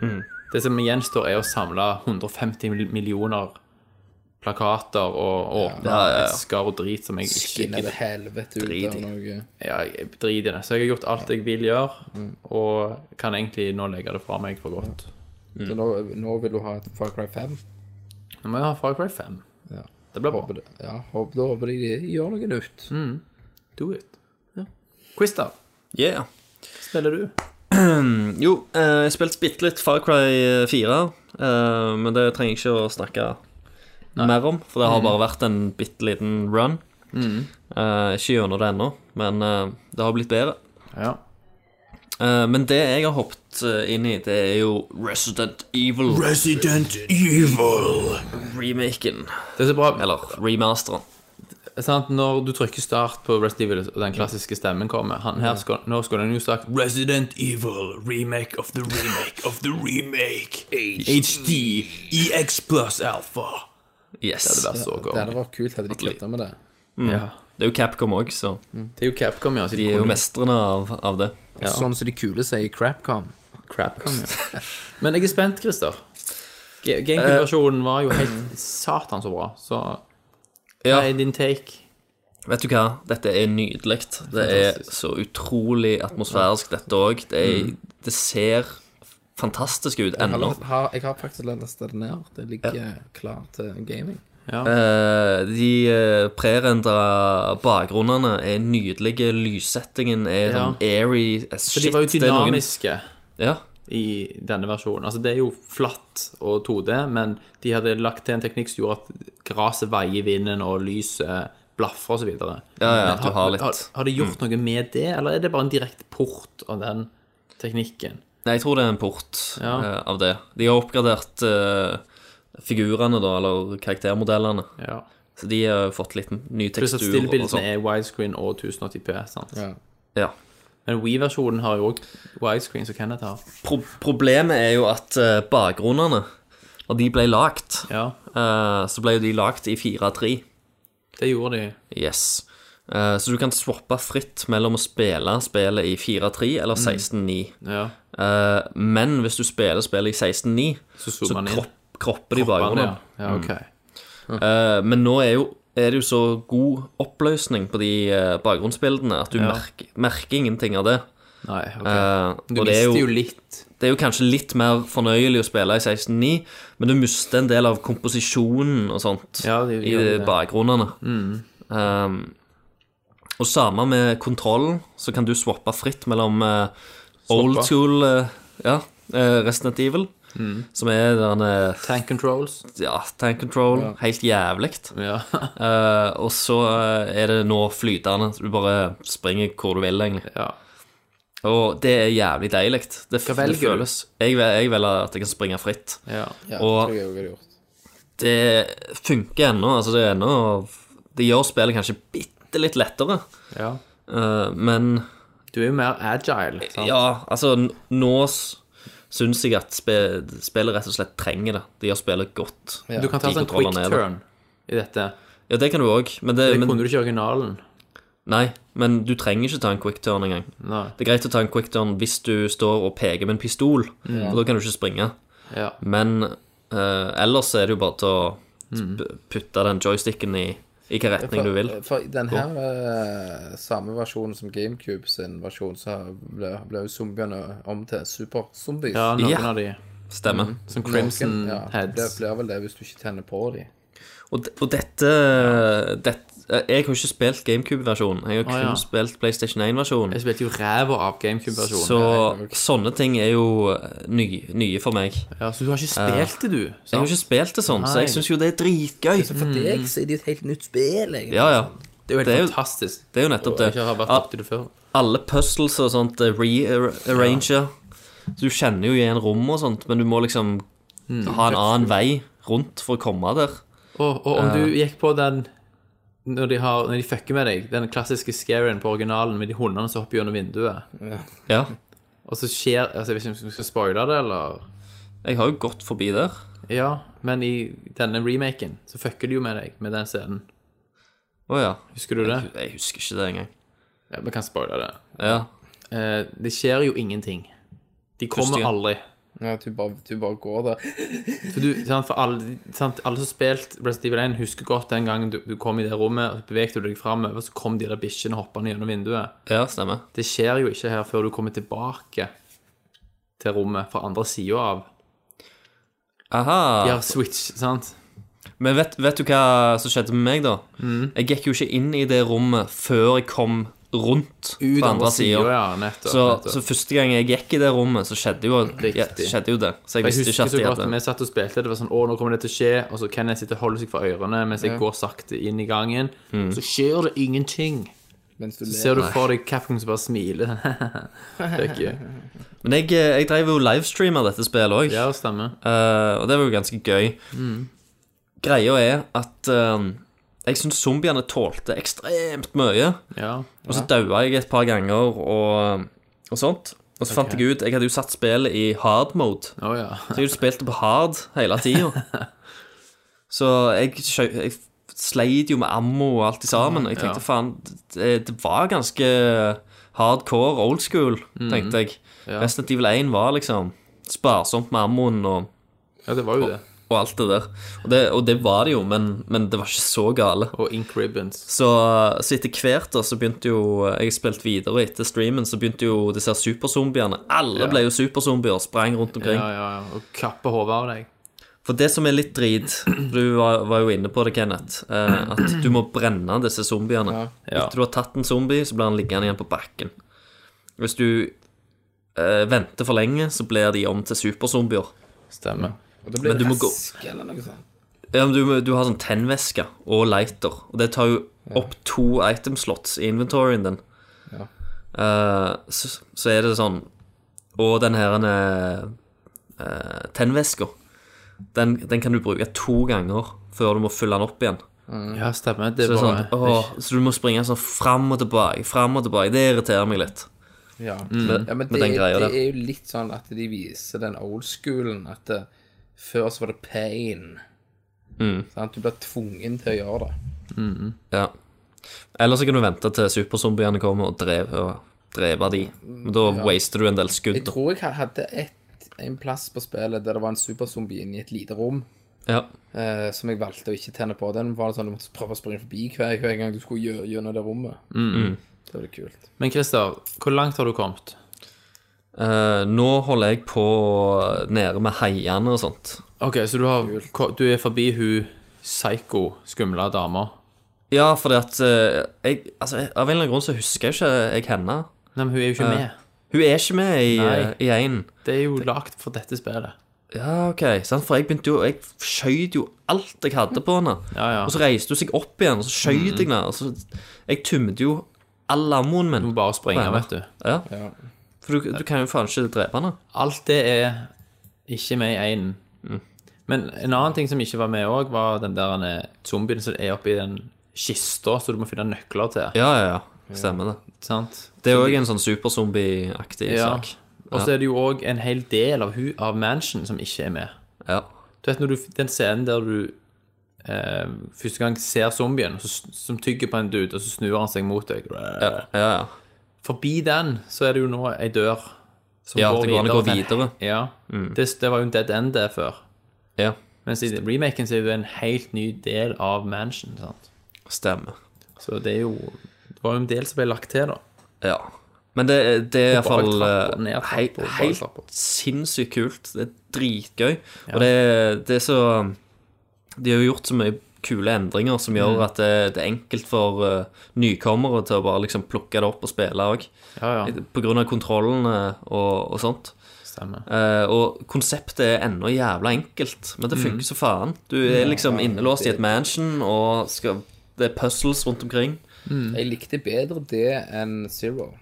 Speaker 6: Mm.
Speaker 5: Det som gjenstår, er å samle 150 millioner plakater og åpne
Speaker 7: Ja, ja, ja.
Speaker 5: esker og drit som jeg ikke
Speaker 6: Skinner det helvete ut av
Speaker 7: Drit i.
Speaker 6: noe.
Speaker 5: ja, jeg driter i det. Så jeg har gjort alt jeg vil gjøre, og kan egentlig nå legge det fra meg for godt. Mm.
Speaker 6: Så nå, nå vil du ha et Far Cry 5?
Speaker 5: Nå må jeg ha Far Cry 5.
Speaker 6: Ja.
Speaker 5: Det blir
Speaker 6: Håper
Speaker 5: bra.
Speaker 6: det. Ja, håper, da håper de de gjør noe nytt.
Speaker 5: Do it. Quiz, da.
Speaker 7: Yeah.
Speaker 5: Spiller du?
Speaker 7: Jo, eh, jeg spilte bitte litt Far Cry 4, eh, men det trenger jeg ikke å snakke mer om, for det
Speaker 5: Mm.
Speaker 7: har bare vært en bitte liten run. Eh, ikke gjennom det ennå, men eh, det har blitt bedre.
Speaker 5: Ja.
Speaker 7: Eh, men det jeg har hoppet eh, inn i, det er jo Resident Evil. Resident Evil! Remaken.
Speaker 5: Det er så bra.
Speaker 7: Eller remasteren.
Speaker 5: Det er sant, Når du trykker start på Resident Evil, og den klassiske stemmen kommer han her skal, Nå skulle han jo sagt Resident Evil, remake of the remake of the remake. HD, EX pluss alpha.
Speaker 7: Yes.
Speaker 5: Det hadde vært så
Speaker 6: Det hadde
Speaker 5: godt.
Speaker 6: vært kult hadde de klutta med det.
Speaker 5: Ja.
Speaker 7: Det er jo Capcom òg, så
Speaker 5: Det er jo Capcom, ja. så
Speaker 7: de er jo
Speaker 5: kunne-
Speaker 7: mestrene av, av det.
Speaker 6: Sånn som de kule sier i Crapcom.
Speaker 5: Crapcom, ja. Men jeg er spent, Christer. Ga- Gamecube-versjonen var jo
Speaker 7: <clears throat>
Speaker 5: helt satan så bra, så
Speaker 7: Ja.
Speaker 5: hva er din take?
Speaker 7: Vet du hva, dette er nydelig. Det er
Speaker 5: Fantastisk. Mm.
Speaker 7: så utrolig atmosfærisk, dette òg. Det, er- det ser fantastisk ut
Speaker 6: Jeg
Speaker 7: ennå.
Speaker 6: har, har, jeg har faktisk lasta det ned. Det ligger klar til gaming.
Speaker 7: Eh, De eh, prerendra bakgrunnene er nydelige. Lyssettingen er
Speaker 5: Ja.
Speaker 7: sånn airy as
Speaker 5: For de
Speaker 7: shit.
Speaker 5: var jo
Speaker 7: Det er noen-
Speaker 5: dynamiske
Speaker 7: Ja,
Speaker 5: i denne versjonen. Altså, det er jo flatt og 2D, men de hadde lagt til en teknikk som gjorde at gresset veier i vinden, og lyset blaffer osv. Ja,
Speaker 7: ja, at du har litt- Mm.
Speaker 5: Har, har de gjort noe med det, eller er det bare en direkte port av den teknikken?
Speaker 7: Nei, jeg tror det er en port
Speaker 5: Ja.
Speaker 7: eh, av det. De har oppgradert eh, figurene, da, eller karaktermodellene.
Speaker 5: Ja.
Speaker 7: Så de har fått litt ny
Speaker 5: Pluss at
Speaker 7: tekstur. og
Speaker 5: stillbildene
Speaker 7: sånt.
Speaker 5: er widescreen og 1080p. sant?
Speaker 6: Ja.
Speaker 7: Ja.
Speaker 5: Men Wii-versjonen har jo òg widescreen, som Kenneth har.
Speaker 7: Pro problemet er jo at eh, bakgrunnene, når de ble lagt,
Speaker 5: Ja,
Speaker 7: eh, så ble jo de lagt i 4-3.
Speaker 5: det gjorde de.
Speaker 7: Yes. Eh, så du kan swappe fritt mellom å spille spillet i 4-3
Speaker 5: Mm.
Speaker 7: eller 16-9.
Speaker 5: Ja.
Speaker 7: Eh, men hvis du spiller spillet i 16-9,
Speaker 5: Så
Speaker 7: så
Speaker 5: zoomer man inn.
Speaker 7: kropp, kropper Mm. de bakgrunnen.
Speaker 5: Ja, ja ok.
Speaker 7: Eh, men nå er, jo, er det jo så god oppløsning på de eh, bakgrunnsbildene at du merker, merker ingenting av det.
Speaker 5: Nei, ok.
Speaker 7: Eh,
Speaker 5: du
Speaker 7: og det er
Speaker 5: mister jo litt
Speaker 7: det er jo kanskje litt mer fornøyelig å spille i 16.9, men du mister en del av komposisjonen og sånt
Speaker 5: Ja, det
Speaker 7: i
Speaker 5: gjør det. Mm.
Speaker 7: bakgrunnene. Um, og samme med kontrollen, så kan du swappe fritt mellom eh, old school eh, ja, eh, Resident Evil,
Speaker 5: Mm.
Speaker 7: som er den eh,
Speaker 5: tank controls.
Speaker 7: ja, tank control, helt jævlig.
Speaker 5: Ja.
Speaker 7: Eh, og så eh, er det nå flytende, så du bare springer hvor du vil, egentlig.
Speaker 5: ja.
Speaker 7: Og det er jævlig deilig. Det, f-
Speaker 5: Hva velger
Speaker 7: det
Speaker 5: du?
Speaker 7: føles jeg, vel- jeg velger at jeg kan springe fritt.
Speaker 5: ja.
Speaker 6: Ja, det tror jeg
Speaker 7: Og-
Speaker 6: også jeg hadde gjort.
Speaker 7: Det funker ennå. Altså, det er ennå Det gjør spillet kanskje bitte litt lettere,
Speaker 5: ja.
Speaker 7: eh, men
Speaker 5: Du er jo mer agile. Sant?
Speaker 7: ja, altså n- Nå s- syns jeg at spe, spillet rett og slett trenger det. Det gjør spillet godt.
Speaker 6: Ja.
Speaker 5: Du kan ta
Speaker 7: De
Speaker 5: sånn quick
Speaker 7: kontrollene er det.
Speaker 5: turn i dette.
Speaker 7: Ja, det kan du òg, men, det,
Speaker 5: Det
Speaker 7: men
Speaker 5: kunne du ikke i originalen.
Speaker 7: Nei, men du trenger ikke ta en quick turn engang.
Speaker 5: Nei.
Speaker 7: Det er greit å ta en quick turn hvis du står og peker med en pistol,
Speaker 5: Mm.
Speaker 7: for da kan du ikke springe.
Speaker 5: Ja.
Speaker 7: Men eh, ellers er det jo bare til å
Speaker 5: Mm.
Speaker 7: sp- putte den joysticken i, i hvilken retning du vil.
Speaker 6: For, for den her eh, samme versjonen som GameCube sin versjon, så ble, ble jo zombiene om til superzombies.
Speaker 5: ja, noen
Speaker 7: Ja.
Speaker 5: av de.
Speaker 7: Stemmer.
Speaker 5: Som Crimson
Speaker 6: ja, Det
Speaker 5: Heads.
Speaker 6: blir vel det hvis du ikke tenner på dem.
Speaker 7: Og, de- og dette, det- Jeg har jo ikke spilt GameCube-versjonen. Jeg har
Speaker 5: Å,
Speaker 7: kun
Speaker 5: ja.
Speaker 7: spilt PlayStation 1-versjonen.
Speaker 5: Jeg spilte jo ræva av GameCube-versjonen.
Speaker 7: Så sånne ting er jo eh, ny, nye for meg.
Speaker 5: Ja, så du har ikke spilt det, du?
Speaker 7: Jeg har ikke spilt det sånn, så jeg
Speaker 5: Nei.
Speaker 7: syns jo det er dritgøy.
Speaker 6: Så
Speaker 5: Mm.
Speaker 6: for deg så er det jo et helt nytt spill, egentlig.
Speaker 7: Ja, ja.
Speaker 5: Det er jo helt
Speaker 7: Det er jo-
Speaker 5: fantastisk.
Speaker 7: Det er jo
Speaker 5: Jeg
Speaker 7: nettopp det.
Speaker 5: ikke har vært
Speaker 7: Ah,
Speaker 5: borti det før.
Speaker 7: alle puzzles og sånt er rearranger. Du kjenner jo igjen rom og sånt, men du må liksom
Speaker 5: Mm.
Speaker 7: ha en annen vei rundt for å komme der.
Speaker 5: Og, og om du gikk på den når de, har, når de fucker med deg, den klassiske scarien på originalen med de hundene som hopper gjennom vinduet,
Speaker 7: Ja.
Speaker 5: og så skjer altså Jeg vet ikke om vi skal spoile det, eller
Speaker 7: Jeg har jo gått forbi der.
Speaker 5: Ja, men i denne remaken så fucker de jo med deg med den scenen.
Speaker 7: Å ja.
Speaker 5: Husker du det?
Speaker 7: Jeg husker ikke det engang.
Speaker 5: Ja, Vi kan spoile det.
Speaker 7: Ja.
Speaker 5: eh, det skjer jo ingenting. De kommer
Speaker 7: Første gang.
Speaker 5: aldri.
Speaker 6: Ja, du bare, du bare går der.
Speaker 5: For, du, sant, for alle, sant, alle som spilte Resident Evil 1, husker godt den gangen du, du kom i det rommet, og så bevegte du deg framover, så kom de der bikkjene hoppende gjennom vinduet.
Speaker 7: Ja, stemmer.
Speaker 5: Det skjer jo ikke her før du kommer tilbake til rommet fra andre sida av.
Speaker 7: Aha.
Speaker 5: De har switch, sant?
Speaker 7: Men vet, vet du hva som skjedde med meg, da?
Speaker 5: Mm.
Speaker 7: Jeg gikk jo ikke inn i det rommet før jeg kom rundt på andre
Speaker 5: siden,
Speaker 7: sida.
Speaker 5: Ja, nettopp.
Speaker 7: Så,
Speaker 5: nettopp.
Speaker 7: så første gang jeg gikk i det rommet, så skjedde jo, ja,
Speaker 5: Riktig.
Speaker 7: skjedde jo det. Så jeg
Speaker 5: Jeg
Speaker 7: visste ikke
Speaker 5: husker
Speaker 7: at
Speaker 5: så
Speaker 7: jeg
Speaker 5: godt
Speaker 7: hadde
Speaker 5: vi satt og spilte, det var sånn 'Å, nå kommer det til å skje', og så Kenneth sitter og holder seg for ørene mens jeg går sakte inn i gangen.
Speaker 7: Mm.
Speaker 5: Så skjer det ingenting.
Speaker 6: Mens du
Speaker 5: Så
Speaker 6: ler.
Speaker 5: ser du for deg Capcom som bare smiler. <laughs> det er ikke
Speaker 7: Men jeg, eh, jeg drev jo livestreamer dette spillet òg,
Speaker 5: Ja, Mm. stemmer.
Speaker 7: og det var jo ganske gøy. Greia er at eh, jeg syns zombiene tålte ekstremt mye.
Speaker 5: Ja.
Speaker 7: Og så daua jeg et par ganger og, og sånt. Og så fant jeg ut Jeg hadde jo satt spillet i hard mode.
Speaker 5: Å ja.
Speaker 7: Så jeg spilte på hard hele tida. Så jeg, skjø- jeg sleit jo med ammo og alt i sammen. Jeg tenkte faen, det, det var ganske hardcore old school, tenkte jeg. Resident Evil 1 var liksom sparsomt med ammoen og,
Speaker 5: ja, det var jo det.
Speaker 7: og alt det der. Og det, og det var det jo, men, men det var ikke så gale.
Speaker 5: Og Ink Ribbons.
Speaker 7: Så, så etter hvert da, så begynte jo Jeg spilte videre, og etter streamen så begynte jo disse her superzombiene. Alle ble jo superzombier, sprang rundt omkring.
Speaker 5: Ja, ja, ja. Og kappe hodet av deg.
Speaker 7: For det som er litt drit, du var, var jo inne på det, Kenneth, eh, at du må brenne disse zombiene.
Speaker 5: Ja.
Speaker 7: Etter du har tatt en zombie, så blir han liggende igjen på bakken. Hvis du eh, venter for lenge, så blir de om til superzombier.
Speaker 5: Stemmer.
Speaker 6: Og det blir
Speaker 7: Men du må gå-
Speaker 6: rask eller noe sånt.
Speaker 7: Ja, men du, må- du har sånn tennvæske og lighter, og det tar jo opp to item slots i inventoryen din. Eh, så, så er det sånn Og den her uh, tennvæska, den, den kan du bruke to ganger før du må fylle den opp igjen.
Speaker 5: Ja, stemmer. Det
Speaker 7: Så, det
Speaker 5: var
Speaker 7: er sånn, åh, så du må springe sånn fram og tilbake, fram og tilbake. Det irriterer meg litt.
Speaker 6: Ja.
Speaker 7: Med-
Speaker 6: ja, men
Speaker 7: Mm. med
Speaker 6: det,
Speaker 7: den greia
Speaker 6: det
Speaker 7: der.
Speaker 6: er jo litt sånn at de viser den old schoolen at det, før så var det pain.
Speaker 7: Mm.
Speaker 6: Sant? du blir tvungen til å gjøre det.
Speaker 7: Ja. Eller så kan du vente til superzombiene kommer og, drev, og drepe de. Men da waster du en del skudd.
Speaker 6: Jeg tror jeg hadde et, en plass på spillet der det var en superzombie inne i et lite rom.
Speaker 7: Ja.
Speaker 6: eh, som jeg valgte å ikke tenne på. Den var det sånn du måtte prøve å springe forbi hver, hver gang du skulle gjø- gjennom det rommet.
Speaker 7: Mm.
Speaker 6: Det var litt kult.
Speaker 5: Men Christer, hvor langt har du kommet?
Speaker 7: Eh, nå holder jeg på nede med haiene og sånt.
Speaker 5: OK, så du, har, ko- du er forbi hun psycho, skumle dama.
Speaker 7: Ja, fordi at eh, jeg, altså, jeg- Av en eller annen grunn så husker jeg ikke jeg henne.
Speaker 5: Nei, men hun er jo ikke med.
Speaker 7: Hun er ikke med i,
Speaker 5: Nei.
Speaker 7: eh, i én.
Speaker 5: Det er jo lagd for dette spillet.
Speaker 7: Ja, ok, sant? For jeg begynte jo Jeg skjøt jo alt jeg hadde på henne.
Speaker 5: Ja, ja. Mm.
Speaker 7: Og så reiste hun seg opp igjen, og så skjøt jeg henne. og så- Jeg tømte jo all ammoen min.
Speaker 5: Du må bare springe, vet du.
Speaker 7: Ja. For du, du kan jo faen ikke drepe henne.
Speaker 5: Alt det er ikke med i én. Men en annen ting som ikke var med òg, var den der eh, zombien som er oppi den kista som du må finne nøkler til.
Speaker 7: Ja, ja, ja. Stemmer det.
Speaker 5: Sant?
Speaker 7: Det er òg en sånn superzombie-aktig
Speaker 5: Ja.
Speaker 7: sak.
Speaker 5: Og så er det jo òg en hel del av, hu av mansion som ikke er med.
Speaker 7: Ja.
Speaker 5: Du vet når du, Den scenen der du eh, første gang ser zombien så, s- som tygger på en dude, og så snur han seg mot deg.
Speaker 7: Ja, ja. ja.
Speaker 5: Forbi den så er det jo nå ei dør som
Speaker 7: Ja, det går an å gå
Speaker 5: til en-
Speaker 7: videre. Mm.
Speaker 5: Ja. Det, det var jo en dead end der før.
Speaker 7: ja.
Speaker 5: Mens i remaken så er det en helt ny del av mansion. Sant?
Speaker 7: Stemmer.
Speaker 5: Så det er jo Det var jo en del som ble lagt til, da.
Speaker 7: Ja. Men det, det er
Speaker 5: Og bak
Speaker 7: iallfall
Speaker 5: trapper, ned trapper,
Speaker 7: eh, helt,
Speaker 5: bak trapper.
Speaker 7: helt sinnssykt kult. Det er dritgøy. Og det, det er så De har jo gjort så mye kule endringer som
Speaker 5: Mm.
Speaker 7: gjør at det, det er enkelt for eh, nykommere til å bare liksom plukke det opp og spille òg.
Speaker 5: Ja, ja.
Speaker 7: På grunn av kontrollene og, og sånt.
Speaker 5: Stemmer.
Speaker 7: Eh, og konseptet er ennå jævla enkelt, men
Speaker 5: Mm.
Speaker 7: det funker så faen. Du er liksom innelåst i et mansion, og skal, det er puzzles rundt omkring.
Speaker 6: Jeg likte bedre det enn Zero.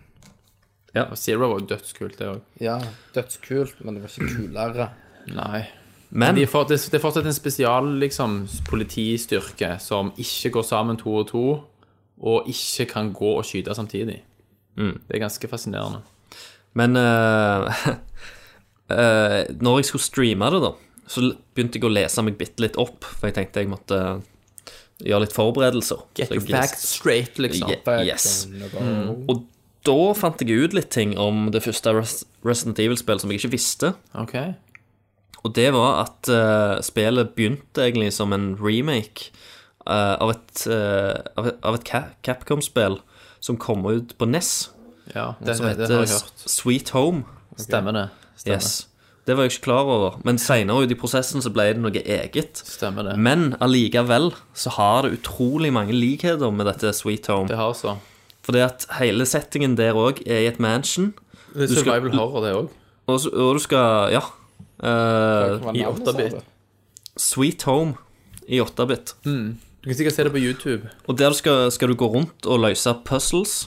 Speaker 5: Og Zero var jo dødskult, det òg.
Speaker 6: Ja, dødskult, men det var ikke kulere.
Speaker 5: Nei.
Speaker 7: Men
Speaker 5: De er for, det det er fortsatt en spesial liksom, politistyrke som ikke går sammen to og to, og ikke kan gå og skyte samtidig. Det er ganske fascinerende.
Speaker 7: Men eh, <laughs> eh, når jeg skulle streame det, da, så l- begynte jeg å lese meg bitte litt opp. For jeg tenkte jeg måtte gjøre litt forberedelser. Så jeg leste-
Speaker 5: straight, liksom.
Speaker 7: Ye- Yes.
Speaker 6: Sånn, og bare,
Speaker 7: Og da fant jeg ut litt ting om det første Res- Resident Evil-spillet som jeg ikke visste.
Speaker 5: OK.
Speaker 7: Og det var at eh, spillet begynte egentlig som en remake eh, av et, eh, av et, av et Ca- Capcom-spill som kom ut på NES,
Speaker 5: Ja, det,
Speaker 7: som
Speaker 5: det,
Speaker 7: heter
Speaker 5: har jeg hørt.
Speaker 7: Sweet Home.
Speaker 5: Stemmer det. Stemmer.
Speaker 7: Yes. Det var jeg ikke klar over. Men seinere ut i prosessen så ble det noe eget.
Speaker 5: Stemmer det.
Speaker 7: Men allikevel så har det utrolig mange likheter med dette Sweet Home.
Speaker 5: Det har så.
Speaker 7: Fordi at hele settingen der òg er i et mansion.
Speaker 5: Det er
Speaker 7: skal-
Speaker 5: survival horror, det òg.
Speaker 7: Og, så- og du skal Ja. eh,
Speaker 6: Hva
Speaker 5: i
Speaker 6: navnet, sa
Speaker 5: 8-bit.
Speaker 6: du?
Speaker 7: Sweet Home i 8-bit.
Speaker 5: Du kan sikkert se det på YouTube.
Speaker 7: Og der skal, skal du gå rundt og løse puzzles.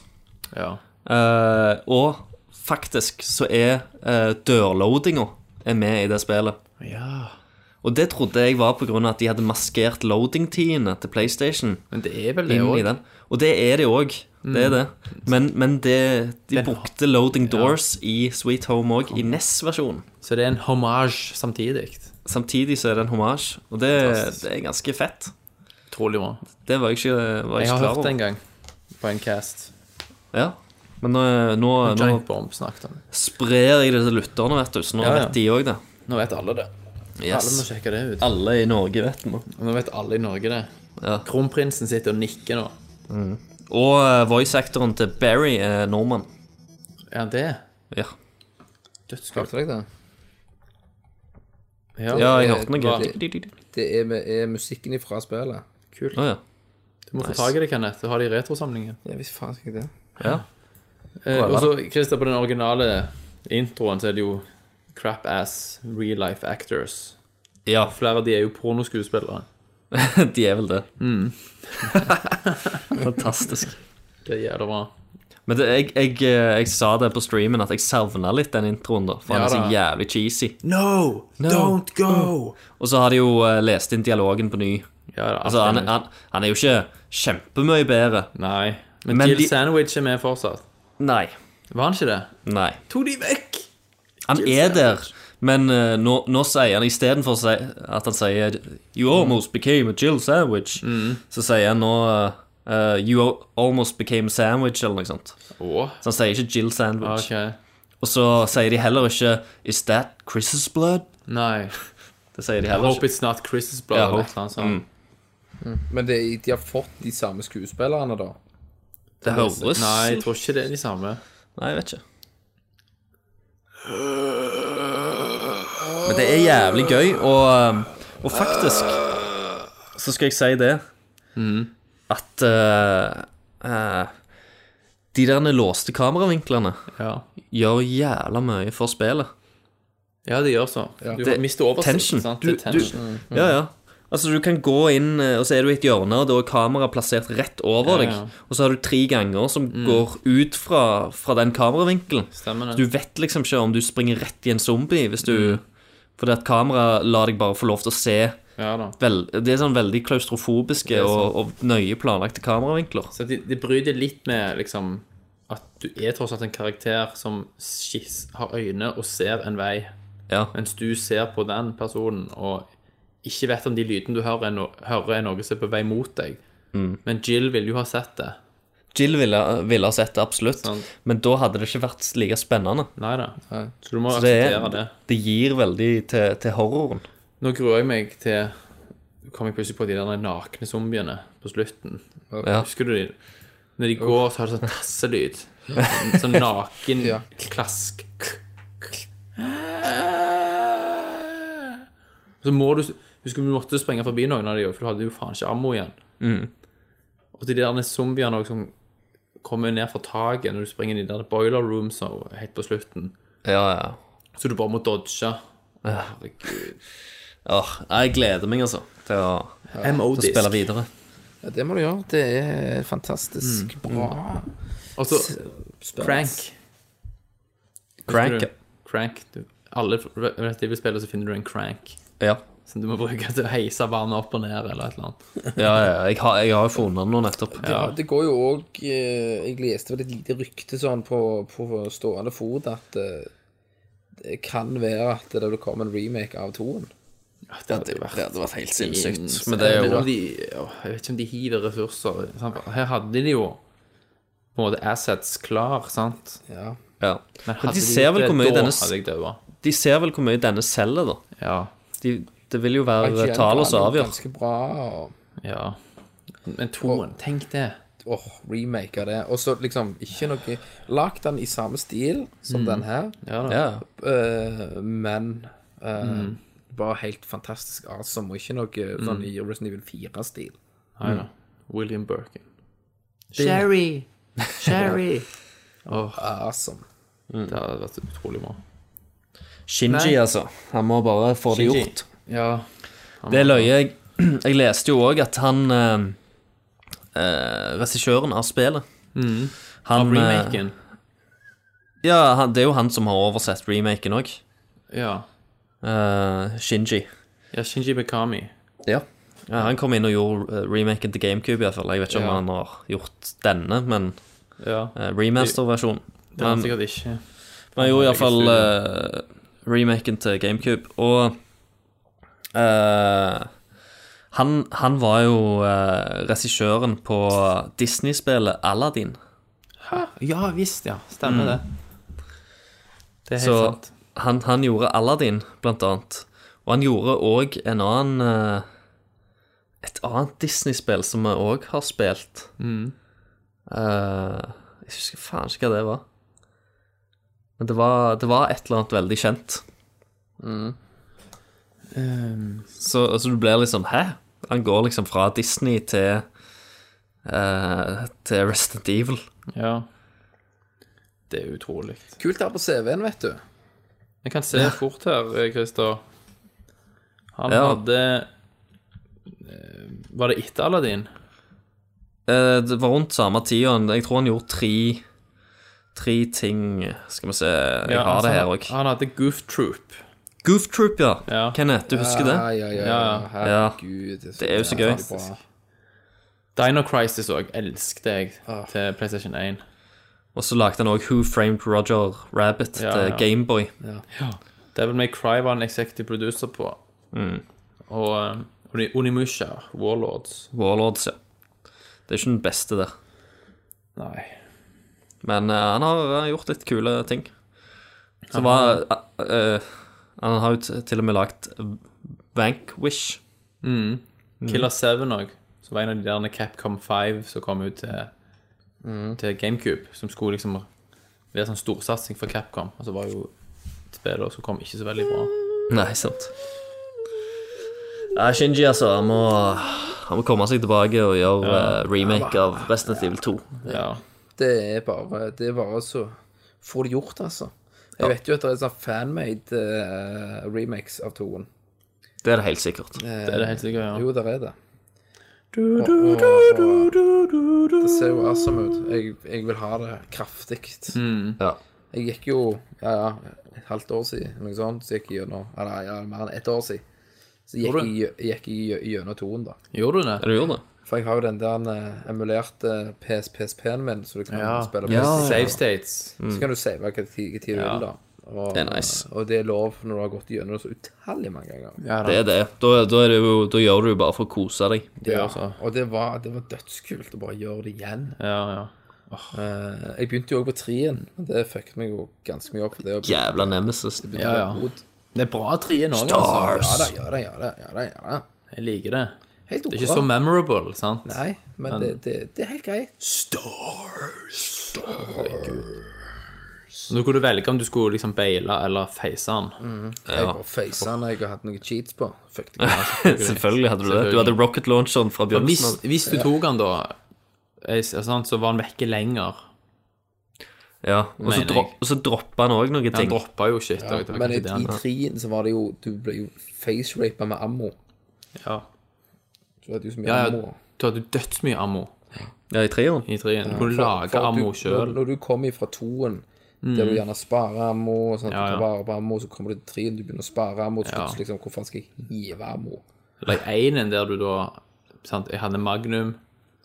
Speaker 5: Ja.
Speaker 7: eh, og faktisk så er uh, dørloadinga er med i det spillet. Og det trodde jeg var pga. at de hadde maskert loading-tidene til PlayStation.
Speaker 5: Men det er Mm. vel det
Speaker 7: inn i
Speaker 5: òg.
Speaker 7: den. Og det er det òg. Det er det. Men, men det, de brukte Loading Doors i Sweet Home òg, i E NES-versjonen.
Speaker 5: Så det er en hommage samtidig.
Speaker 7: Samtidig så er det en hommage, og det, det er ganske fett.
Speaker 5: Utrolig bra.
Speaker 7: Det var jeg ikke, var jeg
Speaker 5: Jeg
Speaker 7: ikke
Speaker 5: har hørt
Speaker 7: klar
Speaker 5: det
Speaker 7: over.
Speaker 5: en gang på en cast.
Speaker 7: Ja. Men nå, nå, nå
Speaker 5: Giant Bomb snakket om. det.
Speaker 7: sprer jeg det til lytterne, vet du, så nå
Speaker 5: Ja, ja.
Speaker 7: vet de òg det.
Speaker 5: Nå vet alle det. Alle må
Speaker 7: Yes.
Speaker 5: sjekke det ut.
Speaker 7: Alle i Norge vet det nå.
Speaker 5: Nå vet alle i Norge det.
Speaker 7: Ja.
Speaker 5: Kronprinsen sitter og nikker nå.
Speaker 7: Og eh, voice-actoren til Barry er nordmann.
Speaker 5: Er han det?
Speaker 7: Ja.
Speaker 5: Dødskult.
Speaker 6: Hørte dere det?
Speaker 7: ja,
Speaker 6: det-
Speaker 7: jeg hørte noe.
Speaker 6: det- Det er, er musikken ifra spillet.
Speaker 7: Å ja. <laughs>
Speaker 5: Du må få tak i det, Kenneth. Du har det i retrosamlingen.
Speaker 6: Ja, hvis faen skal jeg det?
Speaker 7: ja.
Speaker 5: Eh, og så, Christer, på den originale introen så er det jo crap-ass real life actors.
Speaker 7: Ja,
Speaker 5: Flere av de er jo pornoskuespillere.
Speaker 7: de er vel det. <laughs> Fantastisk.
Speaker 5: Det er jævla bra.
Speaker 7: Men det, jeg, jeg, eh, jeg sa det på streamen at jeg savna litt den introen, da. For
Speaker 5: Ja,
Speaker 7: han er så
Speaker 5: da.
Speaker 7: jævlig cheesy.
Speaker 5: No, don't go!
Speaker 7: Og så har de jo eh, lest inn dialogen på ny.
Speaker 5: Ja, da,
Speaker 7: Altså, han, han, han er jo ikke kjempemye bedre.
Speaker 5: Nei. Men,
Speaker 7: Men
Speaker 5: Jill
Speaker 7: de-
Speaker 5: Sandwich er med fortsatt.
Speaker 7: Nei.
Speaker 5: Var han ikke det?
Speaker 7: Nei.
Speaker 5: Tok de vekk!
Speaker 7: Han er der, men eh, nå, nå sier han istedenfor å si- at han sier You almost became a Jill sandwich,
Speaker 5: Mm.
Speaker 7: så sier han nå eh, eh, You al- almost became a sandwich, eller noe sånt.
Speaker 5: Åh,
Speaker 7: Så han sier ikke Jill sandwich.
Speaker 5: Ah, ok.
Speaker 7: Og så sier de heller ikke Is that Chris's blood?
Speaker 5: Nei.
Speaker 7: Det sier de
Speaker 5: I
Speaker 7: heller
Speaker 5: hope
Speaker 7: ikke.
Speaker 5: it's not Chris's
Speaker 7: Ja,
Speaker 5: blood. eller
Speaker 7: hope. Mm.
Speaker 5: et eller annet sånt.
Speaker 6: Men det, er- de har fått de samme skuespillerne, da.
Speaker 7: Det høres
Speaker 5: Nei, jeg tror ikke det er de samme.
Speaker 7: Nei, jeg vet ikke. Men det er jævlig gøy, og, um, og faktisk så skal jeg si det Mhm. At uh, uh, de der låste kameravinklene
Speaker 5: Ja,
Speaker 7: gjør jævla mye for spillet.
Speaker 5: ja de gjør så. Du
Speaker 7: Det-
Speaker 5: mister oversikt.
Speaker 7: tension.
Speaker 5: Sant?
Speaker 7: Du-
Speaker 5: Det er tension.
Speaker 7: Ja, ja. Altså, du kan gå inn, eh, og så er du i et hjørne, og da er kameraet plassert rett over
Speaker 5: Ja,
Speaker 7: deg.
Speaker 5: ja. Mm.
Speaker 7: Og så har du tre ganger som går ut fra, fra den kameravinkelen.
Speaker 5: Stemmer
Speaker 7: Så
Speaker 5: det.
Speaker 7: du vet liksom ikke om du springer rett i en zombie hvis du
Speaker 5: Mm.
Speaker 7: Fordi at kameraet lar deg bare få lov til å se
Speaker 5: Ja da.
Speaker 7: vel, Det er sånn veldig klaustrofobiske og, og nøye planlagte kameravinkler.
Speaker 5: Så de, de bryter litt med liksom at du er tross alt en karakter som skiss, har øyne og ser en vei,
Speaker 7: Ja.
Speaker 5: mens du ser på den personen og ikke vet om de lydene du hører, er, no hører er noe som er på vei mot deg.
Speaker 7: Mm.
Speaker 5: Men Jill ville jo ha sett det.
Speaker 7: Jill ville, ville ha sett det, absolutt.
Speaker 5: Sant.
Speaker 7: Men da hadde det ikke vært like spennende.
Speaker 5: Nei da. Så du må
Speaker 7: Så det,
Speaker 5: akseptere
Speaker 7: er,
Speaker 5: det.
Speaker 7: det gir veldig til, til horroren.
Speaker 5: Nå gruer jeg meg til Kom jeg plutselig på de der nakne zombiene på slutten.
Speaker 7: Ja.
Speaker 5: Husker du de? Når de går, så har det sånn tasselyd. Sånn, sånn naken
Speaker 6: Ja.
Speaker 5: klask. Så må du Husker du måtte sprenge forbi noen av de, for du hadde jo faen ikke ammo igjen. Og de der zombiene også, som kommer ned fra taket når du springer inn i de der boiler rooms og helt på slutten.
Speaker 7: Ja, ja.
Speaker 5: Så du bare må dodge. Herregud.
Speaker 7: Åh, jeg gleder meg, altså, til å, til å
Speaker 5: MO-disk.
Speaker 7: spille videre.
Speaker 6: Ja, det må du gjøre. Det er fantastisk bra.
Speaker 5: Og så Crank.
Speaker 7: Crank.
Speaker 5: Du, crank. Du, alle respektive så finner du en crank
Speaker 7: Ja.
Speaker 5: som du må bruke til å heise vannet opp og ned eller et eller annet.
Speaker 7: ja, ja. Jeg har, jeg har jo funnet den nå nettopp.
Speaker 6: Ja. Det går jo òg Jeg leste vel et lite rykte sånn på, på stående fot at eh, det kan være at det vil komme en remake av toen.
Speaker 5: Det hadde jo vært
Speaker 7: helt
Speaker 5: ins-
Speaker 7: Men det er
Speaker 5: Jeg vet
Speaker 7: jo
Speaker 5: om de- åh, Jeg vet ikke om de hiver ressurser. sant? Her hadde de jo på en måte assets klar, sant?
Speaker 6: Ja.
Speaker 7: Ja.
Speaker 5: Men
Speaker 7: Men
Speaker 5: hadde
Speaker 7: de ser vel
Speaker 5: gjort
Speaker 7: hvor
Speaker 5: det,
Speaker 7: mye
Speaker 5: da
Speaker 7: denne,
Speaker 5: hadde jeg dødd.
Speaker 7: de ser vel hvor mye denne selger, da.
Speaker 5: Ja.
Speaker 7: De, det vil jo være
Speaker 6: IGN
Speaker 7: tallene som
Speaker 6: var
Speaker 7: avgjør.
Speaker 5: altså.
Speaker 6: Ganske bra. og
Speaker 5: ja. Men toen, tenk det.
Speaker 6: Åh, remake av det. Og så liksom ikke noe Lagt den i samme stil som den her,
Speaker 7: Ja.
Speaker 6: eh, men eh,
Speaker 5: Mhm.
Speaker 6: bare helt fantastisk awesome, og ikke noe sånn i Resident Evil 4-stil.
Speaker 5: Nei da. William Birkin. Sherry! Sherry!
Speaker 6: Awesome.
Speaker 7: Mm.
Speaker 5: Det hadde vært utrolig bra.
Speaker 7: Shinji, altså. Han må bare få det
Speaker 5: Shinji.
Speaker 7: gjort.
Speaker 5: Ja.
Speaker 7: Det løy jeg. <clears throat> Jeg leste jo òg at han eh, eh, Regissøren av spillet Han, eh,
Speaker 5: Mm. Remaken.
Speaker 7: ja, han, det er jo han som har oversett remaken òg.
Speaker 5: Ja.
Speaker 7: Shinji.
Speaker 5: ja. Shinji Bekami.
Speaker 7: Ja. Han kom inn og gjorde eh, remaken til GameCube, iallfall. Jeg vet ikke om
Speaker 6: Ja.
Speaker 7: han har gjort denne, men
Speaker 5: Ja.
Speaker 7: eh, remaster-versjonen.
Speaker 5: Det har han sikkert ikke.
Speaker 7: Men jo, iallfall
Speaker 5: Studio.
Speaker 7: uh, remaken til GameCube. Og eh, han, han var jo eh, regissøren på Disney-spillet Aladdin.
Speaker 5: Ja visst, ja. Stemmer det. Det er helt
Speaker 7: Mm. Så
Speaker 5: sant.
Speaker 7: han, han gjorde Aladdin, blant annet. Og han gjorde òg en annen eh, Et annet Disney-spill som vi òg har spilt.
Speaker 5: Mm.
Speaker 7: Eh, jeg husker faen ikke hva det var. Men det var, det var et eller annet veldig kjent.
Speaker 5: Mm.
Speaker 7: så, så du blir liksom Hæ? Han går liksom fra Disney til uh, Til Resident Evil.
Speaker 5: Ja. Det er utrolig.
Speaker 6: Kult her på CV-en, vet du.
Speaker 5: Jeg kan se fort her, eh, Christer. Han
Speaker 7: Ja.
Speaker 5: hadde eh, Var det etter Aladdin?
Speaker 7: Eh, Det var rundt samme tida. Jeg tror han gjorde tre Tre ting Skal vi se, jeg har
Speaker 5: altså,
Speaker 7: det her
Speaker 5: han-
Speaker 7: òg.
Speaker 5: Han hadde Goof Troop.
Speaker 7: Goof Troop, ja.
Speaker 5: Ja.
Speaker 7: Kenneth, du husker
Speaker 6: Ja,
Speaker 7: det?
Speaker 6: ja, ja.
Speaker 5: Ja,
Speaker 6: ja.
Speaker 5: ja.
Speaker 6: Herregud. Det
Speaker 7: Det er jo så gøy.
Speaker 6: fantastisk.
Speaker 5: Dino Crisis òg. Elsket jeg
Speaker 7: Ah.
Speaker 5: til PlayStation 1.
Speaker 7: Og så lagde han òg Who Framed Roger Rabbit
Speaker 5: Ja,
Speaker 7: til
Speaker 5: ja.
Speaker 7: Gameboy.
Speaker 5: Devil May Cry var han executive producer på.
Speaker 7: Mm.
Speaker 5: Og eh, Oni- Onimusha, Warlords.
Speaker 7: Warlords, ja. Det er ikke den beste der.
Speaker 5: Nei.
Speaker 7: Men eh, han har eh, gjort litt kule ting. Så var eh, eh, Han har jo t- til og med lagd Vanquish.
Speaker 5: Killer 7 òg, som var en av de der Capcom 5 som kom ut til,
Speaker 6: Mm.
Speaker 5: til GameCube, som skulle liksom være sånn storsatsing for Capcom. Og så var jo spillet som kom ikke så veldig bra.
Speaker 7: Nei, sant. Nei, Shinji, altså. Han må, han må komme seg tilbake og gjøre eh, remake av Resident Evil 2.
Speaker 5: Ja.
Speaker 6: Det er bare Det er bare så Få det gjort, altså. Jeg vet jo at det er sånn fanmade eh, remakes av toen.
Speaker 7: Det er det helt sikkert.
Speaker 5: Det er det helt sikkert, ja.
Speaker 6: Jo, der er det. Og- og- og- Det ser jo awesome ut. Jeg, jeg vil ha det kraftig.
Speaker 5: Mm.
Speaker 7: Ja.
Speaker 6: Jeg gikk jo ja, ja, et halvt år siden, noe sånt, så gikk jeg gjennom Eller ja, mer enn ett år siden. Så gikk jeg, gikk jeg gjennom toen, da.
Speaker 5: Gjorde du
Speaker 7: Er
Speaker 5: det?
Speaker 7: det gjort, det?
Speaker 6: For jeg har jo den der eh, emulerte PS, PSP-en min, så du kan spille på.
Speaker 5: Save States.
Speaker 6: Så kan du save hva tid hva tid du vil, da. Og
Speaker 7: Det er nice.
Speaker 6: og det er lov når du har gått gjennom det så utallig mange ganger.
Speaker 7: Det er det. Da, da, er det jo, da gjør du det jo bare for å kose deg.
Speaker 5: Ja, altså.
Speaker 6: Og det var, det var dødskult å bare gjøre det igjen.
Speaker 5: Ja, ja.
Speaker 6: Eh, jeg begynte jo òg på trien. men Det fucket meg jo ganske mye opp. Det å bli
Speaker 7: Jævla nemesis.
Speaker 5: ja, ja. Det er bra trien òg,
Speaker 6: Ja
Speaker 5: altså.
Speaker 6: da, ja da, ja da. ja da, ja da.
Speaker 5: Jeg liker det.
Speaker 6: Helt ok.
Speaker 5: Det er ikke så memorable, sant?
Speaker 6: Nei, men det, det, det er helt greit.
Speaker 5: Nå kunne du velge om du skulle liksom beile eller face den.
Speaker 6: Mm. Jeg bare faca når jeg hadde noen cheats på. Fucket
Speaker 5: <laughs>
Speaker 6: meg.
Speaker 7: <laughs> Selvfølgelig hadde du det. Du hadde rocket launcheren fra
Speaker 5: Hvis,
Speaker 7: begynnelsen av.
Speaker 5: hvis du tok den, da, eh, sant, så var den vekke lenger.
Speaker 7: Ja. Og så,
Speaker 5: Mener jeg.
Speaker 7: dro, og så droppa han òg noen
Speaker 5: Han
Speaker 7: ting.
Speaker 5: droppa jo shit. og det var
Speaker 6: Men i,
Speaker 5: kanskje det han-
Speaker 6: i trien så var det jo Du ble jo face-rapa med ammo.
Speaker 5: Ja.
Speaker 6: Du hadde jo så mye
Speaker 5: Ja, ja.
Speaker 6: ammo.
Speaker 5: Du hadde jo dødsmye ammo
Speaker 7: Ja, i treeren.
Speaker 5: i trien. Du kunne lage
Speaker 6: For at
Speaker 5: ammo
Speaker 6: du-
Speaker 5: sjøl.
Speaker 6: Når, når du kommer fra toen, der du gjerne sparer ammo, sånn at
Speaker 5: Ja,
Speaker 6: du
Speaker 5: ja.
Speaker 6: tar vare på ammo, så kommer du til treen, du begynner å spare ammo, så
Speaker 5: Ja.
Speaker 6: plutselig liksom, hvor faen skal jeg hive ammo?
Speaker 5: Eller i enen der du da sant, Jeg hadde magnum,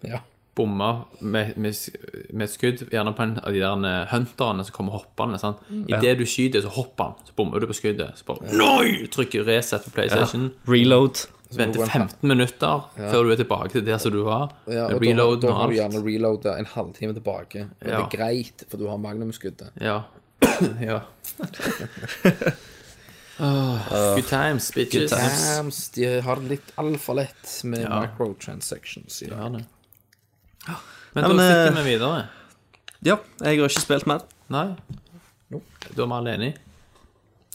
Speaker 6: Ja.
Speaker 5: bomma med, med, s- med et skudd, gjerne på en av de der eh, hunterne som kommer hoppende. sant?
Speaker 6: Mm.
Speaker 5: Idet du skyter, så hopper han, så bommer du på skuddet. Så bare Noi! Trykker reset på PlayStation.
Speaker 7: Reload.
Speaker 5: Vente 15 minutter før du er tilbake til der som du var.
Speaker 6: Ja, og
Speaker 5: Reloaden
Speaker 6: da, da
Speaker 5: og alt.
Speaker 6: må du gjerne reloade en halvtime tilbake. Og det
Speaker 5: Ja.
Speaker 6: er greit, for du har magnumskuddet. <laughs>
Speaker 5: Ja. ja.
Speaker 6: Ah.
Speaker 5: Åh, good times, bitches.
Speaker 7: Good times.
Speaker 6: Damns, de har det litt altfor lett med microtransactions i dag.
Speaker 5: Ja, det. Men da
Speaker 7: men,
Speaker 5: sitter
Speaker 7: eh,
Speaker 5: vi videre.
Speaker 7: Ja, jeg har ikke spilt mer.
Speaker 5: Nei? Da er vi alle enige?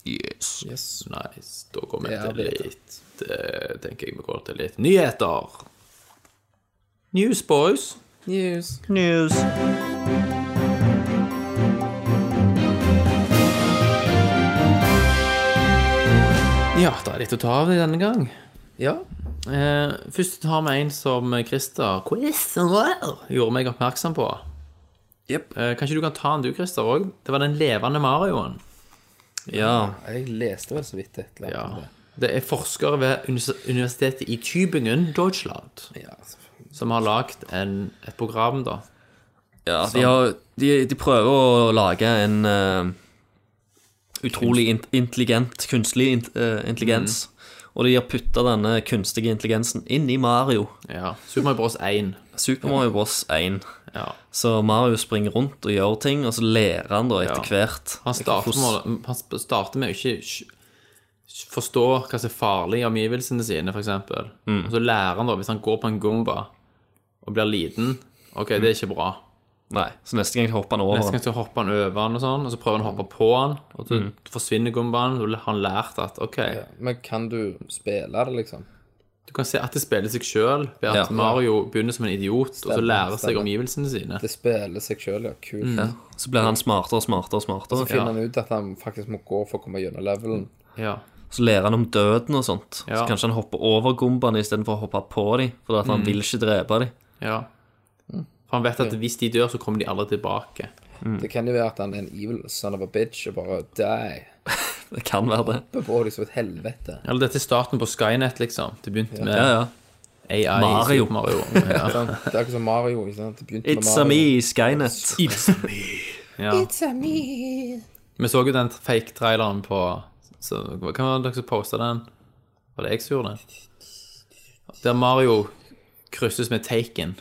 Speaker 7: Yes.
Speaker 6: Yes.
Speaker 5: Nice. Da går vi
Speaker 6: Ja,
Speaker 5: til
Speaker 6: det er
Speaker 5: litt eh, Tenker jeg vi går til litt nyheter. News, boys.
Speaker 6: News.
Speaker 7: News.
Speaker 5: Ja, det er litt å ta av i denne gang.
Speaker 6: Ja.
Speaker 5: Eh, først har vi en som Christer Christer gjorde meg oppmerksom på.
Speaker 7: Jep.
Speaker 5: Eh, kanskje du kan ta den du, Christer, òg? Det var den levende Marioen.
Speaker 7: Ja.
Speaker 6: Jeg leste vel så vidt et eller
Speaker 5: Ja.
Speaker 6: annet. om det.
Speaker 5: Det er forskere ved univers- universitetet i Tübingen, Deutschland,
Speaker 6: Ja, selvfølgelig.
Speaker 5: som har lagd en- et program, da.
Speaker 7: Ja,
Speaker 5: Sånn.
Speaker 7: de, har, de, de prøver å lage en eh, utrolig int- intelligent, kunstig int- eh,
Speaker 5: Mm.
Speaker 7: intelligens. Og de har putta denne kunstige intelligensen inn i Mario.
Speaker 5: Ja. Super Mario Bros. 1.
Speaker 7: Super Mario Bros. 1.
Speaker 5: Ja.
Speaker 7: Så Mario springer rundt og gjør ting, og så lærer han da etter
Speaker 5: Ja.
Speaker 7: hvert.
Speaker 5: Han starter, med, han sp- starter med å ikke sk- sk- forstå hva som er farlig i omgivelsene sine, f.eks. Mm. Så lærer han, da, hvis han går på en gumba og blir liten OK, det er ikke bra.
Speaker 7: Nei, så neste gang hopper han over.
Speaker 5: Neste gang så
Speaker 7: den.
Speaker 5: hopper han over han, og sånn, og så prøver han å hoppe på han, og så forsvinner gumbaen. Og har han lært at OK,
Speaker 6: Ja. Men kan du spille det, liksom?
Speaker 5: du kan se at det spiller seg sjøl ved at
Speaker 7: Ja.
Speaker 5: Mario begynner som en idiot, og så
Speaker 6: Stemmer,
Speaker 5: lærer seg
Speaker 6: stemmer.
Speaker 5: omgivelsene sine.
Speaker 6: Det spiller seg sjøl, ja. Kult.
Speaker 5: Mm.
Speaker 7: Så blir han smartere og smartere. og
Speaker 6: Så
Speaker 7: smartere
Speaker 6: finner han ut at han faktisk må gå for å komme gjennom levelen.
Speaker 5: Ja.
Speaker 7: Så lærer han om døden og sånt.
Speaker 5: Ja. Mm.
Speaker 7: Så kanskje han hopper over gumbaene istedenfor å hoppe på dem. For at han vil ikke drepe dem.
Speaker 5: ja. For han vet at hvis de dør, så kommer de aldri tilbake.
Speaker 6: Det kan jo være at han er en evil son of a bitch og bare die.
Speaker 7: Det kan være det.
Speaker 6: Bebår deg som et helvete.
Speaker 5: Eller dette er starten på Skynet, liksom. Det begynte med
Speaker 7: Ja, ja.
Speaker 5: AI
Speaker 7: Mario.
Speaker 5: i Super <laughs> Mario. Ja.
Speaker 6: <laughs> Sant? Det er ikke som Mario. ikke sant? Det begynte
Speaker 7: It's a
Speaker 6: med Mario.
Speaker 7: me, Skynet.
Speaker 5: Ja. Vi så jo den fake-traileren på så, Hva hva var det dere som posta den? Var det jeg som gjorde det? Der Mario krysses med Taken.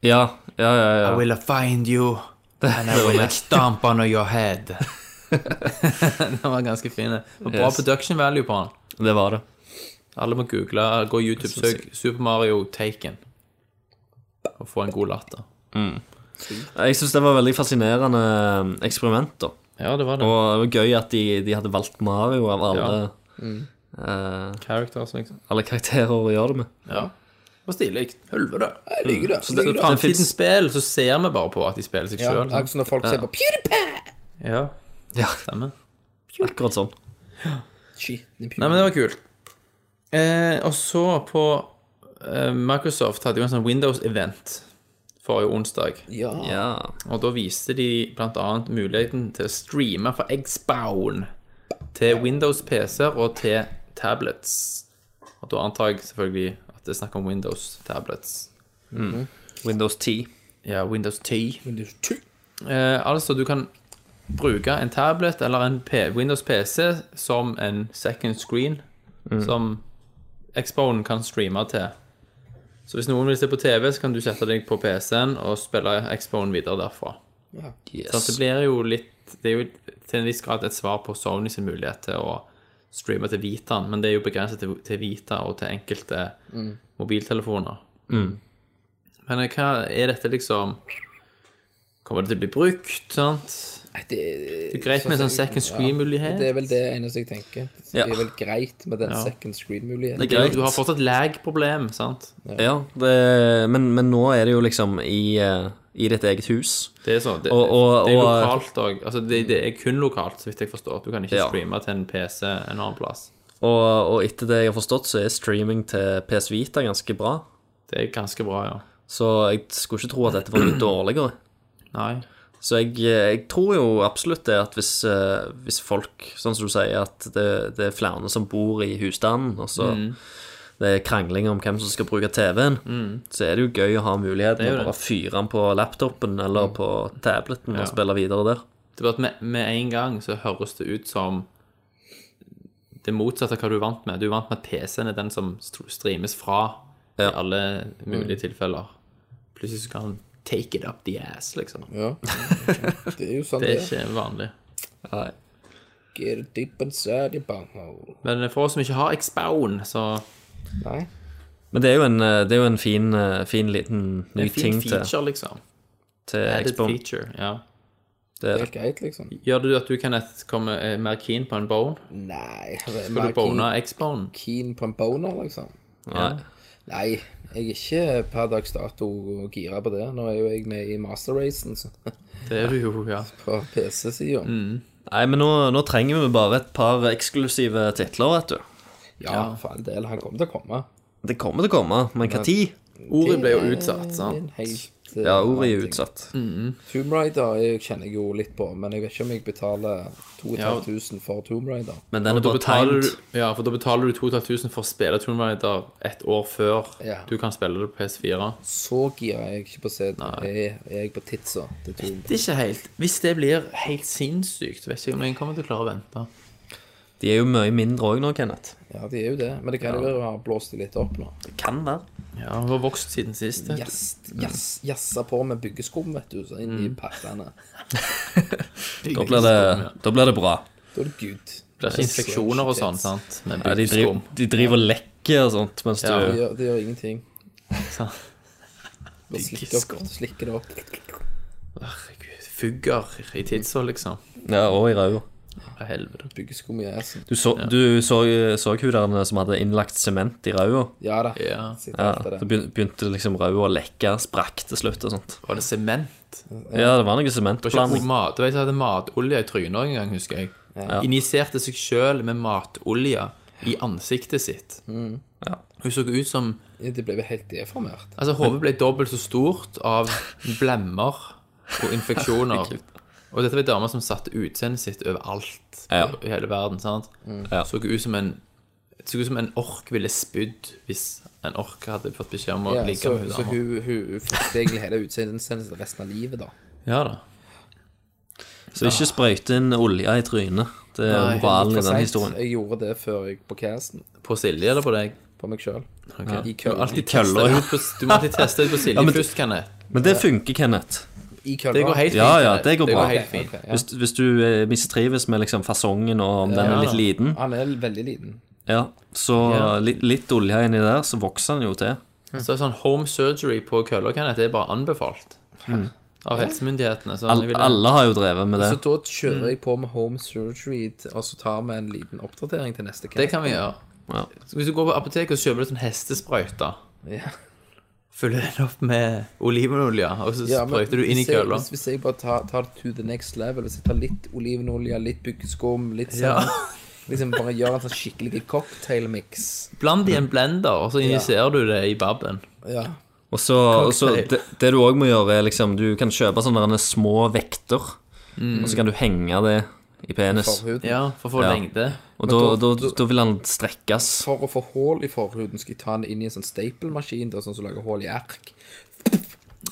Speaker 7: Ja, ja, ja. ja.
Speaker 5: I will find you, and I will stomp on your head. <laughs> den var ganske fin. det. Og Bra
Speaker 7: Yes.
Speaker 5: production value på den.
Speaker 7: Det var det.
Speaker 5: Alle må google, gå YouTube-søk Super Mario Taken. Og få en god latter.
Speaker 7: Jeg syns det var veldig fascinerende eh, eksperiment, da.
Speaker 5: Ja, det var det.
Speaker 7: Og det var gøy at de, de hadde valgt Mario av alle, eh,
Speaker 5: Characters, liksom.
Speaker 7: alle karakterer å gjøre det med.
Speaker 5: Ja. Det var stilig. Helvete.
Speaker 6: Jeg liker det.
Speaker 5: Mm. Så det,
Speaker 7: det
Speaker 5: framtidens
Speaker 7: finnes-
Speaker 5: spill, så ser vi bare på at de spiller seg
Speaker 6: Ja,
Speaker 5: sjøl.
Speaker 6: akkurat som når folk ser på PewDiePie!
Speaker 5: Ja.
Speaker 7: Ja,
Speaker 5: Stemmer.
Speaker 7: akkurat sånn.
Speaker 6: Shit, det er
Speaker 5: Nei, men det var kult. Eh, og så på eh, Microsoft hadde jo en sånn Windows-event forrige onsdag.
Speaker 6: PewDiePie. Ja.
Speaker 7: Ja.
Speaker 5: Og da viste de bl.a. muligheten til å streame fra Eggsbown til Windows-PC-er og til tablets. Og da antar jeg selvfølgelig at det er snakk om Windows-tablets.
Speaker 7: Windows 10.
Speaker 5: Ja, Windows 10.
Speaker 6: Men det er jo ty-
Speaker 5: Eh, altså, du kan bruke en tablet eller en P Windows PC som en second screen, som Xbone kan streame til. Så hvis noen vil se på TV, så kan du sette deg på PC-en og spille Xbone videre derfra. Så det
Speaker 7: Yes.
Speaker 5: blir jo litt Det er jo til en viss grad et svar på Sony sin mulighet til å streame til Vitaen, men det er jo begrenset til, til Vita og til enkelte mobiltelefoner.
Speaker 7: Mm.
Speaker 5: Men eh, hva er dette liksom Kommer det til å bli brukt, sant?
Speaker 6: Nei, det
Speaker 5: Det er greit med en sånn second screen-mulighet.
Speaker 6: Det er vel det eneste jeg tenker. Det
Speaker 7: Ja.
Speaker 6: er vel greit med den
Speaker 5: Ja.
Speaker 6: second screen-muligheten.
Speaker 7: Det er greit.
Speaker 5: Du har fortsatt lag-problem, sant?
Speaker 7: Ja, det, men, men nå er det jo liksom i, eh, i ditt eget hus.
Speaker 5: Det er sånn. Det,
Speaker 7: Og- og-
Speaker 5: det er
Speaker 7: og-
Speaker 5: lokalt òg. Altså, det, det er kun lokalt, så vidt jeg forstår. Du kan ikke
Speaker 7: Ja.
Speaker 5: streame til en PC en annen plass.
Speaker 7: Og, og etter det jeg har forstått, så er streaming til PS Vita ganske bra.
Speaker 5: Det er ganske bra, ja.
Speaker 7: Så jeg skulle ikke tro at dette var mye dårligere.
Speaker 5: Nei.
Speaker 7: Så jeg, eh, jeg tror jo absolutt det at hvis, eh, hvis folk, sånn som du sier, at det, det er flere som bor i husstanden, og så
Speaker 5: Mm.
Speaker 7: det er krangling om hvem som skal bruke TV-en, så er det jo gøy å ha
Speaker 5: Mm.
Speaker 7: muligheten å
Speaker 5: det. Mm.
Speaker 7: bare fyre den på laptopen eller på tableten og spille videre der.
Speaker 5: Det var at med, med en gang så høres det ut som det motsatte av hva du er vant med. Du er vant med at PC-en er den som st- streames fra i alle mulige tilfeller. Plutselig så kan han take it up the ass, liksom. <laughs>
Speaker 6: Det er jo sånn
Speaker 5: Det
Speaker 6: det
Speaker 5: er ikke vanlig.
Speaker 6: Get it deep inside your bunghole.
Speaker 5: Men for oss som ikke har Expound, så
Speaker 6: Nei.
Speaker 7: Men det er jo en, eh, det er jo en fin, eh, fin liten ny
Speaker 5: en fin
Speaker 7: ting til,
Speaker 5: feature, liksom.
Speaker 7: til
Speaker 5: Added
Speaker 7: Xbox.
Speaker 5: feature, ja.
Speaker 7: Det er
Speaker 6: Helt greit, liksom.
Speaker 5: Gjør det at du kan et- komme eh, mer keen på en bone?
Speaker 6: Nei.
Speaker 5: Skal du bone X-bone?
Speaker 6: Keen på en boner, liksom.
Speaker 7: Nei.
Speaker 6: Nei, jeg er ikke per dags dato gira på det. Nå er jo jeg med i Master Racen så, <laughs>
Speaker 5: Det er du jo, ja.
Speaker 6: på PC-sida.
Speaker 5: Mm,
Speaker 7: Nei, men nå, nå trenger vi bare et par eksklusive titler, vet du.
Speaker 6: Ja, for all del. Han kommer til å komme.
Speaker 7: Det kommer til å komme, men hva tid?
Speaker 5: Ordet ble jo utsatt, sant?
Speaker 6: En helt eh,
Speaker 7: Ja, ordet er
Speaker 6: annen ting.
Speaker 7: utsatt.
Speaker 6: Tomb Raider jeg kjenner jeg jo litt på, men jeg vet ikke om jeg betaler 2500 for Tomb Raider.
Speaker 7: Men den
Speaker 5: Da
Speaker 7: er bare
Speaker 5: betaler
Speaker 7: timed.
Speaker 5: du, ja, for da betaler du 2500 for å spille Tomb Raider et år før
Speaker 6: Ja.
Speaker 5: du kan spille det på PS4.
Speaker 6: Så gira er jeg ikke på å se er, er jeg på titsa til Tomb
Speaker 5: Det er ikke helt. Hvis det blir helt sinnssykt, vet ikke om jeg kommer til å klare å vente.
Speaker 7: De er jo mye mindre òg nå, Kenneth.
Speaker 6: Ja, de er jo det, men det kan jo være å ha blåst de litt opp nå.
Speaker 7: Det kan være.
Speaker 5: Ja, hun har vokst siden sist. vet du.
Speaker 6: Jass- jass- Jassa på med byggeskum, vet du, så inn
Speaker 5: Mm.
Speaker 6: i pattene.
Speaker 7: Da blir det, da blir det bra.
Speaker 6: Da er det good.
Speaker 5: Det blir ikke infeksjoner og sånn, sant? Med
Speaker 7: Ja, de, driver,
Speaker 5: byggeskum.
Speaker 7: de driver og lekker og sånt mens
Speaker 5: Ja.
Speaker 6: Det
Speaker 7: du
Speaker 6: gjør, det gjør
Speaker 5: <laughs>
Speaker 6: ingenting.
Speaker 5: sant?
Speaker 6: Bare slikker, opp, slikker det opp.
Speaker 5: Herregud, Fugger i tidsa, liksom.
Speaker 7: Ja, og i ræva.
Speaker 5: Å, Helvete.
Speaker 6: Byggeskum i assen.
Speaker 7: Du så, du så, så hun der som hadde innlagt sement i ræva.
Speaker 6: Ja da.
Speaker 5: Ja.
Speaker 6: Sitter
Speaker 7: Ja,
Speaker 6: alt det
Speaker 7: så
Speaker 6: der.
Speaker 7: begyn- begynte liksom ræva å lekke, sprakk til slutt og sånt.
Speaker 5: Var det sement?
Speaker 7: Ja, det var
Speaker 5: Det var
Speaker 7: noe
Speaker 5: ikke
Speaker 7: sementblanding.
Speaker 5: mat. Du vet, jeg hadde matolje i trynet en gang, husker jeg. Injiserte seg sjøl med matolje i ansiktet sitt. Hun så ut som
Speaker 6: De ble jo helt deformert.
Speaker 5: Altså, hodet ble dobbelt så stort av blemmer og
Speaker 7: <laughs>
Speaker 5: infeksjoner. Og dette var ei dame som satte utseendet sitt overalt
Speaker 7: Ja.
Speaker 5: i hele verden. sant?
Speaker 6: Mm.
Speaker 7: Ja.
Speaker 5: Så ut som en så ut som en ork ville spydd hvis en ork hadde fått beskjed om å
Speaker 6: Ja,
Speaker 5: ligge
Speaker 6: så,
Speaker 5: med
Speaker 6: så
Speaker 5: hun dama.
Speaker 6: hun, hun fikk egentlig hele utseendet sitt resten av livet, da.
Speaker 5: Ja da.
Speaker 7: Så ikke sprøyte inn olje i trynet. Det er
Speaker 5: Nei,
Speaker 7: moralen
Speaker 6: For
Speaker 7: i den
Speaker 6: sent,
Speaker 7: historien.
Speaker 6: Jeg gjorde det før jeg på casten.
Speaker 5: På Silje eller på deg?
Speaker 6: På meg sjøl.
Speaker 5: Ok. Du
Speaker 6: I
Speaker 5: må
Speaker 6: kølla.
Speaker 5: alltid
Speaker 7: Køller.
Speaker 5: teste ut på, du må alltid teste ut på Silje
Speaker 7: <laughs> Ja, men-
Speaker 5: først, kan jeg.
Speaker 7: Men det funker, Kenneth.
Speaker 6: I kølla.
Speaker 5: Det går helt fint.
Speaker 7: Ja, ja,
Speaker 5: Kenneth.
Speaker 7: det går bra.
Speaker 5: helt fint.
Speaker 6: Ok, ja.
Speaker 7: Hvis, hvis du eh, mistrives med liksom fasongen, og om den
Speaker 5: Ja,
Speaker 7: er
Speaker 5: da.
Speaker 7: litt liten,
Speaker 6: Han er veldig liten.
Speaker 7: ja, så
Speaker 5: Ja.
Speaker 7: li- litt olje inni der, så vokser den jo til.
Speaker 5: Så sånn home surgery på køller, Kenneth, det er bare anbefalt av helsemyndighetene. Så
Speaker 7: Hmm. Al
Speaker 5: jeg vil-
Speaker 7: alle har jo drevet med det.
Speaker 6: Så da kjører jeg på med home surgery, og så tar vi en liten oppdatering til neste
Speaker 5: Det kan vi gjøre.
Speaker 7: Ja.
Speaker 5: Så Hvis du går på apoteket og kjøper deg sånn hestesprøyte,
Speaker 6: Ja.
Speaker 5: fyller den opp med olivenolje, og så
Speaker 6: Ja, men
Speaker 5: sprøyter du inn i
Speaker 6: hvis jeg-
Speaker 5: kølla.
Speaker 6: Hvis, hvis jeg bare tar, tar det to the next level, hvis jeg tar litt olivenolje, litt byggeskum, litt sånn
Speaker 5: Ja.
Speaker 6: Liksom bare gjør en sånn skikkelig cocktailmix.
Speaker 5: Bland i en blender, og så injiserer du det i babben.
Speaker 6: Ja.
Speaker 7: Og så, og så
Speaker 5: Cocktail.
Speaker 7: det, det du òg må gjøre, er liksom Du kan kjøpe sånne derne små vekter, og så kan du henge det i penis.
Speaker 6: Forhuden.
Speaker 5: Ja, for å få
Speaker 7: Ja.
Speaker 5: lengde.
Speaker 7: Og da,
Speaker 6: da-
Speaker 7: da, da vil han strekkes.
Speaker 6: For å få hull i forhuden skal jeg ta den inn i en sånn staple-maskin der, sånn som lager hull i ark.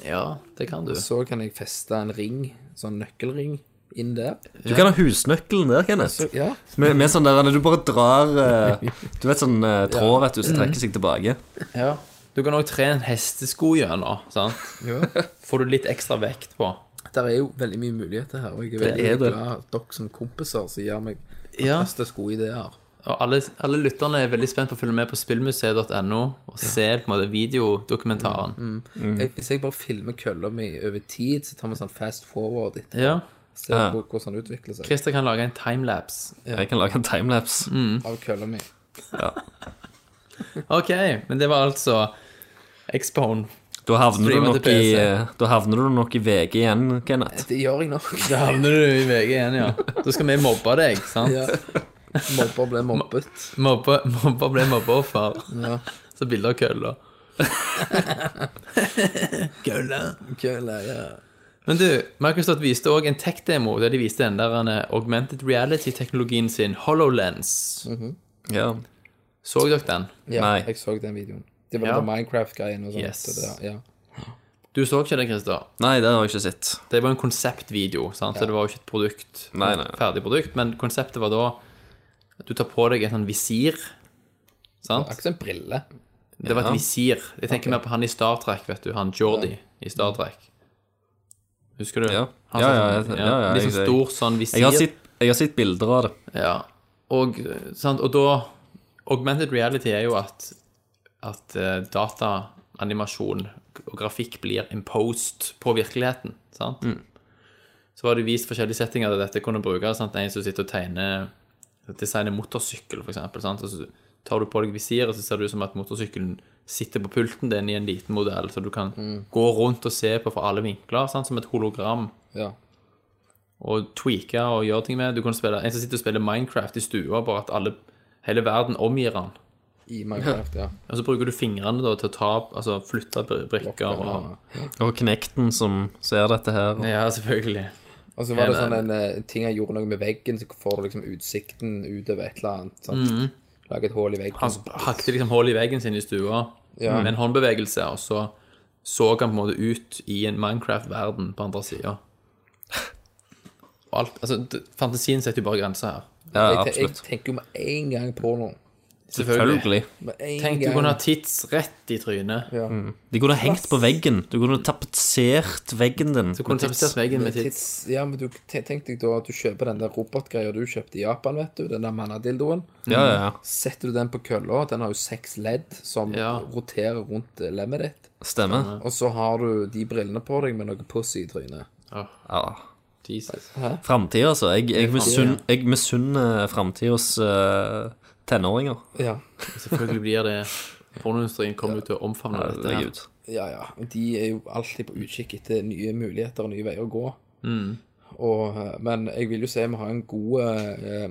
Speaker 5: Ja, det kan du.
Speaker 6: Så kan jeg feste en ring, sånn nøkkelring, inn der.
Speaker 7: Du kan ha husnøkkelen der, Kenneth.
Speaker 6: Så, ja.
Speaker 7: Med, med sånn der Du bare drar eh, Du vet sånn eh, tråd, vet du, som trekker seg tilbake.
Speaker 5: Ja. Du kan òg tre en hestesko gjennom, sant. Får du litt ekstra vekt på.
Speaker 6: <laughs> Der er jo veldig mye muligheter her, og jeg er veldig
Speaker 5: er det.
Speaker 6: glad at dere som kompiser som gir meg
Speaker 5: Ja.
Speaker 6: beste gode ideer.
Speaker 5: Og alle, alle lytterne er veldig spent på å følge med på spillmuseet.no og se på en måte videodokumentaren. Mm.
Speaker 6: Jeg, hvis jeg bare filmer kølla mi over tid, så tar vi sånn fast forward etter.
Speaker 5: Ja.
Speaker 6: Se
Speaker 7: Ja.
Speaker 6: hvor- hvordan den utvikler seg
Speaker 5: Christer kan lage en timelapse.
Speaker 7: Jeg kan lage en timelapse.
Speaker 6: av kølla mi.
Speaker 5: Ok, men det var altså Expone.
Speaker 7: Da havner, du
Speaker 5: Streamer
Speaker 7: nok
Speaker 5: til
Speaker 7: i,
Speaker 5: PC.
Speaker 7: eh, da havner du nok i VG igjen, Kenneth.
Speaker 6: Det gjør jeg nok.
Speaker 5: Da havner du i VG igjen, ja. Da skal vi mobbe deg, sant?
Speaker 6: <laughs> Ja. Mobber ble mobbet.
Speaker 5: Mobbe, mobbe ble mobbeoffer.
Speaker 6: Ja.
Speaker 5: Så bilder av kølla. kølla.
Speaker 6: Kølla, ja.
Speaker 5: Men du, Microsoft viste òg en tech-demo der de viste den der eh, augmented reality-teknologien sin, HoloLens.
Speaker 6: Mm.
Speaker 7: Ja.
Speaker 5: Så dere den?
Speaker 6: ja
Speaker 7: Nei.
Speaker 6: Jeg så den videoen. Det var
Speaker 5: Ja.
Speaker 6: den Minecraft-greien og sånt.
Speaker 5: Yes.
Speaker 6: og det- ja.
Speaker 5: Du så ikke det, Christer?
Speaker 7: Nei, det har jeg ikke sett.
Speaker 5: Det var en konseptvideo, sant? så det var jo ikke et produkt,
Speaker 7: Nei, nei.
Speaker 5: ferdig produkt, men konseptet var da Du tar på deg en sånn visir. Sant?
Speaker 6: Akkurat som en brille.
Speaker 5: Det var et visir. Jeg tenker mer på han i Star Trek, vet du. Han Jordi i Star Trek. Husker du?
Speaker 7: Ja.
Speaker 5: Han
Speaker 7: Ja,
Speaker 5: som-
Speaker 7: ja, jeg- ja, ja,
Speaker 5: litt
Speaker 7: jeg-
Speaker 5: sånn stor sånn visir.
Speaker 7: Jeg har sett, jeg har sett bilder av det.
Speaker 5: Ja. Og, sant? og da Augmented reality er jo at, at eh, data, animasjon og grafikk blir imposed på virkeligheten. Sant? Så var det vist forskjellige settinger der dette kunne brukes. Sant? En som sitter og tegner designer motorsykkel, for eksempel. Sant? Og så tar du på deg visiret, så ser det ut som at motorsykkelen sitter på pulten din i en liten modell, så du kan gå rundt og se på fra alle vinkler, sant? som et hologram
Speaker 6: Ja.
Speaker 5: og tweake og gjøre ting med. Du kan spille, en som sitter og spiller Minecraft i stua, bare at alle, hele verden omgir han.
Speaker 6: I
Speaker 5: <laughs>
Speaker 6: Minecraft, ja.
Speaker 5: Og så bruker du fingrene da, til å ta, altså flytte br- brikker og
Speaker 7: Og Knekten som ser dette her.
Speaker 5: Ja, selvfølgelig.
Speaker 6: Og så var det sånn en eh, ting jeg gjorde noe med veggen, så får du liksom utsikten utover et eller annet. Sant? Lage et hull i veggen.
Speaker 5: Mm. Han hakket Mm. liksom hull i veggen sin i stua
Speaker 6: Ja.
Speaker 5: med en håndbevegelse, og så så han på en måte ut i en Minecraft-verden på andre sida. Og alt, altså, d- fantasien setter jo bare grenser her.
Speaker 7: Ja,
Speaker 6: jeg, te- jeg
Speaker 7: absolutt.
Speaker 6: tenker jo med en gang på noe.
Speaker 7: Selvfølgelig.
Speaker 6: Med en
Speaker 5: Tenk du
Speaker 6: gang.
Speaker 5: kunne ha tits rett i trynet.
Speaker 6: ja.
Speaker 7: De kunne hengt på veggen. Du kunne tapetsert veggen din.
Speaker 5: Du kunne tapetsert veggen med tits.
Speaker 6: Tids, ja, men du te- tenk deg da at du kjøper den der robotgreia du kjøpte i Japan, vet du. Den der mannadildoen.
Speaker 7: Ja, ja, ja.
Speaker 6: Setter du den på kølla, den har jo seks ledd som
Speaker 5: Ja.
Speaker 6: roterer rundt eh, lemmet ditt.
Speaker 7: Stemmer.
Speaker 6: Og så har du de brillene på deg med noe pussy i trynet.
Speaker 7: Ja.
Speaker 5: Jesus.
Speaker 7: Framtida, altså. Jeg, jeg misunn- jeg misunner framtidas tenåringer.
Speaker 6: Ja.
Speaker 5: Selvfølgelig blir det Pornoindustrien kommer jo til å omfavne dette. her.
Speaker 7: Herregud.
Speaker 6: Ja, ja. De er jo alltid på utkikk etter nye muligheter og nye veier å gå.
Speaker 5: Mm.
Speaker 6: Og, eh, men jeg vil jo se vi har en god eh,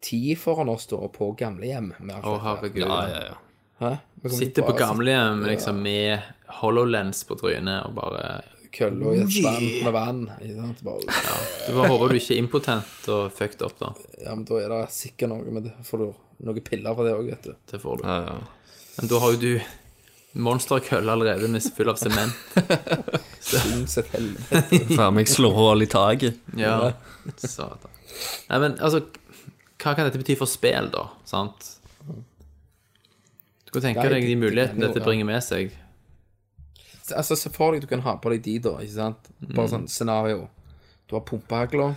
Speaker 6: tid foran oss da på gamlehjem. med alt
Speaker 5: Å,
Speaker 6: dette.
Speaker 5: herregud.
Speaker 7: Ja, ja, ja.
Speaker 6: Hæ? Vi kommer
Speaker 5: Sitter
Speaker 6: bare
Speaker 5: på gamlehjem liksom, med HoloLens på trynet og bare
Speaker 6: sitte i kølla i et spann med vann. Ikke sant? Bare, ja.
Speaker 5: Du bare håper du ikke er impotent og fucked opp, da.
Speaker 6: men da er det sikkert noe med det. Får du noen piller for det òg,
Speaker 5: <laughs>
Speaker 6: vet du.
Speaker 5: Det får du.
Speaker 7: ja, ja.
Speaker 5: Men da har jo du monsterkølle allerede med full av
Speaker 7: <laughs>
Speaker 5: sement.
Speaker 6: Uansett helvete.
Speaker 7: Faen meg slår hull i taket.
Speaker 5: Ja. Satan. Nei, men altså Hva kan dette bety for spill, da? Sant? Du kan tenke
Speaker 6: Nei,
Speaker 5: deg de
Speaker 6: det- det kan
Speaker 5: mulighetene
Speaker 6: jo
Speaker 5: dette
Speaker 6: være.
Speaker 5: bringer med seg.
Speaker 6: Altså, se for deg du kan ha på deg de, da. Ikke sant? Bare
Speaker 5: Mm.
Speaker 6: sånn scenario. Du har pumpehagla,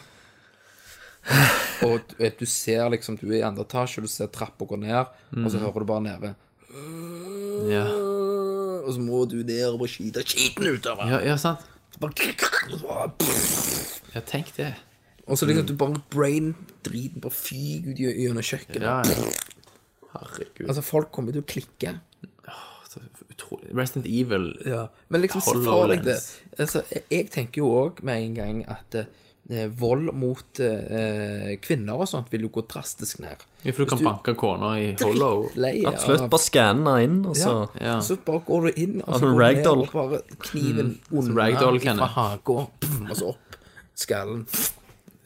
Speaker 6: og du, du ser liksom Du er i andre etasje, du ser trappa gå ned, og
Speaker 5: Mm.
Speaker 6: så hører du bare nede.
Speaker 5: Ja,
Speaker 6: Og så må du ned og bare skyte skiten ut av den.
Speaker 5: ja, ja sant?
Speaker 6: Bare-
Speaker 5: Ja, tenk det.
Speaker 6: Og så
Speaker 5: Mm.
Speaker 6: liksom du bare brain-driten bare fyker ut gjennom kjøkkenet.
Speaker 5: Ja, ja. Herregud.
Speaker 6: Altså, folk kommer til å klikke.
Speaker 5: Så utrolig. Resident Evil
Speaker 6: Men liksom, se
Speaker 5: Hollow
Speaker 6: for deg det.
Speaker 5: lens.
Speaker 6: Altså, jeg- jeg tenker jo òg med en gang at eh, vold mot eh, kvinner og sånt vil jo gå drastisk ned.
Speaker 5: Ja, For du kan banke kona i Hollow.
Speaker 6: Lei av-
Speaker 7: Absolutt. Bare skanne inn, og så
Speaker 6: Ja.
Speaker 5: Ja. Mm.
Speaker 6: Så bare går du inn og så går
Speaker 7: Altså,
Speaker 6: du ned
Speaker 7: ragdoll.
Speaker 6: og bare kniven under
Speaker 5: ragdoll kan
Speaker 6: fra
Speaker 5: jeg.
Speaker 6: haka, og så opp skallen.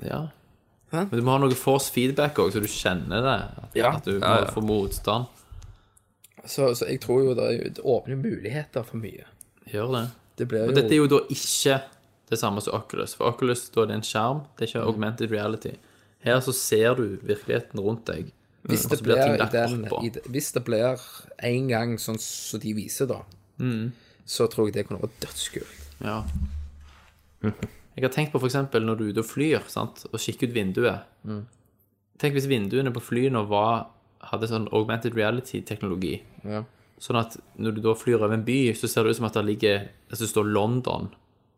Speaker 5: Ja.
Speaker 6: Hæ?
Speaker 5: Men du må ha noe force feedback òg, så du kjenner det. At,
Speaker 6: Ja.
Speaker 5: at du må
Speaker 7: Ja, ja.
Speaker 5: få motstand.
Speaker 6: Så, så jeg tror jo det, er jo- det åpner muligheter for mye.
Speaker 5: Gjør det.
Speaker 6: Det blir
Speaker 5: Og
Speaker 6: jo,
Speaker 5: dette er jo da ikke det samme som Oculus. For Oculus da er det en skjerm, det er ikke augmented reality. Her så ser du virkeligheten rundt deg.
Speaker 6: Hvis det
Speaker 5: så blir
Speaker 6: blir,
Speaker 5: ting
Speaker 6: i
Speaker 5: lagt
Speaker 6: den,
Speaker 5: oppå.
Speaker 6: i, det- hvis det blir en gang sånn som de viser, da,
Speaker 5: Mm.
Speaker 6: så tror jeg det kunne vært dødskult.
Speaker 5: Ja. Jeg har tenkt på f.eks. når du er ute og flyr sant? og kikker ut vinduet.
Speaker 6: Mm.
Speaker 5: Tenk hvis vinduene på flyene var, hadde sånn augmented reality-teknologi.
Speaker 6: Ja.
Speaker 5: Sånn at når du da flyr over en by, så ser det ut som at det ligger altså det står London.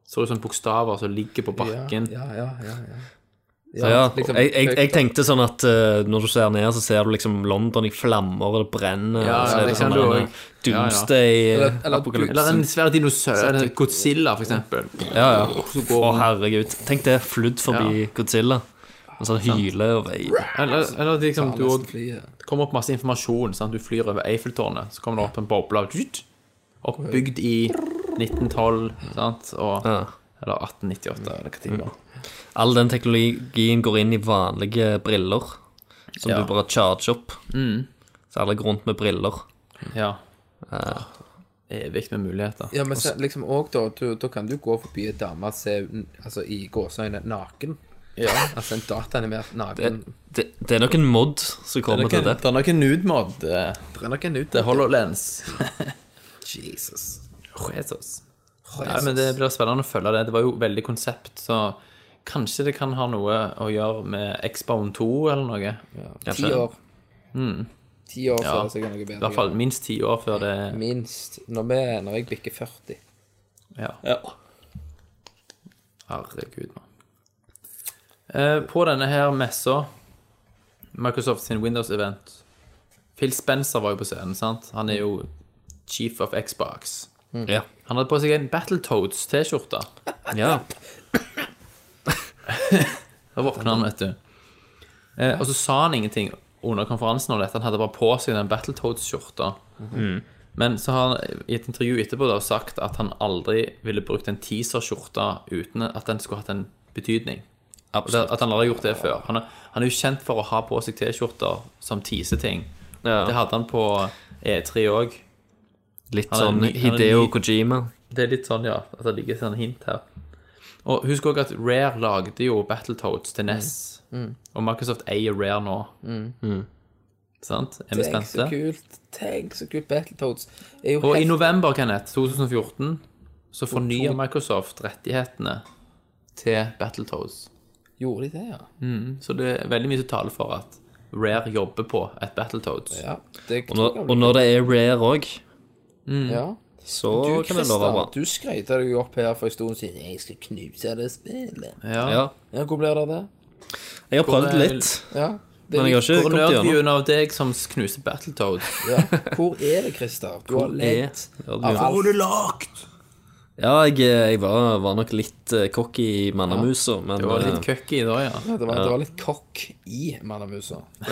Speaker 5: Så er det sånne bokstaver som ligger på bakken.
Speaker 6: Ja, ja, ja, ja.
Speaker 7: Så ja,
Speaker 6: liksom,
Speaker 7: jeg, jeg, jeg tenkte sånn at eh, når du ser ned, så ser du liksom London i flammer, og det brenner,
Speaker 5: Ja,
Speaker 7: og
Speaker 5: ja,
Speaker 7: så
Speaker 5: det
Speaker 7: er det
Speaker 5: kan
Speaker 7: sånn
Speaker 5: du
Speaker 7: en,
Speaker 5: også.
Speaker 7: eh, doomsday eh,
Speaker 6: Eller- eller-
Speaker 5: Eller en
Speaker 7: apokalypse.
Speaker 5: svær dinosaur, en Godzilla, for eksempel.
Speaker 7: Ja, ja.
Speaker 5: Så
Speaker 7: Å,
Speaker 5: går han-
Speaker 7: herregud. Tenk det, flydd forbi Godzilla. Og så hyler og veier.
Speaker 5: eller, eller liksom, du
Speaker 6: nesten
Speaker 5: også-
Speaker 6: flyet.
Speaker 5: det kommer opp masse informasjon. Sant? Du flyr over Eiffeltårnet, så kommer det opp en boble av dytt, Oppbygd i 1912, sant? Og,
Speaker 7: Ja.
Speaker 5: eller Mm. 1898, eller hva tid det var.
Speaker 7: All den teknologien går inn i vanlige briller, som
Speaker 5: Ja. Mm.
Speaker 7: du bare charger opp. Så alle går rundt med briller.
Speaker 5: Ja. Evig med muligheter.
Speaker 6: Ja, men se, liksom og da, du, da kan du gå forbi en dame og se mm, altså, i gåseøyne naken. Ja, altså en dataanimert naken
Speaker 7: Det, det, det er nok en mod som
Speaker 5: Det
Speaker 7: kommer
Speaker 5: er
Speaker 7: til det.
Speaker 5: nok en, en nude-mod. Det
Speaker 6: Det er nok en ut.
Speaker 5: er HoloLens.
Speaker 6: Jesus.
Speaker 5: Jesus. Nei, men Det blir spennende å følge det. Det var jo veldig konsept, så kanskje det kan ha noe å gjøre med X-Bone 2 eller noe.
Speaker 6: Ti
Speaker 7: Kanskje.
Speaker 6: år. Ti
Speaker 5: Hmm. Ja.
Speaker 6: år før så kan noe
Speaker 5: I
Speaker 6: bedre.
Speaker 5: hvert fall minst ti år før det
Speaker 6: gjøre. Minst. Når, vi, når jeg bikker 40.
Speaker 5: Ja. Herregud, mann. Eh, på denne her messa, Microsoft sin Windows-event Phil Spencer var jo på scenen, sant? Han er jo chief of Xbox.
Speaker 7: Ja.
Speaker 5: Han hadde på seg en Battletoads-T-skjorte.
Speaker 7: ja.
Speaker 5: Da våkna han, vet du. Eh, og så sa han ingenting under konferansen om dette. Han hadde bare på seg den Battletoads-skjorta. Men så har han i et intervju etterpå da sagt at han aldri ville brukt en teaser-skjorte uten at den skulle hatt en betydning. Og det- At han aldri har gjort det før. Han er, han er jo kjent for å ha på seg T-skjorter som teaser ting. Det hadde han på E3 òg.
Speaker 7: Litt
Speaker 5: Han er
Speaker 7: sånn
Speaker 5: ny- han er
Speaker 7: Hideo
Speaker 5: ny-
Speaker 7: Kojima.
Speaker 5: Det er litt sånn, ja, at det ligger sånn hint her. Og husk også at Rare lagde jo Battletoads til NES, og Microsoft eier Rare nå. Sant? Mm. Er vi
Speaker 6: Tenk så
Speaker 5: spente?
Speaker 6: kult. Tenk så kult. Battletoads er jo
Speaker 5: Og i
Speaker 6: helt
Speaker 5: november, Kenneth, 2014, så fornyer Microsoft rettighetene til Battletoads.
Speaker 6: Gjorde de det, ja?
Speaker 5: Så det er veldig mye som taler for at Rare jobber på et Battletoads.
Speaker 6: ja det
Speaker 7: Og når, og når det er rare òg,
Speaker 6: ja.
Speaker 7: så
Speaker 6: Du,
Speaker 7: kan det love bra.
Speaker 6: Kristian, du skrøyta deg jo opp her for en stund siden. 'Jeg skal knuse det spillet'.
Speaker 5: Ja.
Speaker 7: Ja.
Speaker 6: Ja, hvor blir det av det?
Speaker 7: Jeg har prøvd
Speaker 5: Hvor er-
Speaker 7: litt,
Speaker 6: Ja. Det,
Speaker 7: men jeg har ikke
Speaker 5: Hvor
Speaker 7: kommet gjennom.
Speaker 5: nerdviewen av deg som knuser Battletoads?
Speaker 6: ja. Hvor er det, Christer? Du har
Speaker 7: er-
Speaker 6: lett
Speaker 7: Ja, du-
Speaker 6: av alt.
Speaker 7: Ja, jeg, eh, jeg var, var nok litt eh, cocky i mannamusa, men
Speaker 5: Du var litt
Speaker 7: eh,
Speaker 5: køkk i dag, ja.
Speaker 6: Det var, det var litt kokk i mannamusa.
Speaker 5: Se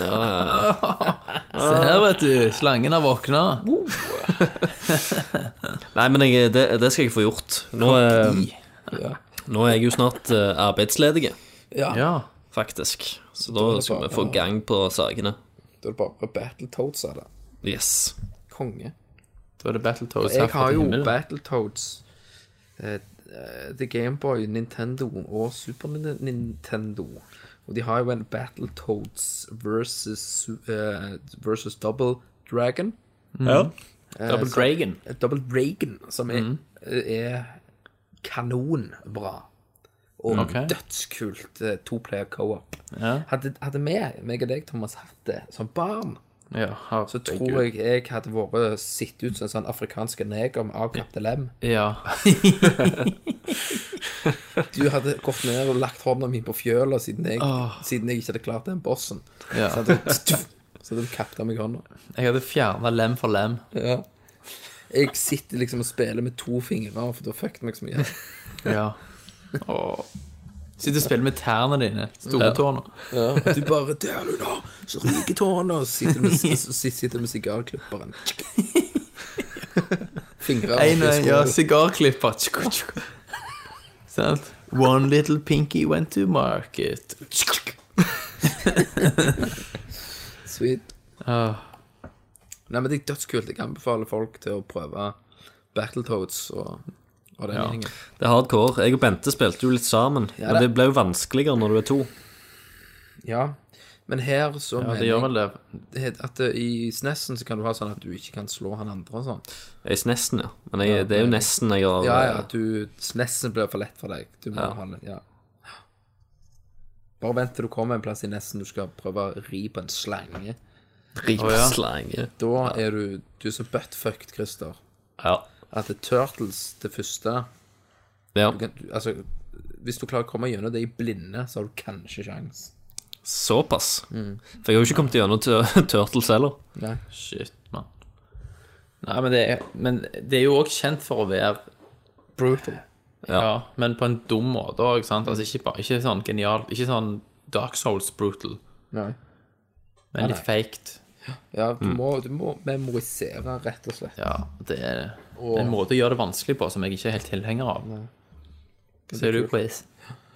Speaker 5: her, vet du. Slangen har våkna.
Speaker 7: Nei, men jeg, det, det skal jeg få gjort. Nå er,
Speaker 6: Ja.
Speaker 7: nå er jeg jo snart eh, arbeidsledig,
Speaker 6: Ja.
Speaker 5: Ja.
Speaker 7: faktisk. Så da skal vi få gang på sakene.
Speaker 6: Da er det bare Battletoads av det.
Speaker 7: Yes.
Speaker 6: Konge.
Speaker 5: Da er det Battletoads
Speaker 6: Jeg
Speaker 5: herfra
Speaker 6: har
Speaker 5: til
Speaker 6: jo
Speaker 5: himmelen.
Speaker 6: Battletoads. eh, eh, The Gameboy, Nintendo og Super Nin- Nintendo. Og de har jo en Battletoads versus, su- eh, versus Double Dragon.
Speaker 5: Double Dragon.
Speaker 6: Eh, Double Dragon, som er,
Speaker 5: Mm.
Speaker 6: er kanonbra. Og
Speaker 5: Ok.
Speaker 6: dødskult eh, to-player co-op. Hadde, hadde vi, meg og deg, Thomas, hatt det som barn,
Speaker 5: Ja, har,
Speaker 6: så tror jeg jeg hadde vært sett ut som en sånn afrikansk neger med avkapte lem.
Speaker 5: Ja.
Speaker 6: Du hadde gått ned og lagt hånda mi på fjøla siden jeg, siden jeg ikke hadde klart den bossen.
Speaker 5: ja.
Speaker 6: Så hadde du, så hadde du kapta meg i hånda.
Speaker 5: Jeg hadde fjerna lem for lem.
Speaker 6: Ja. Jeg sitter liksom og spiller med to fingre, for da fucket meg så mye.
Speaker 5: Ja. Åh. Sitter og spiller med tærne dine. Store tårner.
Speaker 6: Du bare Der, du, da! Så ryker tårene! Og sitter med, så sitter med sigarklipperen. Fingre
Speaker 5: En,
Speaker 6: oppi
Speaker 5: ja,
Speaker 6: skoene.
Speaker 5: sigarklipper. Tsk, tsk. Sant? One little pinky went to market.
Speaker 6: Sweet.
Speaker 5: Ah,
Speaker 6: Nei, men det er dødskult. Jeg anbefaler folk til å prøve Battletoads og, og den gjengen.
Speaker 7: Det er hardcore. Jeg og Bente spilte jo litt sammen, men det ble jo vanskeligere når du er to.
Speaker 6: Ja. Men her så
Speaker 5: Ja, det gjør vel det.
Speaker 6: jeg at eh, i SNES-en så kan du ha sånn at du ikke kan slå han andre og sånn.
Speaker 7: Jeg er nesten, ja. Men jeg, det er jo nesten jeg har
Speaker 6: Ja, ja, du SNES-en blir for lett for deg. Du må ha den, ja. Bare vent til du kommer en plass i nesten du skal prøve å ri på en slange.
Speaker 7: ripslange.
Speaker 6: Da er du Du er så buttfucked, Christer,
Speaker 7: Ja.
Speaker 6: at det er Turtles, det første
Speaker 7: ja.
Speaker 6: du kan, du, Altså, hvis du klarer å komme gjennom det i blinde, så har du kanskje sjans.
Speaker 7: Såpass. For jeg har jo ikke kommet gjennom til <laughs> Turtles heller.
Speaker 6: Nei.
Speaker 5: Shit, mann. Nei, men det, er, men det er jo òg kjent for å være
Speaker 6: Brutal.
Speaker 5: Ja. men på en dum måte òg, sant. Altså, ikke, bare, ikke sånn genialt. Ikke sånn Dark Souls brutal,
Speaker 6: Nei.
Speaker 5: men litt faked.
Speaker 6: Ja, du må, du må memorisere, rett og slett.
Speaker 5: Ja, det er en måte å gjøre det vanskelig på som jeg ikke er helt tilhenger av. Ser du, Chris?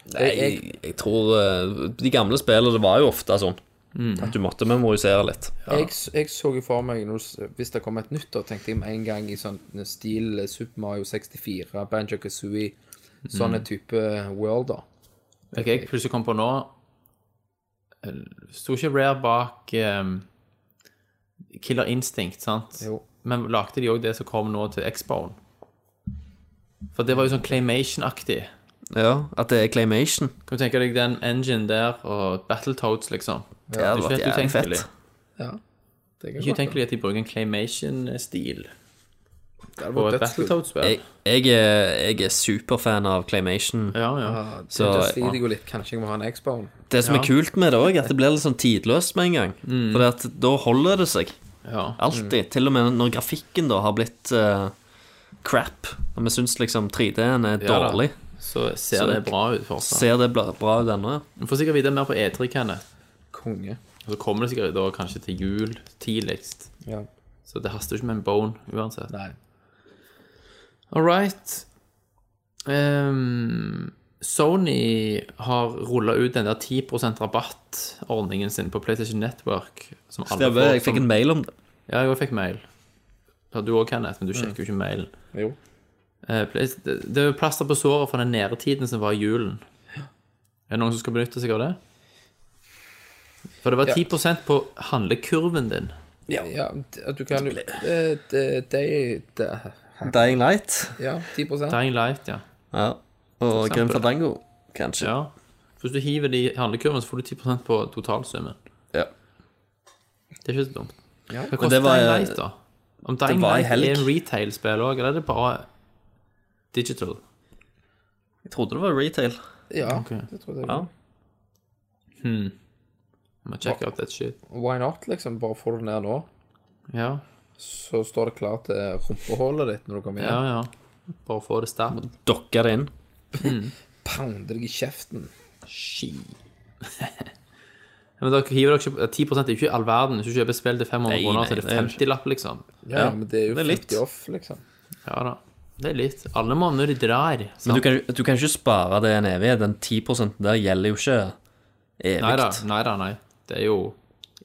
Speaker 7: Nei, jeg, jeg tror eh, De gamle spillene, det var jo ofte sånn
Speaker 5: Mm.
Speaker 7: at du måtte memorisere litt.
Speaker 6: Jeg, jeg så jo for meg, når, s- hvis det kom et nytt, da tenkte jeg med en gang i sånn
Speaker 5: Mhm.
Speaker 6: eh, stil Super Mario 64, Banjo Kazooie, sånne type worlder.
Speaker 5: Hva jeg plutselig kom på nå eh, Sto ikke Rare bak eh, Killer Instinct, sant?
Speaker 6: Jo.
Speaker 5: Men lagde de òg det som kom nå til X-Bone? For det var jo sånn Claymation-aktig.
Speaker 7: Ja, At det er Claymation.
Speaker 5: Kan du tenke deg den engine der og Battletoads, liksom?
Speaker 7: Det hadde
Speaker 5: Det er ikke
Speaker 7: vært
Speaker 5: helt
Speaker 7: jævlig
Speaker 5: utenkelig.
Speaker 7: fett.
Speaker 6: Det
Speaker 5: Ikke utenkelig at de bruker en Claymation-stil på
Speaker 6: vært
Speaker 5: et
Speaker 6: dødskult.
Speaker 5: Battletoads-spill.
Speaker 7: Jeg, jeg, er, jeg er superfan av Claymation.
Speaker 5: Ja, ja.
Speaker 7: Så
Speaker 6: Da sliter jeg jo litt. Kanskje jeg må ha en X-Bone.
Speaker 7: Det som er kult med det òg, er at det blir litt sånn tidløst med en gang.
Speaker 5: Mm.
Speaker 7: For at da holder det seg.
Speaker 5: ja.
Speaker 7: Alltid.
Speaker 5: Mm.
Speaker 7: Til og med når grafikken da har blitt eh, crap, og vi syns liksom 3D-en er
Speaker 5: Ja da. Altså.
Speaker 7: dårlig,
Speaker 5: Så ser
Speaker 7: Så-
Speaker 5: det bra ut fortsatt.
Speaker 7: ser det bla- bra ut ennå. ja.
Speaker 5: Vi får sikkert vite mer på E3, Kenneth.
Speaker 6: Konge.
Speaker 5: Og så kommer det sikkert da kanskje til jul tidligst.
Speaker 6: Ja.
Speaker 5: Så det haster jo ikke med en bone uansett.
Speaker 6: Nei.
Speaker 5: All right. Ehm, Sony har rulla ut den der 10 rabattordningen sin på PlayStation Network. Som alle
Speaker 7: Stemmer,
Speaker 5: får,
Speaker 7: jeg fikk
Speaker 5: som-
Speaker 7: en mail om det.
Speaker 5: Ja, jeg også fikk mail. Ja, Du òg, Kenneth, men du sjekker jo ikke mailen.
Speaker 6: Jo.
Speaker 5: Eh, Play- Det det er jo plaster på såret fra den nedetiden som var i julen. Er det noen som skal benytte seg av det? For det var
Speaker 6: Ja.
Speaker 5: 10 på handlekurven din.
Speaker 6: Ja, d- du kan jo eh, det- det- det-
Speaker 7: Dying Light.
Speaker 6: Ja, 10
Speaker 5: Dying Light, ja.
Speaker 7: Ja. Og Grim
Speaker 5: eksempel.
Speaker 7: Fandango, kanskje.
Speaker 5: ja. Hvis du hiver det i handlekurven, så får du 10 på totalsummen.
Speaker 7: Ja.
Speaker 5: Det er ikke så dumt. Hva
Speaker 7: Men det
Speaker 5: koster
Speaker 7: var- eh,
Speaker 5: Dying Light, da? Om Dying
Speaker 7: var i
Speaker 5: Light
Speaker 7: helg.
Speaker 5: er en retail-spill òg, eller er det bare digital?
Speaker 7: Jeg trodde det var retail.
Speaker 6: Ja, det tror jeg.
Speaker 7: Ja.
Speaker 5: Hmm. Jeg må sjekke out that shit.
Speaker 6: Why not, liksom? Bare få det ned nå.
Speaker 5: Ja,
Speaker 6: Så står det klart til rumpehullet ditt når du kommer hjem.
Speaker 5: ja. ja. Bare få det
Speaker 7: Mm.
Speaker 5: sterkt.
Speaker 7: Dokka det inn.
Speaker 6: Pounder deg i kjeften.
Speaker 5: Ski. Men dere hiver dere ikke 10 er jo ikke all verden. Hvis du kjøper spill til 500
Speaker 7: Nei,
Speaker 5: kroner,
Speaker 7: nei,
Speaker 5: så er
Speaker 7: det
Speaker 5: det
Speaker 7: er
Speaker 5: 50-lapp, liksom.
Speaker 6: Ja, men det er jo
Speaker 7: det er litt.
Speaker 6: 50 off, liksom.
Speaker 5: Ja da. Det er litt. Alle måneder de drar. sant?
Speaker 7: Men du kan, du kan ikke spare det en evighet. Den 10 der gjelder jo ikke evig.
Speaker 5: Nei da, nei da, nei. Det er jo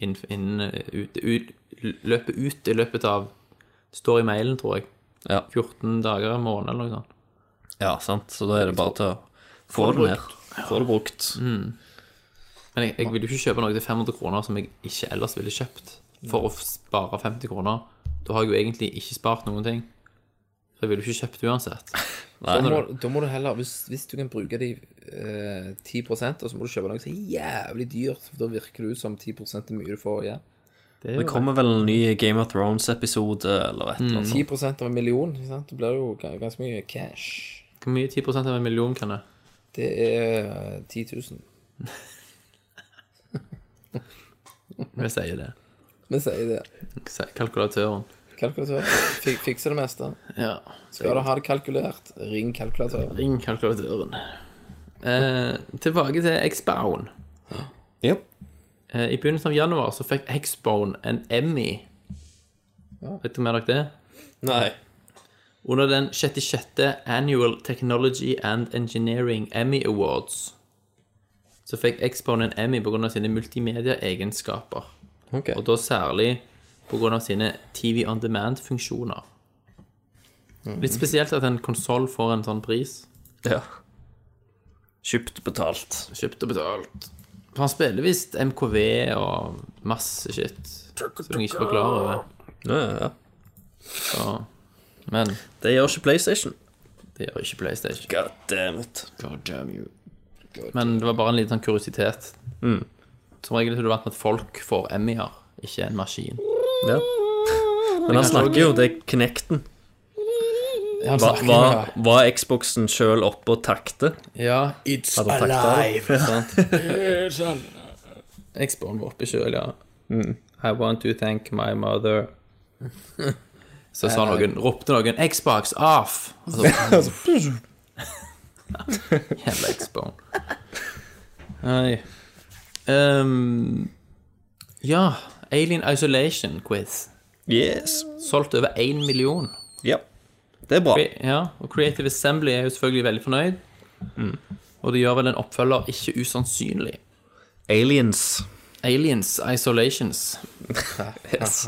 Speaker 5: inn- innen eh, ut, ut, Løpet ut i løpet av det Står i mailen, tror jeg.
Speaker 7: Ja.
Speaker 5: 14 dager, en måned eller noe sånt.
Speaker 7: ja, sant. Så da er det bare til å få det ned. Mm. Få det brukt.
Speaker 5: Men jeg, jeg vil jo ikke kjøpe noe til 500 kroner som jeg ikke ellers ville kjøpt, for å spare 50 kroner. Da har jeg jo egentlig ikke spart noen ting. Så jeg ville jo ikke kjøpt uansett.
Speaker 7: Nei.
Speaker 6: Da må, da må du heller, hvis, hvis du kan bruke de eh, 10 og så må du kjøpe noe så jævlig dyrt, for da virker det ut som 10 er mye du får igjen.
Speaker 5: Det er
Speaker 7: Det
Speaker 5: jo
Speaker 7: kommer vel en ny Game of Thrones-episode eller et eller annet.
Speaker 6: 10 av en million, ikke sant? det blir jo ga- ganske mye cash.
Speaker 5: Hvor mye 10 av en million kan det?
Speaker 6: Det er eh, 10 000.
Speaker 5: Jeg sier det.
Speaker 6: Vi sier det.
Speaker 5: Sier Kalkulatøren.
Speaker 6: Kalkulatør. Fik, fikser det meste.
Speaker 5: Ja.
Speaker 6: Skal du ha det kalkulert, ring kalkulatør.
Speaker 5: Ring kalkulatøren. Eh, tilbake til X-Bone.
Speaker 7: Ja.
Speaker 5: Eh, I begynnelsen av januar så fikk X-Bone en Emmy. Vet du mer dere det?
Speaker 7: Nei.
Speaker 5: Under den 66. Annual Technology and Engineering Emmy Awards så fikk Xbone en Emmy pga. sine multimedia-egenskaper.
Speaker 7: Ok.
Speaker 5: Og da særlig pga. sine TV on demand-funksjoner.
Speaker 7: Mm.
Speaker 5: Litt spesielt at en konsoll får en sånn pris.
Speaker 7: Ja. Kjøpt betalt.
Speaker 5: Kjøpt og betalt. For han spiller visst MKV og masse shit. Som jeg ikke forklarer over.
Speaker 7: Ja, ja, ja.
Speaker 5: Så- Men
Speaker 7: Det gjør ikke PlayStation.
Speaker 5: det gjør ikke PlayStation.
Speaker 7: God damn it.
Speaker 5: Men det var bare en liten sånn kuriositet.
Speaker 7: Mm.
Speaker 5: Som regel er du vant med at folk får Emmy-er, ikke en maskin.
Speaker 7: Ja. Men han snakker jo, det er Kinecten. Hva, hva, var Xboxen sjøl oppe og takte?
Speaker 5: Ja,
Speaker 7: It's alive! <laughs> sånn.
Speaker 5: jeg spør meg oppi sjøl, ja.
Speaker 7: Mm.
Speaker 5: I want to thank my
Speaker 7: <laughs>
Speaker 5: mother. Så sa noen, ropte noen 'Xbox off'! Og
Speaker 7: <laughs>
Speaker 5: så Jævla Xbone. Nei. Ehm, ja, Alien Isolation Quiz.
Speaker 7: Yes.
Speaker 5: Solgt over én million.
Speaker 7: Ja. Det er bra.
Speaker 5: Ja, og Creative Assembly er jo selvfølgelig veldig fornøyd.
Speaker 7: Mm.
Speaker 5: Og det gjør vel en oppfølger ikke usannsynlig.
Speaker 7: Aliens.
Speaker 5: Aliens Isolations.
Speaker 7: Ah, Yes.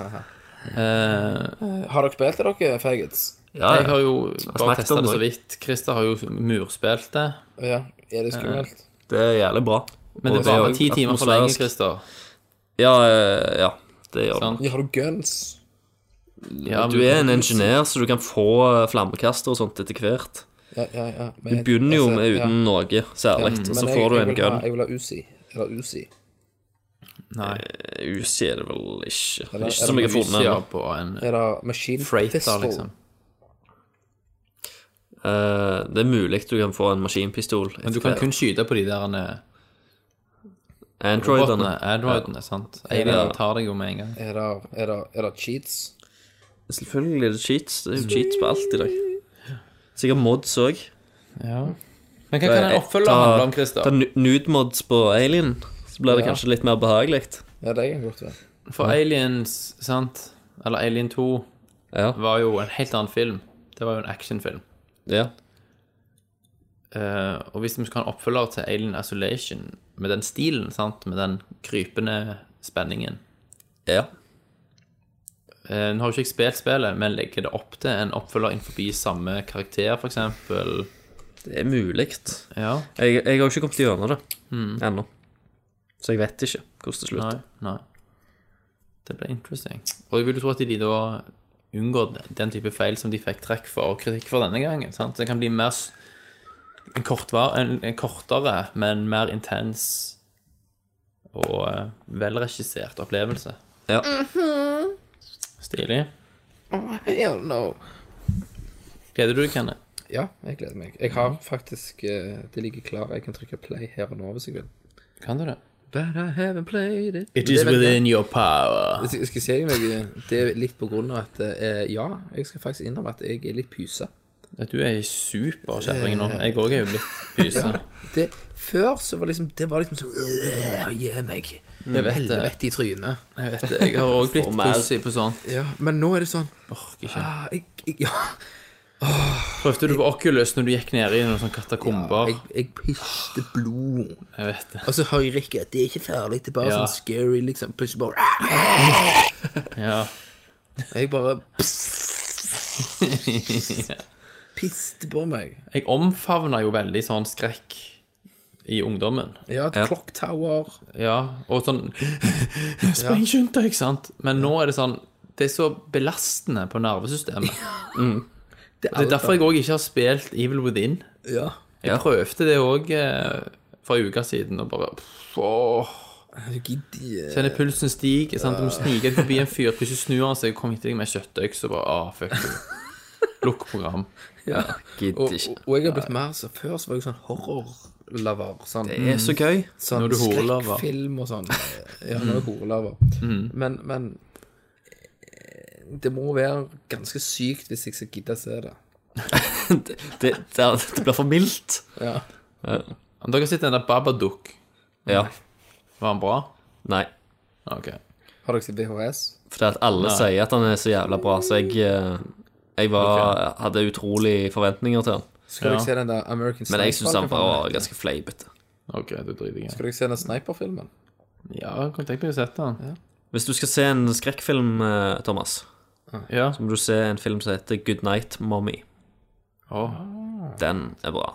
Speaker 6: Har dere spilt det, dere faggots?
Speaker 7: Ja,
Speaker 5: Jeg har
Speaker 7: ja.
Speaker 5: jo
Speaker 7: snakket
Speaker 5: bare testa
Speaker 7: om
Speaker 5: det
Speaker 7: det.
Speaker 5: så vidt. Christer har jo murspilt det.
Speaker 6: Ja, er det skummelt?
Speaker 7: Det er jævlig bra.
Speaker 5: Men det
Speaker 7: Og er
Speaker 5: varer
Speaker 7: jo
Speaker 5: ti timer for lenge,
Speaker 7: atmosfærisk.
Speaker 5: Christer.
Speaker 7: Ja, eh, ja. Det gjør det.
Speaker 5: Sant.
Speaker 6: Ja, har du guns?
Speaker 5: Ja,
Speaker 7: Du er en ingeniør, så du kan få eh, flammekaster og sånt etter hvert.
Speaker 6: Ja, ja, ja.
Speaker 7: Du begynner
Speaker 6: altså,
Speaker 7: jo med uten noe særlig, og Mm. så får du en gun.
Speaker 6: Mm. Jeg vil ha Uzi. Eller Uzi.
Speaker 5: Nei.
Speaker 7: Uzi Eh, er det vel ikke.
Speaker 6: Eller-
Speaker 7: Ikke som jeg har funnet
Speaker 5: Ja,
Speaker 7: ennå.
Speaker 5: på en
Speaker 6: Er det machine
Speaker 5: freighter,
Speaker 6: pistol?
Speaker 5: liksom.
Speaker 7: Eh, Det er mulig du kan få en maskinpistol.
Speaker 5: Men du kan kun skyte på de der eh,
Speaker 7: Androidene.
Speaker 5: robotene, androidene, sant?
Speaker 7: Ja.
Speaker 5: Alien tar deg jo med en gang.
Speaker 6: Er det, er, det, er det cheats?
Speaker 7: Selvfølgelig er det cheats. Det er jo cheats på alt i dag. Sikkert mods òg.
Speaker 5: Men hva kan en oppfølger handle om, Christer?
Speaker 7: Ta nu- nude mods på Alien, så blir det
Speaker 6: Ja.
Speaker 7: kanskje litt mer behagelig.
Speaker 6: Ja, det er jeg godt ved.
Speaker 5: For Aliens, sant? Eller Alien 2
Speaker 7: Ja.
Speaker 5: var jo en helt annen film. Det var jo en actionfilm.
Speaker 7: ja.
Speaker 5: Eh, og hvis vi skal ha en oppfølger til Alien Isolation med den stilen, sant? med den krypende spenningen
Speaker 7: ja.
Speaker 5: Eh, Nå har jo ikke jeg spilt spillet, men legger det opp til en oppfølger innenfor samme karakter, f.eks.
Speaker 7: Det er mulig.
Speaker 5: Ja.
Speaker 7: Jeg, jeg har jo ikke kommet gjennom det ennå. Så jeg vet ikke hvordan det slutter.
Speaker 5: Nei. nei. Det blir interesting. Og jeg vil jo tro at de da unngår den type feil som de fikk trekk for og kritikk for denne gangen. Sant? Det kan bli mer s- en, kortvar, en, en kortere, men mer intens og eh, velregissert opplevelse. Mm-hmm.
Speaker 7: Ja.
Speaker 5: Stilig.
Speaker 6: Hell no.
Speaker 5: Gleder du deg, Kenneth?
Speaker 6: Ja, jeg gleder meg. Jeg har faktisk eh, Det ligger klar. Jeg kan trykke play her og nå hvis jeg vil.
Speaker 5: Kan du det?
Speaker 6: But I haven't played it.
Speaker 5: It is within your power.
Speaker 6: Skal skal jeg si deg noe? Det er litt på grunn av at eh, Ja, jeg skal faktisk innrømme at jeg er litt pyse.
Speaker 5: Du er ei superkjerring nå. Jeg òg er jo blitt pyse.
Speaker 6: Det, før så var liksom Det var liksom sånn «Øh, Gi meg
Speaker 5: Jeg vet det.
Speaker 6: rett i trynet.
Speaker 5: Jeg vet det. Jeg har òg blitt pussig på sånt.
Speaker 6: Ja, men nå er det sånn
Speaker 5: Orker ikke.
Speaker 6: ah, jeg, jeg, ja,
Speaker 5: Prøvde du på Oculus når du gikk ned i noen sånne katakomber?
Speaker 6: jeg, jeg pister blod.
Speaker 5: Jeg vet det.
Speaker 6: Og så hører jeg ikke at det er ikke farlig. Det er bare
Speaker 5: Ja.
Speaker 6: sånn scary, liksom. Plutselig bare ah!
Speaker 5: Ja.
Speaker 6: Jeg bare pister på meg.
Speaker 5: Jeg omfavna jo veldig sånn skrekk i ungdommen.
Speaker 6: Ja, et clock tower.
Speaker 5: Ja, og sånn <laughs> Spring, skynd deg, ikke sant? Men nå er det sånn Det er så belastende på nervesystemet.
Speaker 6: Det
Speaker 5: Det er derfor jeg òg ikke har spilt Evil Within.
Speaker 6: Ja.
Speaker 5: Jeg prøvde det òg for en uke siden, og bare pff, åh,
Speaker 6: Jeg gidder
Speaker 5: Kjenner pulsen stige. sant? Du må snike deg forbi en fyr, plutselig snur han seg og kommer etter deg med en kjøttøks og bare ah, fuck you. <laughs> Lukk program.
Speaker 6: Og,
Speaker 7: Gidder
Speaker 6: og,
Speaker 7: ikke.
Speaker 6: og jeg har blitt mer så Før så var jeg sånn horrorlover. Sånn,
Speaker 7: Det er så gøy.
Speaker 6: sånn
Speaker 5: Nå er du horrorlover. Mm.
Speaker 6: skrekkfilm og sånn. Ja, nå er jeg horrorlover. Men, men eh, det må være ganske sykt hvis jeg skal gidde å se det.
Speaker 7: Det, det, det, er- det blir for mildt.
Speaker 6: Ja.
Speaker 5: Om Dere har sett den der Babadook.
Speaker 7: Ja.
Speaker 5: Var han bra?
Speaker 7: Nei.
Speaker 5: Ok.
Speaker 6: Har dere sett VHS?
Speaker 7: Fordi at alle sier at han er så jævla bra, så jeg, eh, jeg var, hadde utrolig forventninger til han.
Speaker 6: Skal
Speaker 5: Ja.
Speaker 6: dere se den der American Sniper?
Speaker 7: Men jeg syns han
Speaker 6: eller hva
Speaker 7: var
Speaker 6: den heter?
Speaker 7: ganske fleipete.
Speaker 5: Ok, det driter jeg i.
Speaker 6: Skal dere se den Sniper-filmen?
Speaker 5: Ja, jeg kunne tenkt meg å sette den.
Speaker 7: Hvis du skal se en skrekkfilm, eh, Thomas,
Speaker 5: Ja.
Speaker 7: så må du se en film som heter Good Night Mommy.
Speaker 5: Åh.
Speaker 7: Den er bra.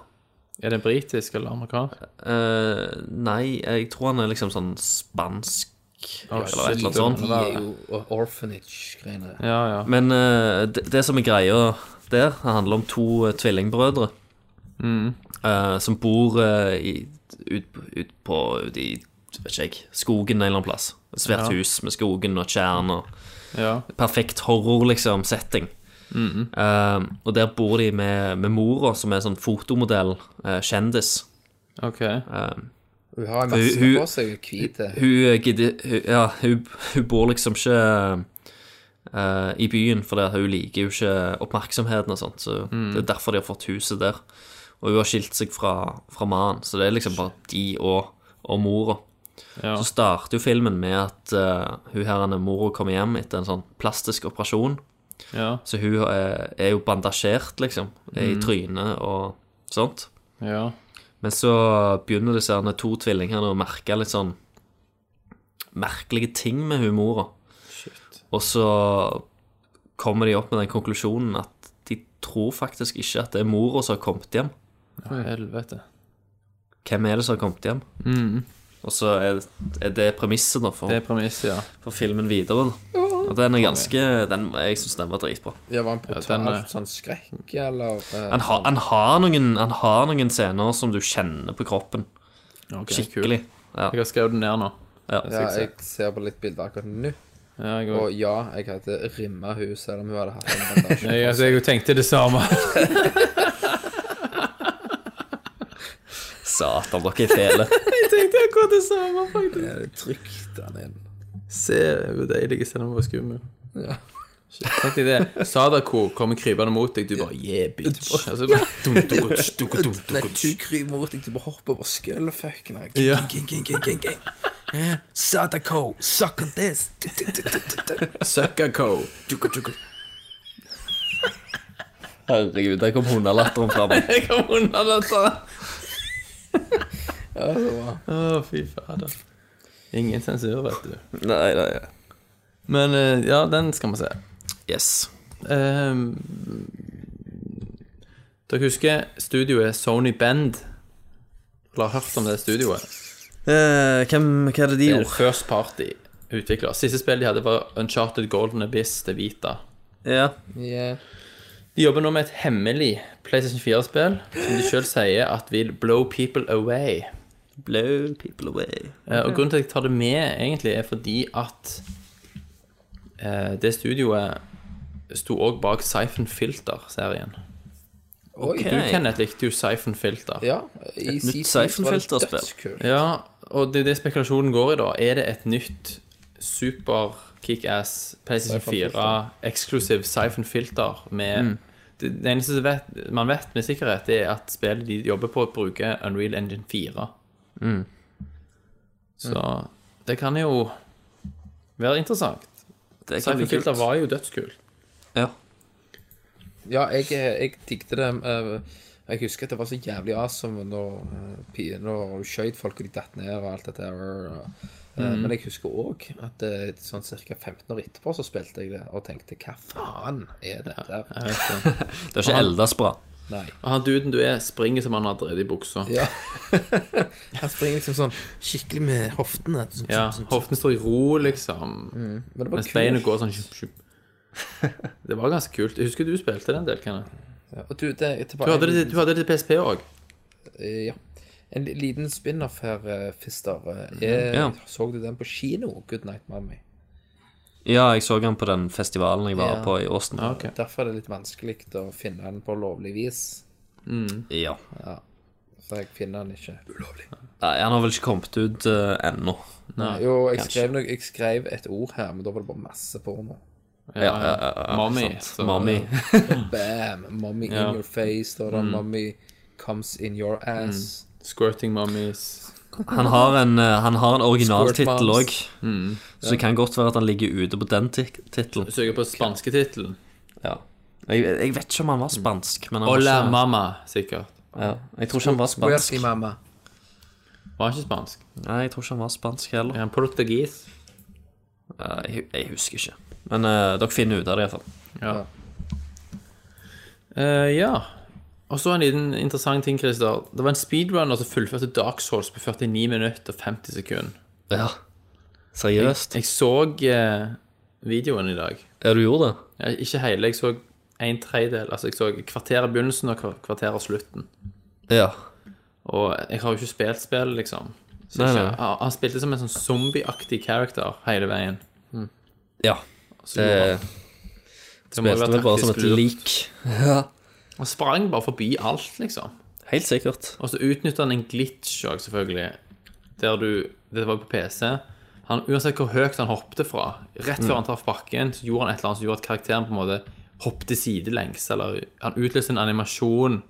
Speaker 5: Er den britisk eller amerikansk?
Speaker 7: Eh, nei, jeg tror han er liksom sånn spansk eller et
Speaker 5: shit,
Speaker 7: eller annet
Speaker 5: du-
Speaker 7: sånt.
Speaker 6: De er jo orphanage-greiene.
Speaker 5: Ja, ja.
Speaker 7: Men eh, det, det som er greia der, det handler om to eh, tvillingbrødre eh, som bor eh, i, ut, ut på ut i, vet ikke jeg, skogen en eller annen plass. Et svært hus med skogen og tjern og
Speaker 5: ja.
Speaker 7: perfekt horror, liksom, setting. Eh, og der bor de med, med mora, som er sånn fotomodell, eh, kjendis.
Speaker 5: Ok.
Speaker 6: Hun har en
Speaker 7: Hun- hun-
Speaker 6: masse på seg, hun er hvit.
Speaker 7: Hun eh, gidder hun, Ja, hun, hun bor liksom ikke eh, i byen, for det, hun liker jo ikke oppmerksomheten og sånt. Så Det er derfor de har fått huset der. Og hun har skilt seg fra, fra mannen, så det er liksom bare de og, og mora.
Speaker 5: Ja.
Speaker 7: Så starter jo filmen med at eh, hun her, Anne, mora kommer hjem etter en sånn plastisk operasjon.
Speaker 5: Ja.
Speaker 7: Så hun er, er jo bandasjert, liksom, i trynet og sånt.
Speaker 5: Ja.
Speaker 7: Men så begynner disse her to tvillingene å merke litt sånn merkelige ting med hun mora. Og så kommer de opp med den konklusjonen at de tror faktisk ikke at det er mora som har kommet hjem.
Speaker 5: Helvete.
Speaker 7: Hvem er det som har kommet hjem? Og så er, er det premisset da for,
Speaker 5: Mm. Det er premisset, ja.
Speaker 7: for filmen videre. Da. Og den er ganske den, Jeg syns den var dritbra.
Speaker 6: Det var en brutal
Speaker 5: den er-
Speaker 6: sånn skrekk, eller eh,
Speaker 7: Han, har- han, har noen, han har noen scener som du kjenner på kroppen.
Speaker 5: Ok,
Speaker 7: Skikkelig.
Speaker 5: kul.
Speaker 7: Ja.
Speaker 5: Jeg har skrevet den ned nå.
Speaker 6: Ja, jeg ser på litt bilder akkurat nå.
Speaker 5: Ja, jeg
Speaker 6: Og
Speaker 5: òg.
Speaker 6: ja, jeg hadde rimma hun selv om hun hadde hatt en
Speaker 5: <laughs>
Speaker 6: bandasje.
Speaker 5: Jeg, altså, jeg tenkte det samme. <laughs>
Speaker 7: Satan, dere er fæle.
Speaker 5: jeg tenkte akkurat det samme, faktisk.
Speaker 6: Eh, Trykt den inn.
Speaker 5: Se hvor deilig selv om jeg var skummel. Ja. Tenk deg det. Sadako kommer krypende mot deg, du bare yeah, bitch. Altså, bare, dum, dum, dum, dum, dum, dum,
Speaker 6: Nei,
Speaker 5: dum.
Speaker 6: du kryper mot deg, du bare hopper over skølleføkken.
Speaker 5: Ja. <laughs>
Speaker 4: Eh, Sadako, suck on this.
Speaker 5: Suckako.
Speaker 7: Herregud, der kom hundelatteren fram.
Speaker 5: Jeg kom unna dette. Å, fy fader. Ingen sensur, vet du.
Speaker 7: <laughs> Nei, nei.
Speaker 5: Men eh, ja, den skal vi se.
Speaker 7: Yes.
Speaker 5: Ehm, dere husker studioet Sony Bend? Eller har hørt om det studioet?
Speaker 7: Eh, hvem, hva er det de
Speaker 5: Det er
Speaker 7: gjorde?
Speaker 5: First Party utvikler. Siste spill de hadde, var Uncharted Golden Abyss til Vita.
Speaker 7: Ja.
Speaker 6: Yeah.
Speaker 5: De jobber nå med et hemmelig PlayStation 4-spill som de sjøl sier at vil blow people away.
Speaker 7: Blow people away.
Speaker 5: Eh, Og grunnen til at jeg tar det med, egentlig, er fordi at eh, det studioet sto òg bak Siphon Filter-serien.
Speaker 6: Oi.
Speaker 5: Du, Kenneth, likte jo Siphon Filter.
Speaker 6: Ja, i
Speaker 7: nytt
Speaker 6: nytt
Speaker 7: Siphon-filterspill.
Speaker 5: Ja, og det er det spekulasjonen går i da. Er det et nytt super kickass PlayStation
Speaker 6: Siphon-filter.
Speaker 5: 4 eksklusiv siphon-filter med
Speaker 7: Mm.
Speaker 5: det, det eneste som vet, man vet med sikkerhet, det er at spillet de jobber på, bruker Unreal Engine 4.
Speaker 7: Mm.
Speaker 5: Så det kan jo være interessant.
Speaker 7: Det kan bli kult.
Speaker 5: Siphon-filter var jo dødskult.
Speaker 7: Ja.
Speaker 6: Ja, jeg, jeg digget det. eh, Jeg husker at det var så jævlig awesome når, eh, pi- når du skjøt folk og de datt ned og alt dette her. og, eh, Men jeg husker òg at eh, sånn ca. 15 år etterpå så spilte jeg det og tenkte hva faen er dette? her?
Speaker 7: Det er ikke eldes bra.
Speaker 6: <laughs> Nei.
Speaker 5: Og han duden du er, springer som han har drevet i buksa. Ja,
Speaker 6: Ja. <laughs> Han springer liksom sånn skikkelig med hoftene. Sånn, sånn, sånn.
Speaker 5: Hoften står i ro,
Speaker 7: Mm.
Speaker 5: liksom.
Speaker 6: Men det var
Speaker 5: Mens beinet
Speaker 6: kult.
Speaker 5: går sånn sjup, sjup.
Speaker 7: <laughs>
Speaker 5: Det var ganske kult. Jeg husker du spilte den del, Kenneth.
Speaker 6: Ja, Og du, det, det var
Speaker 5: Du hadde
Speaker 6: en-
Speaker 5: det, du hadde det til PSP òg.
Speaker 6: Eh, Ja. En li- liten spin-off her, eh, Fister. Eh, Jeg,
Speaker 7: Ja.
Speaker 6: Så du den på kino? Good Night Mommy.
Speaker 7: Ja, jeg så han på den festivalen jeg var
Speaker 6: Ja.
Speaker 7: på i Åsen.
Speaker 5: Ja, ok.
Speaker 6: Derfor er det litt vanskelig å finne den på lovlig vis.
Speaker 7: Ja.
Speaker 6: For jeg finner den ikke. Ulovlig.
Speaker 7: Nei, han har vel ikke kommet ut eh, ennå.
Speaker 6: Jo, jeg skrev, noe, jeg skrev et ord her, men da var det bare masse porno.
Speaker 7: Ja, ja, ja, ja, ja,
Speaker 5: Mommy,
Speaker 7: sant.
Speaker 5: Eh, så-
Speaker 7: Mommy.
Speaker 6: Bam! Mommy
Speaker 5: Ja.
Speaker 6: in your face. Da er det mommy comes in your ass.
Speaker 5: Squirting Mummies.
Speaker 7: Han har en, eh, han har en
Speaker 6: Squirt
Speaker 7: originaltittel
Speaker 6: moms.
Speaker 7: òg, så det kan godt være at han ligger ute på den ti- tittelen.
Speaker 5: Søker på spansketittelen.
Speaker 7: Ja. Jeg, jeg vet ikke om han var spansk, men han var
Speaker 5: Hola
Speaker 7: ikke-
Speaker 5: mama, sikkert.
Speaker 7: ja. Jeg tror ikke han var
Speaker 6: Where's
Speaker 7: spansk.
Speaker 6: the mama?
Speaker 5: Var han ikke spansk?
Speaker 7: Nei, jeg tror ikke han var spansk heller.
Speaker 5: Er han portugis?
Speaker 7: Eh, Jeg, jeg husker ikke. Men eh, dere finner ut av det iallfall.
Speaker 5: Ja. Eh, ja. Og så en liten interessant ting, Christer. Det var en speedrunner som fullførte Dark Souls på 49 minutter og 50 sekunder.
Speaker 7: Ja. Seriøst?
Speaker 5: Jeg så eh, videoen i dag.
Speaker 7: Ja, du gjorde det?
Speaker 5: Ja, Ikke hele, jeg så en tredjedel. Altså, jeg så kvarteret begynnelsen og kva- kvarteret slutten.
Speaker 7: Ja.
Speaker 5: Og jeg har jo ikke spilt spillet, liksom. Så
Speaker 7: Nei,
Speaker 5: ikke,
Speaker 7: nei.
Speaker 5: Han, han spilte som en sånn zombieaktig character hele veien.
Speaker 7: Ja.
Speaker 5: Så jo,
Speaker 7: Det
Speaker 5: det må jo
Speaker 7: spilte
Speaker 5: være
Speaker 7: vel bare som
Speaker 5: taktisk
Speaker 7: et
Speaker 5: lurt.
Speaker 7: lik.
Speaker 5: Han sprang bare forbi alt, liksom.
Speaker 7: Helt sikkert.
Speaker 5: Og så utnytta han en glitch òg, selvfølgelig. Der du Det var på PC. Han, uansett hvor høyt han hoppte fra, rett
Speaker 7: Mm.
Speaker 5: før han traff bakken, så gjorde han et eller annet som gjorde at karakteren på en måte hoppte sidelengs, eller han utløste en animasjon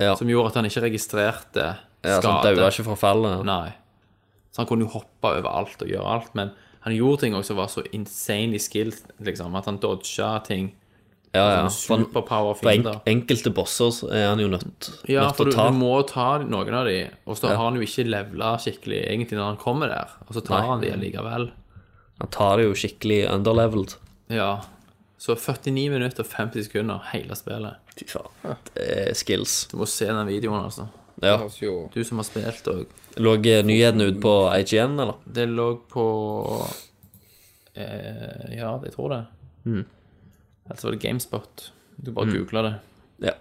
Speaker 7: Ja.
Speaker 5: som gjorde at han ikke registrerte
Speaker 7: Ja, så han daua ikke fra fallet.
Speaker 5: Nei. Så han kunne jo hoppe over alt og gjøre alt, men han gjorde ting også som var så insanely skilled, liksom, at han dodga ting.
Speaker 7: Ja, ja.
Speaker 5: Ja,
Speaker 7: For han-
Speaker 5: superpower
Speaker 7: På en,
Speaker 5: fiender.
Speaker 7: enkelte bosser så er han jo nødt,
Speaker 5: Ja,
Speaker 7: nødt
Speaker 5: for
Speaker 7: til
Speaker 5: du,
Speaker 7: å ta.
Speaker 5: du må ta noen av de, og så har han jo ikke levela skikkelig egentlig når han kommer der, og så tar
Speaker 7: Nei.
Speaker 5: han de likevel.
Speaker 7: Han tar det jo skikkelig underleveled.
Speaker 5: Ja. Så 49 minutter og 50 sekunder, hele spillet.
Speaker 7: Fy faen. Det er skills.
Speaker 5: Du må se den videoen, altså.
Speaker 7: Ja.
Speaker 6: Høres jo
Speaker 5: Du som har spilt og
Speaker 7: Lå eh, nyhetene ut på IGN, eller?
Speaker 5: Det lå på eh, Ja, jeg tror det.
Speaker 7: Mm.
Speaker 5: Ellers var det GameSpot. Du bare googlet googla det.
Speaker 7: Ja.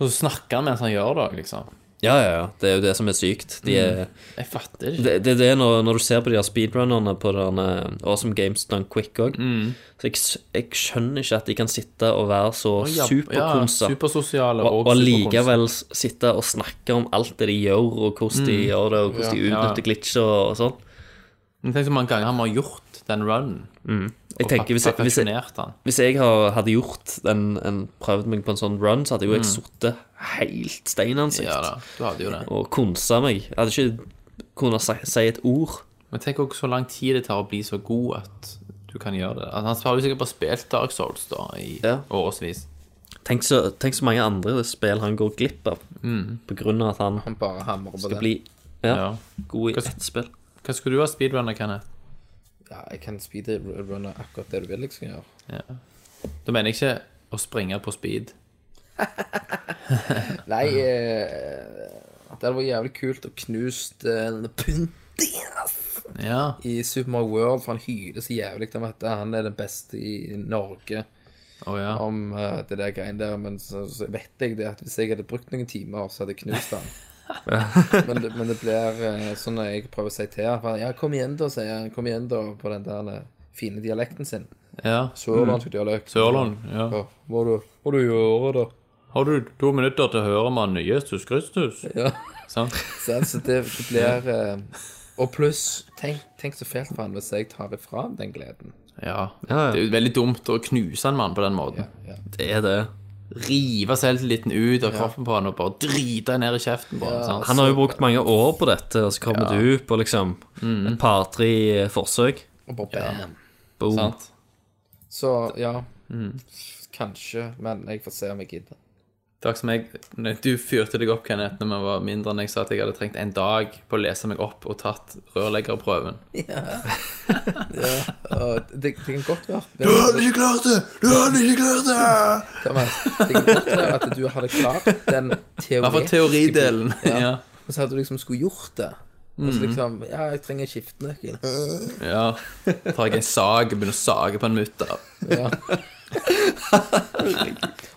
Speaker 5: Og så snakker han mens han gjør det, liksom.
Speaker 7: Ja, ja, ja. Det er jo det som er sykt. De er,
Speaker 5: Jeg fatter ikke.
Speaker 7: det, det er det når, når du ser på de her speedrunnerne på den eh, Awesome Games Done Quick òg.
Speaker 5: Mm.
Speaker 7: Så jeg, s- jeg skjønner ikke at de kan sitte og være så
Speaker 5: Ja,
Speaker 7: superkonsa.
Speaker 5: Ja, supersosiale
Speaker 7: og,
Speaker 5: og,
Speaker 7: og
Speaker 5: superkonsa.
Speaker 7: likevel s- sitte og snakke om alt det de gjør, og hvordan de gjør det, og hvordan de
Speaker 5: Mm. Ja.
Speaker 7: utnytter glitcher og, og sånn.
Speaker 5: Men Tenk så mange ganger han har gjort den runnen.
Speaker 7: Jeg tenker, hvis jeg, hvis jeg,
Speaker 5: perfeksjonert han.
Speaker 7: hvis jeg har- hadde gjort en, en prøvd meg på en sånn run, så hadde jo jeg sittet helt steinansikt
Speaker 5: Mm. Ja da, du hadde jo det.
Speaker 7: og konsa meg. Jeg hadde ikke kunnet si, si et ord.
Speaker 5: Men tenk også så lang tid det tar å bli så god at du kan gjøre det. Altså, han har jo sikkert bare spilt Dark Souls da i
Speaker 7: Ja.
Speaker 5: årevis.
Speaker 7: Tenk så, tenk så mange andre spill han går glipp av på grunn av at han
Speaker 6: Han bare hamrer på
Speaker 7: skal
Speaker 6: det.
Speaker 7: bli ja,
Speaker 5: Ja.
Speaker 7: god i ett spill.
Speaker 5: Hva skulle du ha speedrunner, Kenneth?
Speaker 6: Ja, jeg kan speedrunne akkurat det du vil jeg skal gjøre.
Speaker 5: Da mener jeg ikke å springe på speed.
Speaker 6: Nei, eh, det hadde vært jævlig kult å knust eh, Puntias
Speaker 5: Ja.
Speaker 6: i Super Mario World, for han hyler så jævlig om at han er den beste i Norge
Speaker 5: Å ja.
Speaker 6: om eh, det der greiene der, men så, så vet jeg det at hvis jeg hadde brukt noen timer, så hadde jeg
Speaker 5: <laughs>
Speaker 6: knust han. men, det- men det blir eh, sånn når jeg prøver å si til han, for han, ja, kom igjen da, sier han, kom igjen da, på den der eh, fine dialekten sin.
Speaker 5: ja.
Speaker 6: Sørlandsdialekt.
Speaker 5: Mm. Sørland, ja.
Speaker 6: Ja, hva du, hva du gjør da?
Speaker 5: Har du to minutter til å høre om han Jesus Kristus? Sånn.
Speaker 6: Ja.
Speaker 5: Sant?
Speaker 6: Sant, så altså, det, det blir eh, Og pluss, tenk, tenk så fælt for han hvis jeg tar ifra han den gleden.
Speaker 5: Ja. Det er jo veldig dumt å knuse en mann på den måten.
Speaker 6: Ja.
Speaker 7: Det er det.
Speaker 5: Rive selvtilliten ut av kroppen på han og bare drite ned i kjeften på han. sant?
Speaker 7: Han har jo brukt mange år på dette, og så kommer du på liksom et par-tre forsøk.
Speaker 6: Og bare bam.
Speaker 7: Boom.
Speaker 5: Sant?
Speaker 6: Så ja,
Speaker 5: Mm.
Speaker 6: kanskje, men jeg får se om jeg gidder.
Speaker 5: Takk som jeg, når du fyrte deg opp, Kenneth, når vi var mindre enn jeg sa at jeg hadde trengt en dag på å lese meg opp og tatt rørleggerprøven.
Speaker 6: Og det, det kan godt være Du hadde ikke klart det! Du hadde ikke klart det! Det kan godt være at du hadde klart den
Speaker 5: I hvert fall teoridelen. <laughs> ja.
Speaker 6: Og så hadde du liksom skulle gjort det. Og så liksom Ja, jeg trenger skiftenøkkel.
Speaker 5: ja. Tar jeg en sag og begynner å sage på en mutter.
Speaker 6: Ja.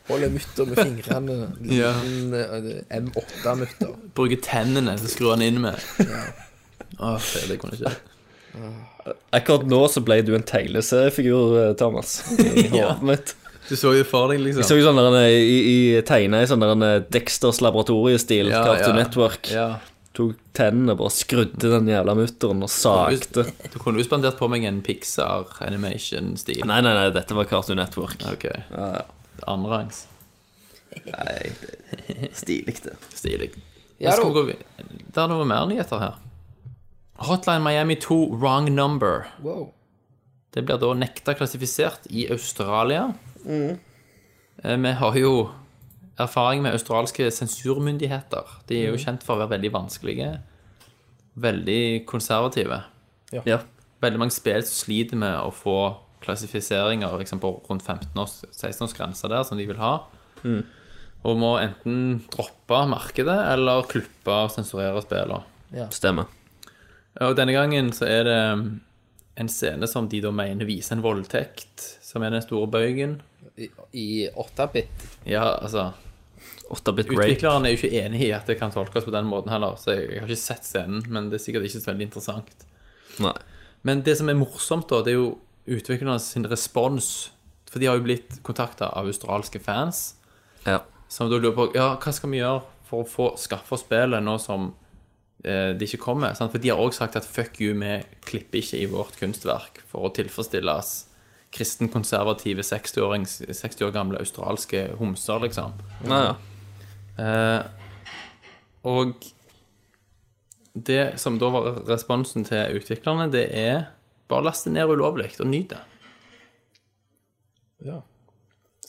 Speaker 6: Holder mutter med fingrene.
Speaker 5: Ja.
Speaker 6: Liten eh, M8-mutter.
Speaker 5: Bruker tennene til å skru han inn med. Åh, det det kunne jeg ikke.
Speaker 7: Akkurat nå så ble du en tegneseriefigur, eh, Thomas. <laughs> I hodet mitt.
Speaker 5: Du så jo for deg, liksom.
Speaker 7: Så jo sånn der en, eh, i, i tegna i sånn der en, eh, Dexters laboratoriestil,
Speaker 5: Ja,
Speaker 7: Cartoon
Speaker 5: ja.
Speaker 7: Network.
Speaker 5: Ja.
Speaker 7: Tok tennene, bare skrudde den jævla mutteren og sagte.
Speaker 5: Du kunne jo spandert på meg en Pixar animation-stil.
Speaker 7: Nei, nei, nei, dette var Cartoon Network.
Speaker 5: Ok. Ja, Andrerangs.
Speaker 7: Stilig, det.
Speaker 5: Stilig.
Speaker 6: Ja,
Speaker 5: Skal vi
Speaker 6: da.
Speaker 5: gå vid- Det er noe mer nyheter her. Hotline Miami 2 Wrong Number.
Speaker 6: Wow.
Speaker 5: Det blir da nekta klassifisert i Australia. Eh, Vi har jo erfaring med australske sensurmyndigheter. De er jo kjent for å være veldig vanskelige. Veldig konservative.
Speaker 7: Ja.
Speaker 5: Veldig mange spill som sliter med å få klassifiseringer liksom på rundt 15-16-årsgrensa der, som de vil ha. Og må enten droppe markedet eller klippe og sensurere spillene.
Speaker 7: Stemmer.
Speaker 5: Og denne gangen så er det um, en scene som de da mener viser en voldtekt, som er den store bøygen.
Speaker 6: I, i 8-bit.
Speaker 5: Ja, altså
Speaker 7: 8-bit rape.
Speaker 5: Utvikleren er jo ikke enig i at det kan tolkes på den måten heller, så jeg, jeg har ikke sett scenen, men det er sikkert ikke så veldig interessant.
Speaker 7: Nei.
Speaker 5: Men det som er morsomt, da, det er jo utviklerne sin respons. For de har jo blitt kontakta av australske fans,
Speaker 7: Ja.
Speaker 5: som da lurer på ja, hva skal vi gjøre for å få skaffe spillet nå som eh, det ikke kommer. Sant? For de har òg sagt at fuck you, vi klipper ikke i vårt kunstverk for å tilfredsstille oss kristenkonservative 60-årings- 60 år gamle australske homser, liksom.
Speaker 7: Nei, ja.
Speaker 5: Og det som da var responsen til utviklerne, det er bare last det ned ulovlig og nyt det.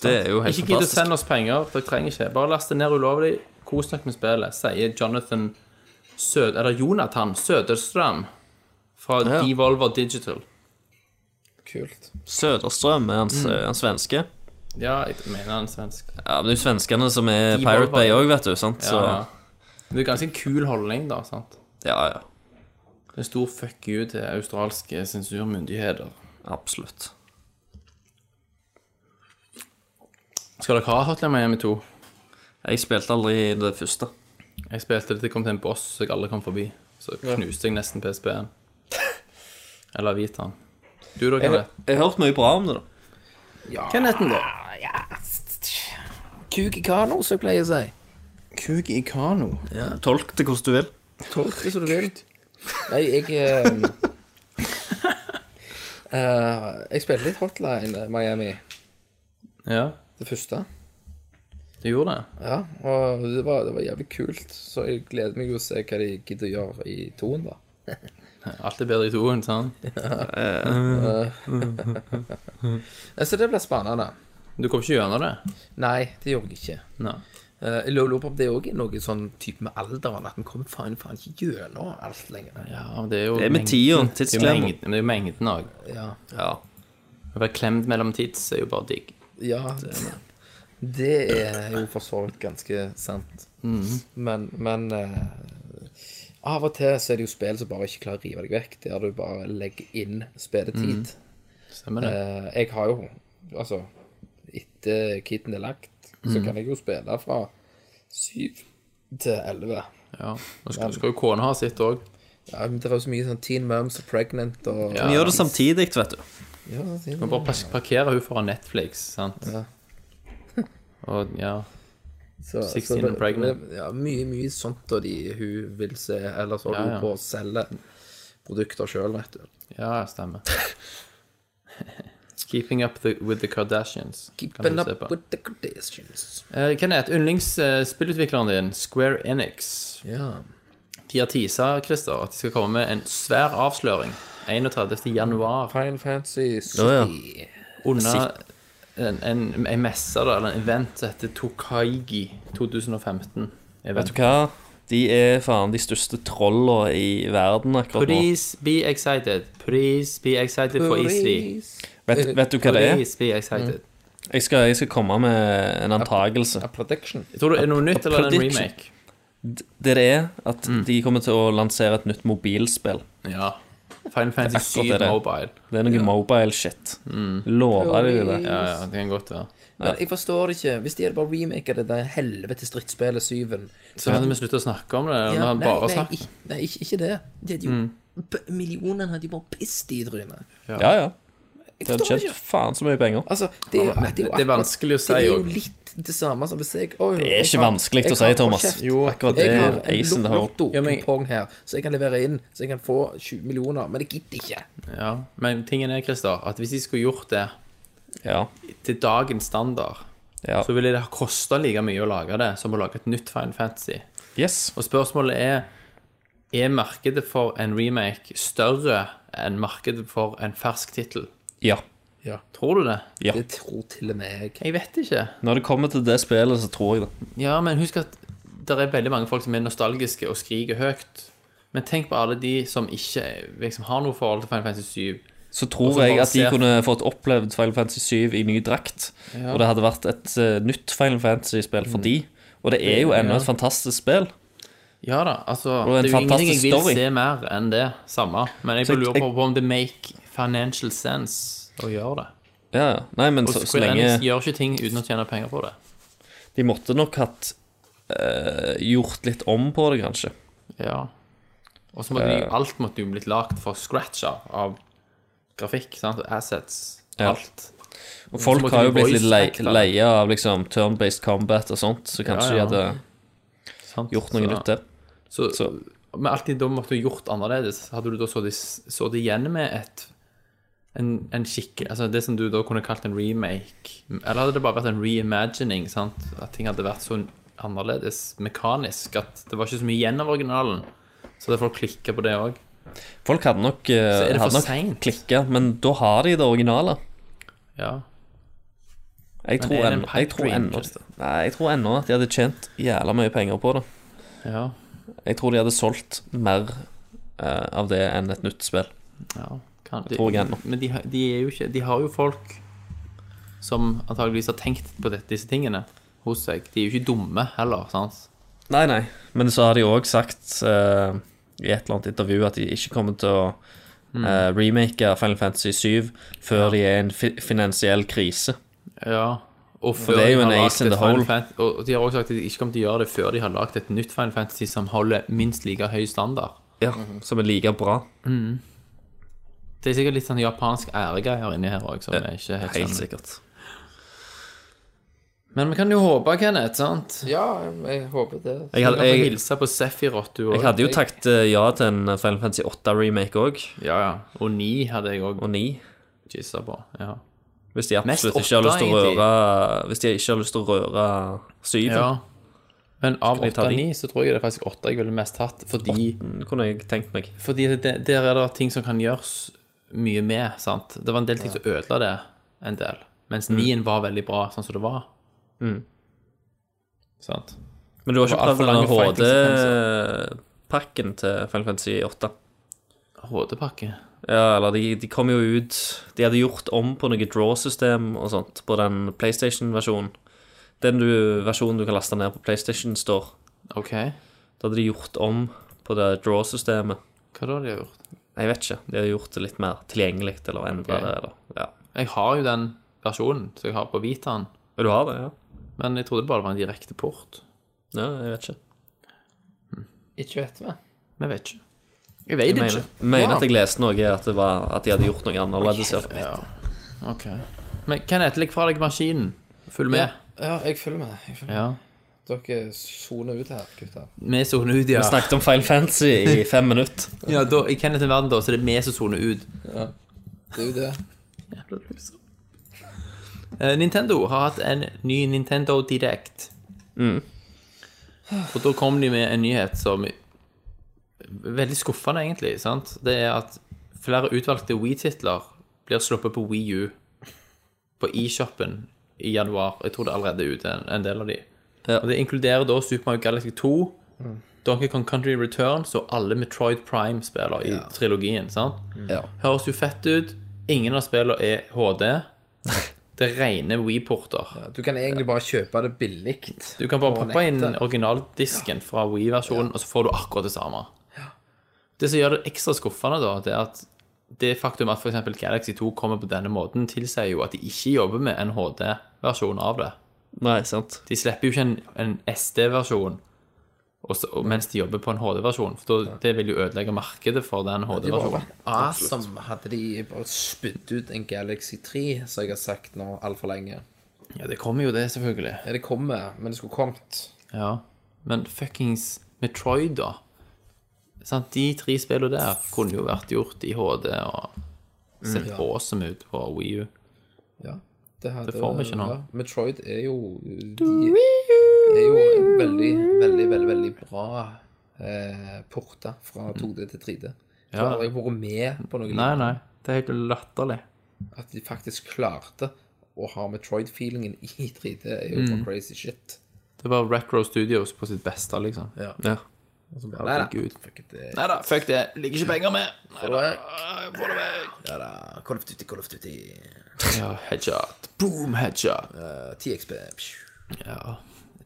Speaker 7: Det er jo helt
Speaker 5: Ikke gidd å
Speaker 7: fantastisk.
Speaker 5: sende oss penger, dere trenger ikke. Bare last det ned ulovlig, kos dere med spillet, sier Jonathan Sød... Eller Jonathan Søderstrøm fra
Speaker 7: Ja.
Speaker 5: Devolver Digital.
Speaker 6: Kult.
Speaker 5: Mm.
Speaker 7: Söderström er han, han svenske.
Speaker 5: Ja, jeg mener han er svensk.
Speaker 7: Ja, men det er jo svenskene som er
Speaker 5: De
Speaker 7: Pirate
Speaker 5: var bare-
Speaker 7: Bay òg, vet du. sant? Så,
Speaker 5: Ja, ja. Men Det er ganske en kul holdning, da. sant?
Speaker 7: ja, ja.
Speaker 5: Det er en stor fuck you til australske sensurmyndigheter.
Speaker 7: Absolutt.
Speaker 5: Skal dere ha Hotline Miami 2?
Speaker 7: Jeg spilte aldri det første.
Speaker 5: Jeg spilte det til det kom til en boss så jeg alle kom forbi. Så knuste jeg nesten PSP-en. Eller Vitaen. Du da,
Speaker 7: Jeg
Speaker 5: Kenneth?
Speaker 7: jeg har hørt mye bra om det, da.
Speaker 5: Kennethen, da?
Speaker 6: Kuk i kano, som jeg pleier å si.
Speaker 5: Kuk i kano.
Speaker 7: Ja, Tolk det hvordan du vil.
Speaker 6: Tolk det som du vil. Nei, jeg eh, <laughs> eh, Jeg spilte litt Hotline eh, Miami,
Speaker 5: Ja,
Speaker 6: det første.
Speaker 5: du gjorde det.
Speaker 6: Ja, og det var, det var jævlig kult. Så jeg gleder meg jo å se hva de gidder å gjøre i toen, da.
Speaker 5: Alt er bedre i toen, sant?
Speaker 6: Eh, Så det blir spennende.
Speaker 5: Du kom ikke gjennom det?
Speaker 6: Nei, det gjorde jeg ikke.
Speaker 5: Nei.
Speaker 6: Eh, Jeg lurer på om det òg er noe sånn type med alderen, at en kommer faen, faen ikke gjennom alt lenger.
Speaker 5: Ja, men det er jo
Speaker 7: Det er med
Speaker 5: mengden. Det
Speaker 7: tida.
Speaker 5: er jo
Speaker 7: Tidsklemmer.
Speaker 5: mengden- men det er jo mengden òg.
Speaker 6: Ja,
Speaker 7: Ja.
Speaker 5: Å være klemt mellom tids er jo bare digg.
Speaker 6: ja det, det er jo for så vidt ganske sant. Men, men eh, av og til så er det jo spill som bare ikke klarer å rive deg vekk, der du bare legger inn spilletid.
Speaker 5: Stemmer det?
Speaker 6: Eh, jeg har jo, altså, etter kitten er lagt, så kan jeg jo spille fra syv til elleve.
Speaker 5: Ja. Nå skal, skal jo kona ha sitt òg.
Speaker 6: Ja, men det er jo så mye sånn teen mums og pregnant og
Speaker 5: Ja.
Speaker 7: Vi gjør det samtidig, vet du.
Speaker 6: Ja, teen-
Speaker 5: Bare pas- parkerer hun foran Netflix, sant?
Speaker 6: Ja.
Speaker 5: <laughs> Og ja.
Speaker 6: så,
Speaker 5: 16
Speaker 6: det-
Speaker 5: and pregnant.
Speaker 6: Ja, mye, mye sånt og de hun vil se, eller så holder
Speaker 5: Ja, ja.
Speaker 6: hun på å selge produkter sjøl, vet du.
Speaker 5: Ja, stemmer. <laughs> Keeping up the, with the Kardashians. kan
Speaker 6: Keeping
Speaker 5: du se på.
Speaker 6: up with the conditions.
Speaker 5: Eh, Kenneth, yndlingsspillutvikleren din, Square Enix,
Speaker 6: Ja.
Speaker 5: de har teasa Christer, at de skal komme med en svær avsløring 31. januar
Speaker 6: Final Fantasy 70.
Speaker 7: Ja,
Speaker 5: under en, en, en messe da, eller en event som heter Tokaigi 2015.
Speaker 7: Vet
Speaker 5: Event.
Speaker 7: du hva? De er faen de største trolla i verden akkurat nå.
Speaker 5: Please be excited. Please be excited for E3.
Speaker 7: Vet, vet du hva det er? Mm.
Speaker 5: Please be excited.
Speaker 7: Jeg skal, jeg skal komme med en antagelse.
Speaker 6: A prediction.
Speaker 5: Tror du det er noe nytt, eller er det en
Speaker 7: prediction.
Speaker 5: remake?
Speaker 7: Det det er at
Speaker 5: Mm.
Speaker 7: de kommer til å lansere et nytt mobilspill.
Speaker 5: Ja. Final Fantasy
Speaker 7: akkurat
Speaker 5: 7
Speaker 7: det.
Speaker 5: Mobile.
Speaker 7: Det er noe mobile shit.
Speaker 5: Mm.
Speaker 7: Lover de det?
Speaker 5: Ja, ja, det kan godt være.
Speaker 6: Men jeg forstår det ikke. Hvis de hadde bare remaka det der helvete stridsspillet Syven
Speaker 5: Så hadde vi sluttet å snakke om det. og vi hadde bare Mm.
Speaker 6: nei,
Speaker 5: snakket.
Speaker 6: ikke, nei, ikke, ikke det. De hadde jo b- Millionene hadde jo bare pissed i trynet.
Speaker 7: Ja, ja.
Speaker 6: Jeg
Speaker 7: Det hadde
Speaker 6: forstår det
Speaker 7: tjent
Speaker 6: ikke.
Speaker 7: faen så mye penger.
Speaker 6: Altså, det, er- det, jo
Speaker 5: det er
Speaker 6: akkurat-
Speaker 5: vanskelig å si
Speaker 6: Det er jo
Speaker 5: også.
Speaker 6: litt det samme som hvis jeg Oi,
Speaker 7: Det er ikke vanskelig å si, Thomas. Jo, akkurat det
Speaker 6: jeg
Speaker 7: er
Speaker 6: har
Speaker 7: acen
Speaker 6: en lo-
Speaker 7: det har.
Speaker 5: Ja, men-
Speaker 6: lottokupong her, så jeg kan levere inn, så jeg kan få 20 millioner, men jeg gidder ikke.
Speaker 5: Ja. Men tingen er, Christer, at hvis de skulle gjort det
Speaker 7: Ja.
Speaker 5: til dagens standard,
Speaker 7: ja.
Speaker 5: så ville det ha kosta like mye å lage det som å lage et nytt Final Fantasy.
Speaker 7: Yes.
Speaker 5: Og spørsmålet er er markedet for en remake større enn markedet for en fersk tittel?
Speaker 7: Ja.
Speaker 5: Tror du det?
Speaker 7: Ja.
Speaker 6: Det tror til og med jeg.
Speaker 5: Jeg vet ikke.
Speaker 7: Når det kommer til det spillet, så tror jeg det.
Speaker 5: Ja, men husk at det er veldig mange folk som er nostalgiske og skriker høyt. Men tenk på alle de som ikke liksom, har noe forhold til Final Fantasy 7. Og
Speaker 7: Så
Speaker 5: så
Speaker 7: tror
Speaker 5: Altså, bare
Speaker 7: jeg at de
Speaker 5: ser-
Speaker 7: kunne fått opplevd Final Fantasy 7 i ny drakt. Og det hadde vært et eh, nytt Final Fantasy-spill
Speaker 5: Mm.
Speaker 7: for de. Og det er jo ennå et fantastisk spill.
Speaker 5: Ja da, altså
Speaker 7: det er en
Speaker 5: Det er jo ingenting jeg
Speaker 7: fantastisk
Speaker 5: vil
Speaker 7: story.
Speaker 5: se mer enn det samme. Men jeg
Speaker 7: Så
Speaker 5: bare lurer
Speaker 7: jeg-
Speaker 5: på, på om det make financial sense å gjøre det.
Speaker 7: Ja, ja. Nei, men
Speaker 5: Og
Speaker 7: så, så
Speaker 5: Square
Speaker 7: lenge
Speaker 5: Enix gjør ikke ting uten å tjene penger på det.
Speaker 7: De måtte nok hatt eh, gjort litt om på det, kanskje.
Speaker 5: Ja. Og så måtte de, alt måtte jo blitt lagd for scratch av, av grafikk, sant? assets,
Speaker 7: Ja.
Speaker 5: alt.
Speaker 7: Og folk
Speaker 5: måtte
Speaker 7: har
Speaker 5: de
Speaker 7: jo blitt litt lei,
Speaker 5: voice-acte det.
Speaker 7: leie av liksom turn-based combat og sånt, så kanskje
Speaker 5: Ja, ja.
Speaker 7: de hadde
Speaker 5: Sant?
Speaker 7: gjort noe
Speaker 5: Så-
Speaker 7: nytt der.
Speaker 5: Så,
Speaker 7: Så
Speaker 5: Men alltid da måtte du gjort annerledes. Hadde du da så det, så det igjen med et en, en skikke, altså det som du da kunne kalt en remake? Eller hadde det bare vært en reimagining? sant? At ting hadde vært så annerledes mekanisk at det var ikke så mye igjen av originalen. Så hadde folk klikka på det òg.
Speaker 7: folk hadde nok, uh,
Speaker 5: er det for
Speaker 7: hadde nok
Speaker 5: sent?
Speaker 7: klikka, men da har de det originale.
Speaker 5: Ja.
Speaker 7: Jeg
Speaker 5: Men
Speaker 7: tror
Speaker 5: er det en
Speaker 7: ennå- jeg
Speaker 5: pipe
Speaker 7: tror
Speaker 5: dream,
Speaker 7: ennå
Speaker 5: Christer?
Speaker 7: Nei, jeg tror ennå at de hadde tjent jævla mye penger på det.
Speaker 5: ja.
Speaker 7: Jeg tror de hadde solgt mer eh, av det enn et nytt spill.
Speaker 5: ja. Kan, de,
Speaker 7: tror jeg ennå.
Speaker 5: men de, har- de er jo ikke De har jo folk som antageligvis har tenkt på dette, disse tingene hos seg. De er jo ikke dumme heller, sant?
Speaker 7: Nei, nei. Men så har de òg sagt eh, i et eller annet intervju at de ikke kommer til å
Speaker 5: Mm.
Speaker 7: eh, remake Final Fantasy 7 før de er i en fi finansiell krise.
Speaker 5: Ja. Og før
Speaker 7: det er jo
Speaker 5: de har
Speaker 7: en
Speaker 5: lagt
Speaker 7: ace
Speaker 5: et
Speaker 7: in the hole.
Speaker 5: Final Fan- og de har også sagt at de ikke kommer til å gjøre det før de har lagd et nytt Final Fantasy som holder minst like høy standard.
Speaker 7: Ja, Som er like bra.
Speaker 5: Det er sikkert litt sånn japansk æregreier inni her òg, som jeg ikke helt
Speaker 7: Helt
Speaker 5: skjønner.
Speaker 7: sikkert.
Speaker 5: Men vi kan jo håpe, Kenneth, sant?
Speaker 6: Ja, jeg, jeg håper
Speaker 5: Du
Speaker 6: det.
Speaker 7: Jeg
Speaker 5: kan
Speaker 7: hadde,
Speaker 5: få
Speaker 7: jeg,
Speaker 5: hilse på Sefirot, du
Speaker 7: jeg
Speaker 5: òg.
Speaker 7: hadde jo takt eh, ja til en Final Fantasy 8-remake òg,
Speaker 5: Ja, ja. Og ni hadde jeg òg
Speaker 7: og 9.
Speaker 5: jizza på. Ja.
Speaker 7: Hvis de absolutt
Speaker 5: Mest
Speaker 7: ikke har lyst til
Speaker 5: åtte,
Speaker 7: å
Speaker 5: egentlig.
Speaker 7: røre Hvis de ikke har lyst til å røre 7,
Speaker 5: ja. Men av
Speaker 7: jeg ta
Speaker 5: åtte og
Speaker 7: de?
Speaker 5: ni så tror jeg det er faktisk åtte jeg ville mest hatt, fordi
Speaker 7: kunne jeg tenkt meg.
Speaker 5: Fordi det, der er det ting som kan gjøres mye med, sant? Det var en del ting som ødela det en del. Mens nien var veldig bra sånn som det var. Mm. Sant?
Speaker 7: Men du har ikke
Speaker 5: Det var
Speaker 7: prøvd den
Speaker 5: altfor lange
Speaker 7: HD-pakken til Final Fantasy 8?
Speaker 5: HD-pakke.
Speaker 7: Ja, eller de, de kom jo ut De hadde gjort om på noe draw-system og sånt på den PlayStation-versjonen. Den du, versjonen du kan laste ned på PlayStation Store.
Speaker 5: OK.
Speaker 7: Da hadde de gjort om på det draw-systemet.
Speaker 5: Hva da har de gjort?
Speaker 7: Jeg vet ikke. De har gjort det litt mer tilgjengelig eller endra
Speaker 5: Ok.
Speaker 7: det. Eller, ja.
Speaker 5: Jeg har jo den versjonen som jeg har på Vitaen,
Speaker 7: Ja, Du har det, ja?
Speaker 5: men jeg trodde bare det var en direkte port.
Speaker 7: Ja, jeg vet ikke.
Speaker 6: Ikke vet vi.
Speaker 5: Men jeg vet ikke. Jeg vet
Speaker 7: Jeg mener, mener at jeg leste noe at, det var, at de hadde gjort noe annerledes. ja.
Speaker 5: Ja. OK. Men Kenneth, legg fra deg maskinen. Følg med.
Speaker 6: Ja, jeg følger med. Jeg følger med.
Speaker 5: Ja.
Speaker 6: Dere soner ut her, gutter.
Speaker 5: Vi soner ut, ja.
Speaker 7: Vi snakket om Final Fantasy <laughs> i fem minutter.
Speaker 5: ja da, I Kenneth sin verden, da, så er det vi som soner ut.
Speaker 6: Det er jo det.
Speaker 5: Eh, Nintendo har hatt en ny Nintendo Direct. Og da kom de med en nyhet som Veldig skuffende, egentlig. sant? Det er at flere utvalgte Wii-titler blir sluppet på Wii U på eShopen i januar. Jeg tror det allerede er ute, en, en del av de.
Speaker 7: Ja.
Speaker 5: Og Det inkluderer da Super Mario Galaxy 2, Donkey Kong Country Returns og alle Metroid Prime-spiller i trilogien. sant?
Speaker 7: Ja.
Speaker 5: Høres jo fett ut. Ingen av spillene er HD. Det er rene Wii-porter.
Speaker 6: Du kan egentlig bare kjøpe det billig.
Speaker 5: Du kan bare
Speaker 6: På
Speaker 5: poppe inn
Speaker 6: nettet.
Speaker 5: originaldisken fra Wii-versjonen, og så får du akkurat det samme. Det som gjør det ekstra skuffende, da, det er at det faktum at f.eks. Galaxy 2 kommer på denne måten, tilsier jo at de ikke jobber med en HD-versjon av det.
Speaker 7: Nei, sant.
Speaker 5: De slipper jo ikke en, en SD-versjon og så- og mens de jobber på en HD-versjon. For da- det vil jo ødelegge markedet for den
Speaker 6: Det var
Speaker 5: HD-versjonen.
Speaker 6: awesome hadde de bare spydd ut en Galaxy 3, som jeg har sagt nå altfor lenge.
Speaker 5: Ja, det kommer jo det, selvfølgelig.
Speaker 6: Ja, det kommer, men det skulle kommet.
Speaker 5: Ja, men fuckings Metroid, da. Sant? De tre spillene der kunne jo vært gjort i HD og sett awesome ut på Wii U.
Speaker 6: Ja, det, hadde,
Speaker 5: Det får vi ikke nå.
Speaker 6: Ja, Metroid er jo De er jo veldig, veldig, veldig, veldig bra eh, porta fra 2D til 3D. Jeg har
Speaker 5: Mm. Ja.
Speaker 6: aldri vært med på noe
Speaker 5: Nei,
Speaker 6: lignende.
Speaker 5: nei, det er helt latterlig.
Speaker 6: At de faktisk klarte å ha Metroid-feelingen i 3D, er jo
Speaker 5: Mm.
Speaker 6: bare crazy shit.
Speaker 5: Det var Retro Studios på sitt beste, liksom.
Speaker 6: Ja.
Speaker 7: Ja.
Speaker 6: Og så bare, nei, da.
Speaker 5: Herregud.
Speaker 6: Fuck it, det-
Speaker 5: Nei da, fuck det. Ligger ikke penger med. Nei da,
Speaker 6: vekk.
Speaker 5: jeg får det vekk.
Speaker 6: Ja da. Call of Duty, Call of Duty.
Speaker 5: Ja, headshot. Boom, headshot.
Speaker 6: Eh, 10XP. pju.
Speaker 5: Ja,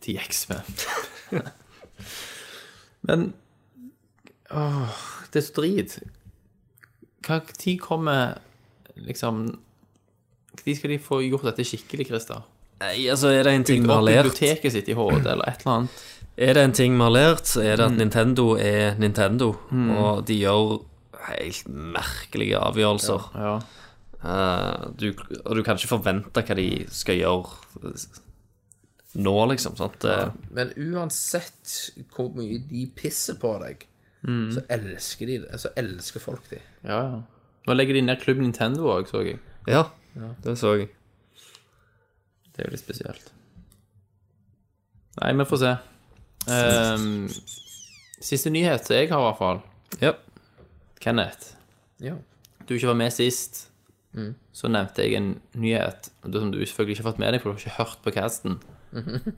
Speaker 5: 10x med. <laughs> Men åh, det er så drit. Hva tid kommer liksom Når skal de få gjort dette skikkelig, Christer?
Speaker 7: Nei, altså, er det en ting vi har
Speaker 5: Opp
Speaker 7: lært
Speaker 5: biblioteket sitt i HD, eller et eller annet?
Speaker 7: Er det en ting vi har lært, så er det at Nintendo er Nintendo, og de gjør helt merkelige avgjørelser.
Speaker 5: Ja.
Speaker 7: Eh, du, og du kan ikke forvente hva de skal gjøre nå, liksom. Sant? Det-
Speaker 6: Men uansett hvor mye de pisser på deg, så elsker de det. Så elsker folk de.
Speaker 5: ja, ja. Nå legger de ned Klubb Nintendo òg, så jeg.
Speaker 7: ja, det så jeg.
Speaker 5: Det er jo litt spesielt. Nei, vi får se. Ehm, siste nyhet som jeg har, i hvert fall.
Speaker 7: Ja.
Speaker 5: Kenneth.
Speaker 6: Ja.
Speaker 5: du ikke var med sist, så nevnte jeg en nyhet og det som du selvfølgelig ikke har fått med deg, for du har ikke hørt på casten.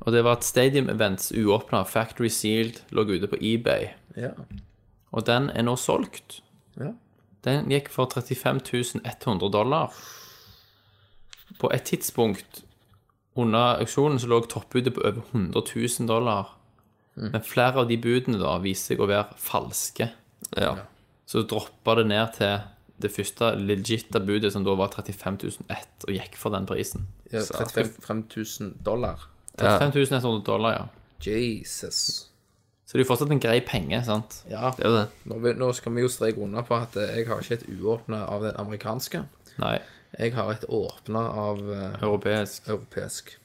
Speaker 5: Og det var at Stadium Events uåpna Factory Sealed lå ute på eBay,
Speaker 6: Ja.
Speaker 5: og den er nå solgt.
Speaker 6: Ja.
Speaker 5: Den gikk for 35 100 dollar. På et tidspunkt under auksjonen så lå toppbudet på over 100 000 dollar.
Speaker 7: Mm.
Speaker 5: Men flere av de budene da viste seg å være falske.
Speaker 7: Ja.
Speaker 5: Så droppa det ned til det første legitte budet, som da var 35.101, og gikk for den prisen.
Speaker 6: Ja, 35 000 dollar.
Speaker 5: 35.100 dollar, ja.
Speaker 6: Jesus.
Speaker 5: Så det er jo fortsatt en grei penge, sant?
Speaker 6: Ja,
Speaker 7: Det er jo det.
Speaker 6: nå, vil- nå skal vi jo streke unna på at eh, jeg har ikke et uåpna av den amerikanske.
Speaker 5: Nei,
Speaker 6: Jeg har et åpna av eh,
Speaker 5: europeisk.
Speaker 6: europeisk.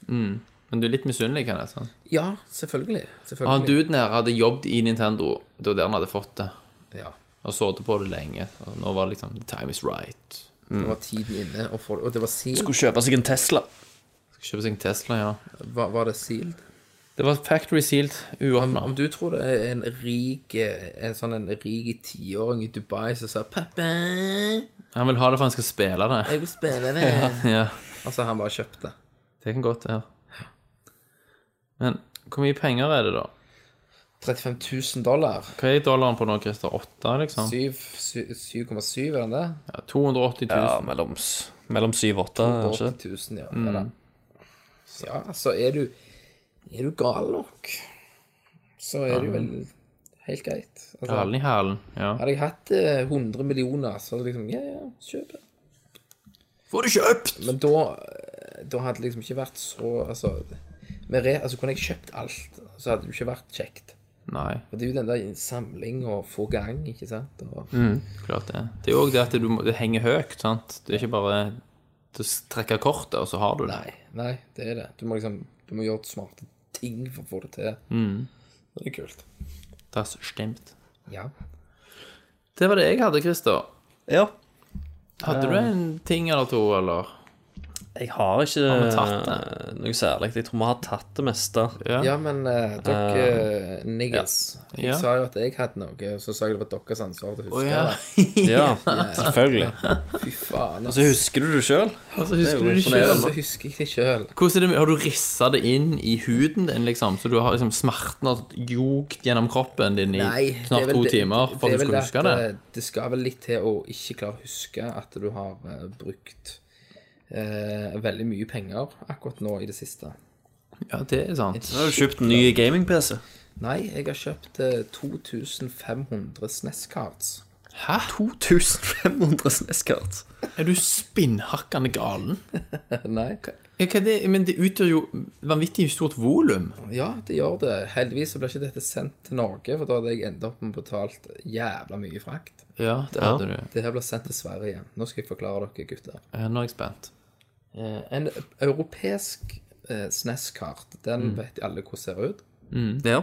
Speaker 5: Men du er litt misunnelig, kan jeg si.
Speaker 6: Ja, selvfølgelig.
Speaker 5: Og Han
Speaker 6: selvfølgelig.
Speaker 5: duden her hadde jobbet i Nintendo da der han hadde fått det,
Speaker 6: Ja.
Speaker 5: og sittet på det lenge. Og nå var det liksom The time is right.
Speaker 6: Det var tiden inne, og, for, og det var sealed.
Speaker 7: Skulle kjøpe seg en Tesla.
Speaker 5: Skal kjøpe seg en Tesla, ja.
Speaker 6: Var, var det sealed?
Speaker 5: Det var factory sealed, uåpna.
Speaker 6: Om du tror det er en rik eh, En sånn en rik tiåring i Dubai som sa 'Pappa, jeg
Speaker 5: Han vil ha det for han skal spille det. <laughs>
Speaker 6: vil spille det',
Speaker 5: Ja,
Speaker 6: altså han bare kjøpte.
Speaker 5: det kan godt være. Men hvor mye penger er det, da?
Speaker 6: 35 000 dollar.
Speaker 5: Hva er dollaren på nå, Christer? 8, liksom?
Speaker 6: Syv- sy- 7,7, er den det?
Speaker 5: Ja, 280 000.
Speaker 7: Ja, mellom, s- mellom 7 og 8, kanskje.
Speaker 6: 80 000, ja. ja
Speaker 5: Mm.
Speaker 6: da. Ja, så er du Er du gal nok, så er det jo vel helt greit. Altså,
Speaker 5: Perlen i hælen. Ja.
Speaker 6: hadde jeg hatt eh, 100 millioner, så hadde jeg liksom Ja, ja, kjøp det.
Speaker 5: Får du kjøpt!
Speaker 6: Men da, da hadde det liksom ikke vært så Altså, med re, altså kunne jeg kjøpt alt, så hadde det jo ikke vært kjekt.
Speaker 5: Nei,
Speaker 6: Og det er jo den der samling og få gang, ikke sant? Og,
Speaker 5: klart det. Det er jo òg det at du må, det henger høyt, sant. Det er ikke bare å trekke kortet, og så har du det.
Speaker 6: Nei, nei, det er det. Du må liksom Du må gjøre smarte ting for å få det til. Det er kult.
Speaker 5: Das stimmt.
Speaker 6: Ja.
Speaker 5: Det var det jeg hadde, Christer.
Speaker 7: Ja.
Speaker 5: Hadde du en ting eller to, eller?
Speaker 7: Jeg har ikke
Speaker 5: vi tatt det?
Speaker 7: eh, noe særlig. Jeg tror vi har tatt det meste.
Speaker 6: Ja, men eh, dere niggas
Speaker 5: Ja.
Speaker 6: Jeg sa jo at jeg hadde noe, så sa jeg det var deres ansvar til å huske
Speaker 5: ja.
Speaker 6: det.
Speaker 7: <laughs> Ja, selvfølgelig.
Speaker 6: Fy faen.
Speaker 7: Og så husker du det sjøl.
Speaker 5: Altså, husker du
Speaker 7: jo
Speaker 5: det
Speaker 6: Ja,
Speaker 5: selv?
Speaker 6: så husker jeg det sjøl.
Speaker 5: Hvordan er det, med- Har du rissa det inn i huden din, liksom? Så du har liksom smerten har jogt gjennom kroppen din i snart to timer for at du skal huske det?
Speaker 6: Det skal vel litt til å ikke klare å huske at du har eh, brukt eh, veldig mye penger akkurat nå i det siste.
Speaker 5: Ja, det er sant.
Speaker 7: Nå har du kjøpt en ny gaming-PC.
Speaker 6: Nei, jeg har kjøpt eh, 2500 SNES-cards.
Speaker 5: <laughs> Hæ?
Speaker 7: 2500 SNES-kart.
Speaker 5: Er du spinnhakkende galen?
Speaker 6: Nei.
Speaker 5: Ja, hva er det? Men det utgjør jo vanvittig stort volum.
Speaker 6: Ja, det gjør det. Heldigvis så ble ikke dette sendt til Norge, for da hadde jeg enda opp med betalt jævla mye frakt.
Speaker 5: Ja, det hadde du.
Speaker 6: Det her ble sendt til Sverige. Nå skal jeg forklare dere, gutter.
Speaker 5: Ja, Nå er jeg spent.
Speaker 6: Eh, En europeisk eh, SNES-kart, den vet alle hvordan ser ut.
Speaker 7: Mm. Ja.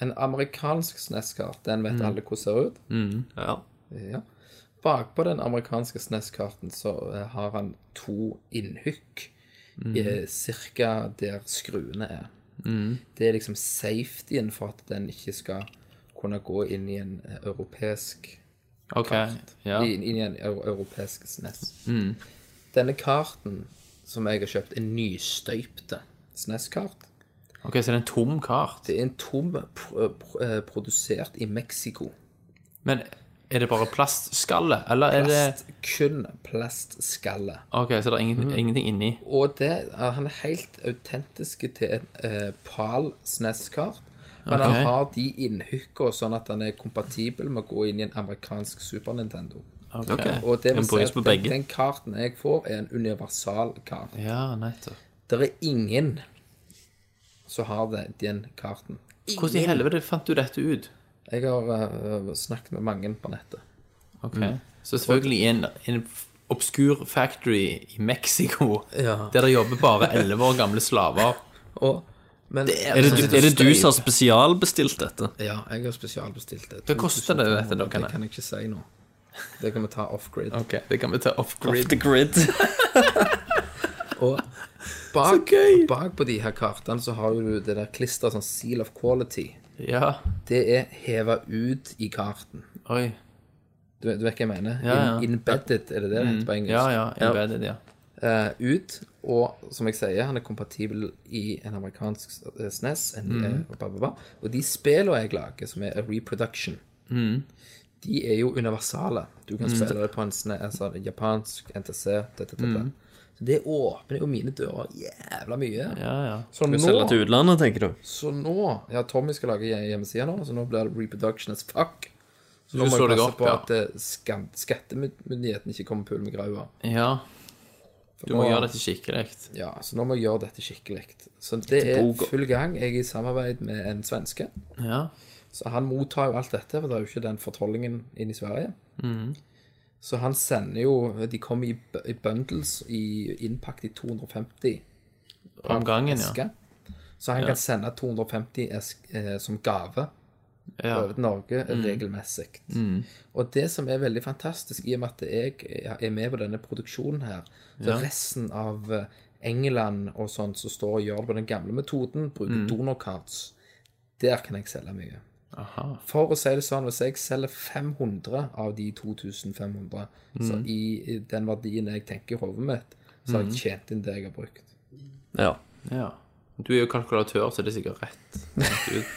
Speaker 6: En amerikansk SNES-kart, den vet alle hvordan ser ut.
Speaker 7: ja.
Speaker 6: Ja. Bakpå den amerikanske SNES-karten så eh, har han to innhykk, eh, cirka der skruene er. Det er liksom safetyen for at den ikke skal kunne gå inn i en eh, europeisk
Speaker 5: OK. Ja. Mm.
Speaker 6: inn, inn i en eu- europeisk SNES. Denne karten som jeg har kjøpt, er nystøypte SNES-kart.
Speaker 5: Ok, Så det er en tom kart.
Speaker 6: E Det er en tom pr pr eh, produsert i Mexico.
Speaker 5: Men er det bare plastskalle, eller er det
Speaker 6: Plast, kun plastskalle.
Speaker 5: OK, så det er ingen, ingenting inni?
Speaker 6: Og det, eh, han er helt autentisk til en eh, PAL SNES-kart. Men
Speaker 5: Ok.
Speaker 6: han har de innhykka sånn at han er kompatibel med å gå inn i en amerikansk Super Nintendo.
Speaker 5: Ok.
Speaker 6: Og det vil
Speaker 7: Den
Speaker 6: si
Speaker 7: brukes
Speaker 6: at
Speaker 7: på
Speaker 6: den,
Speaker 7: begge.
Speaker 6: den karten jeg får, er en universal kart.
Speaker 5: Ja, nettopp.
Speaker 6: Det er ingen som har det, den karten.
Speaker 5: Hvordan i helvete fant du dette ut?
Speaker 6: Jeg har eh, snakket med mange på nettet.
Speaker 5: Ok. Så selvfølgelig i en, en obskur factory i Mexico,
Speaker 6: Ja.
Speaker 5: der det jobber bare 11 år gamle slaver.
Speaker 6: Og, men
Speaker 7: Er det, du- er det du som har spesialbestilt dette?
Speaker 6: Ja, jeg har spesialbestilt det.
Speaker 5: Hva koster det, dette, da, kan
Speaker 6: Det
Speaker 5: jeg?
Speaker 6: kan jeg ikke si nå. Det kan vi ta off-grid.
Speaker 5: Ok, det kan vi ta off-grid.
Speaker 7: Off the grid.
Speaker 6: Og bak, bak på de her kartene så har du det der klisteret sånn seal of quality.
Speaker 5: Ja.
Speaker 6: Det er heva ut i karten.
Speaker 5: Oi.
Speaker 6: Du, du vet hva jeg mener?
Speaker 5: Ja, ja.
Speaker 6: In, embedded, er det det det heter på engelsk?
Speaker 5: Ja, ja. Embedded, ja.
Speaker 6: eh, ut, og som jeg sier, han er kompatibel i en amerikansk eh, SNES, en, eh, bla, bla, bla. og de spillene jeg lager, som er a reproduction, de E er jo universale. Du kan spille det på en, SNES, altså, en japansk NTC, dette, dette. Det åpner jo mine dører jævla mye.
Speaker 5: Ja, ja.
Speaker 6: Så nå,
Speaker 7: Skal selge til utlandet, tenker du?
Speaker 6: så nå Ja, Tommy skal lage hje- hjemmeside nå, så nå blir det reproduction as fuck. Så nå
Speaker 5: du
Speaker 6: må
Speaker 5: så
Speaker 6: jeg
Speaker 5: deg
Speaker 6: passe
Speaker 5: opp,
Speaker 6: på
Speaker 5: ja.
Speaker 6: at eh, skan- skattemyndighetene ikke kommer på hull med graua.
Speaker 5: ja. Du må
Speaker 6: Nå-
Speaker 5: gjøre dette skikkelig.
Speaker 6: Ja, så nå må jeg gjøre dette skikkelig. Så det er full gang. Jeg er i samarbeid med en svenske.
Speaker 5: Ja.
Speaker 6: Så han mottar jo alt dette, for det er jo ikke den fortollingen inn i Sverige.
Speaker 5: Mm.
Speaker 6: Så han sender jo De kommer i, bu- i bundles i, innpakt i 250
Speaker 5: Om gangen, ja.
Speaker 6: esker. Så han kan sende 250 esk, eh, som gave
Speaker 5: ja. Mm.
Speaker 6: over til Norge regelmessig. Og det som er veldig fantastisk, i og med at jeg er med på denne produksjonen her, så resten av eh, England og sånt som står og gjør det på den gamle metoden, bruker
Speaker 5: Mm.
Speaker 6: donorcards. Der kan jeg selge mye. For å si det sånn, hvis jeg selger 500 av de 2500, så
Speaker 5: Mm.
Speaker 6: i i den verdien jeg tenker i hodet mitt, så har jeg tjent inn det jeg har brukt. <laughs>
Speaker 7: Ja.
Speaker 5: ja. Du er jo kalkulatør, så det er sikkert rett.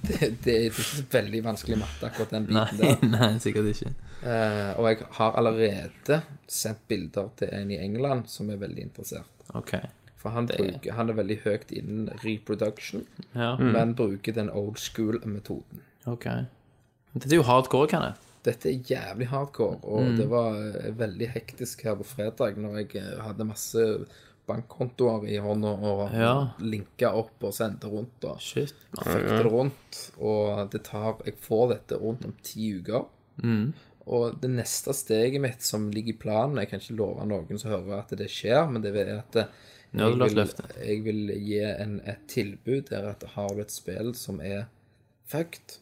Speaker 6: Det, det er ikke så veldig vanskelig matte, akkurat den biten der.
Speaker 5: <laughs> Nei, nei, sikkert ikke.
Speaker 6: Eh, og jeg har allerede sendt bilder til en i England som er veldig interessert.
Speaker 5: OK.
Speaker 6: For han, bruker, han er veldig høyt innen reproduction,
Speaker 5: Ja.
Speaker 6: men bruker den old school-metoden.
Speaker 5: ok. Dette er jo hardcore, kan jeg.
Speaker 6: Dette er jævlig hardcore, og
Speaker 5: Mm.
Speaker 6: det var eh, veldig hektisk her på fredag når jeg eh, hadde masse bankkontoer i hånda og
Speaker 5: Ja.
Speaker 6: linka opp og sendte rundt. Og
Speaker 5: Shit.
Speaker 6: fekte det rundt, og det tar, jeg får dette rundt om ti uker. Mm. Og det neste steget mitt som ligger i planen, jeg kan ikke love noen som hører at det skjer, men det er at eh, jeg vil,
Speaker 5: Nødløftet.
Speaker 6: jeg vil gi en, et tilbud der at har du et spill som er fucked,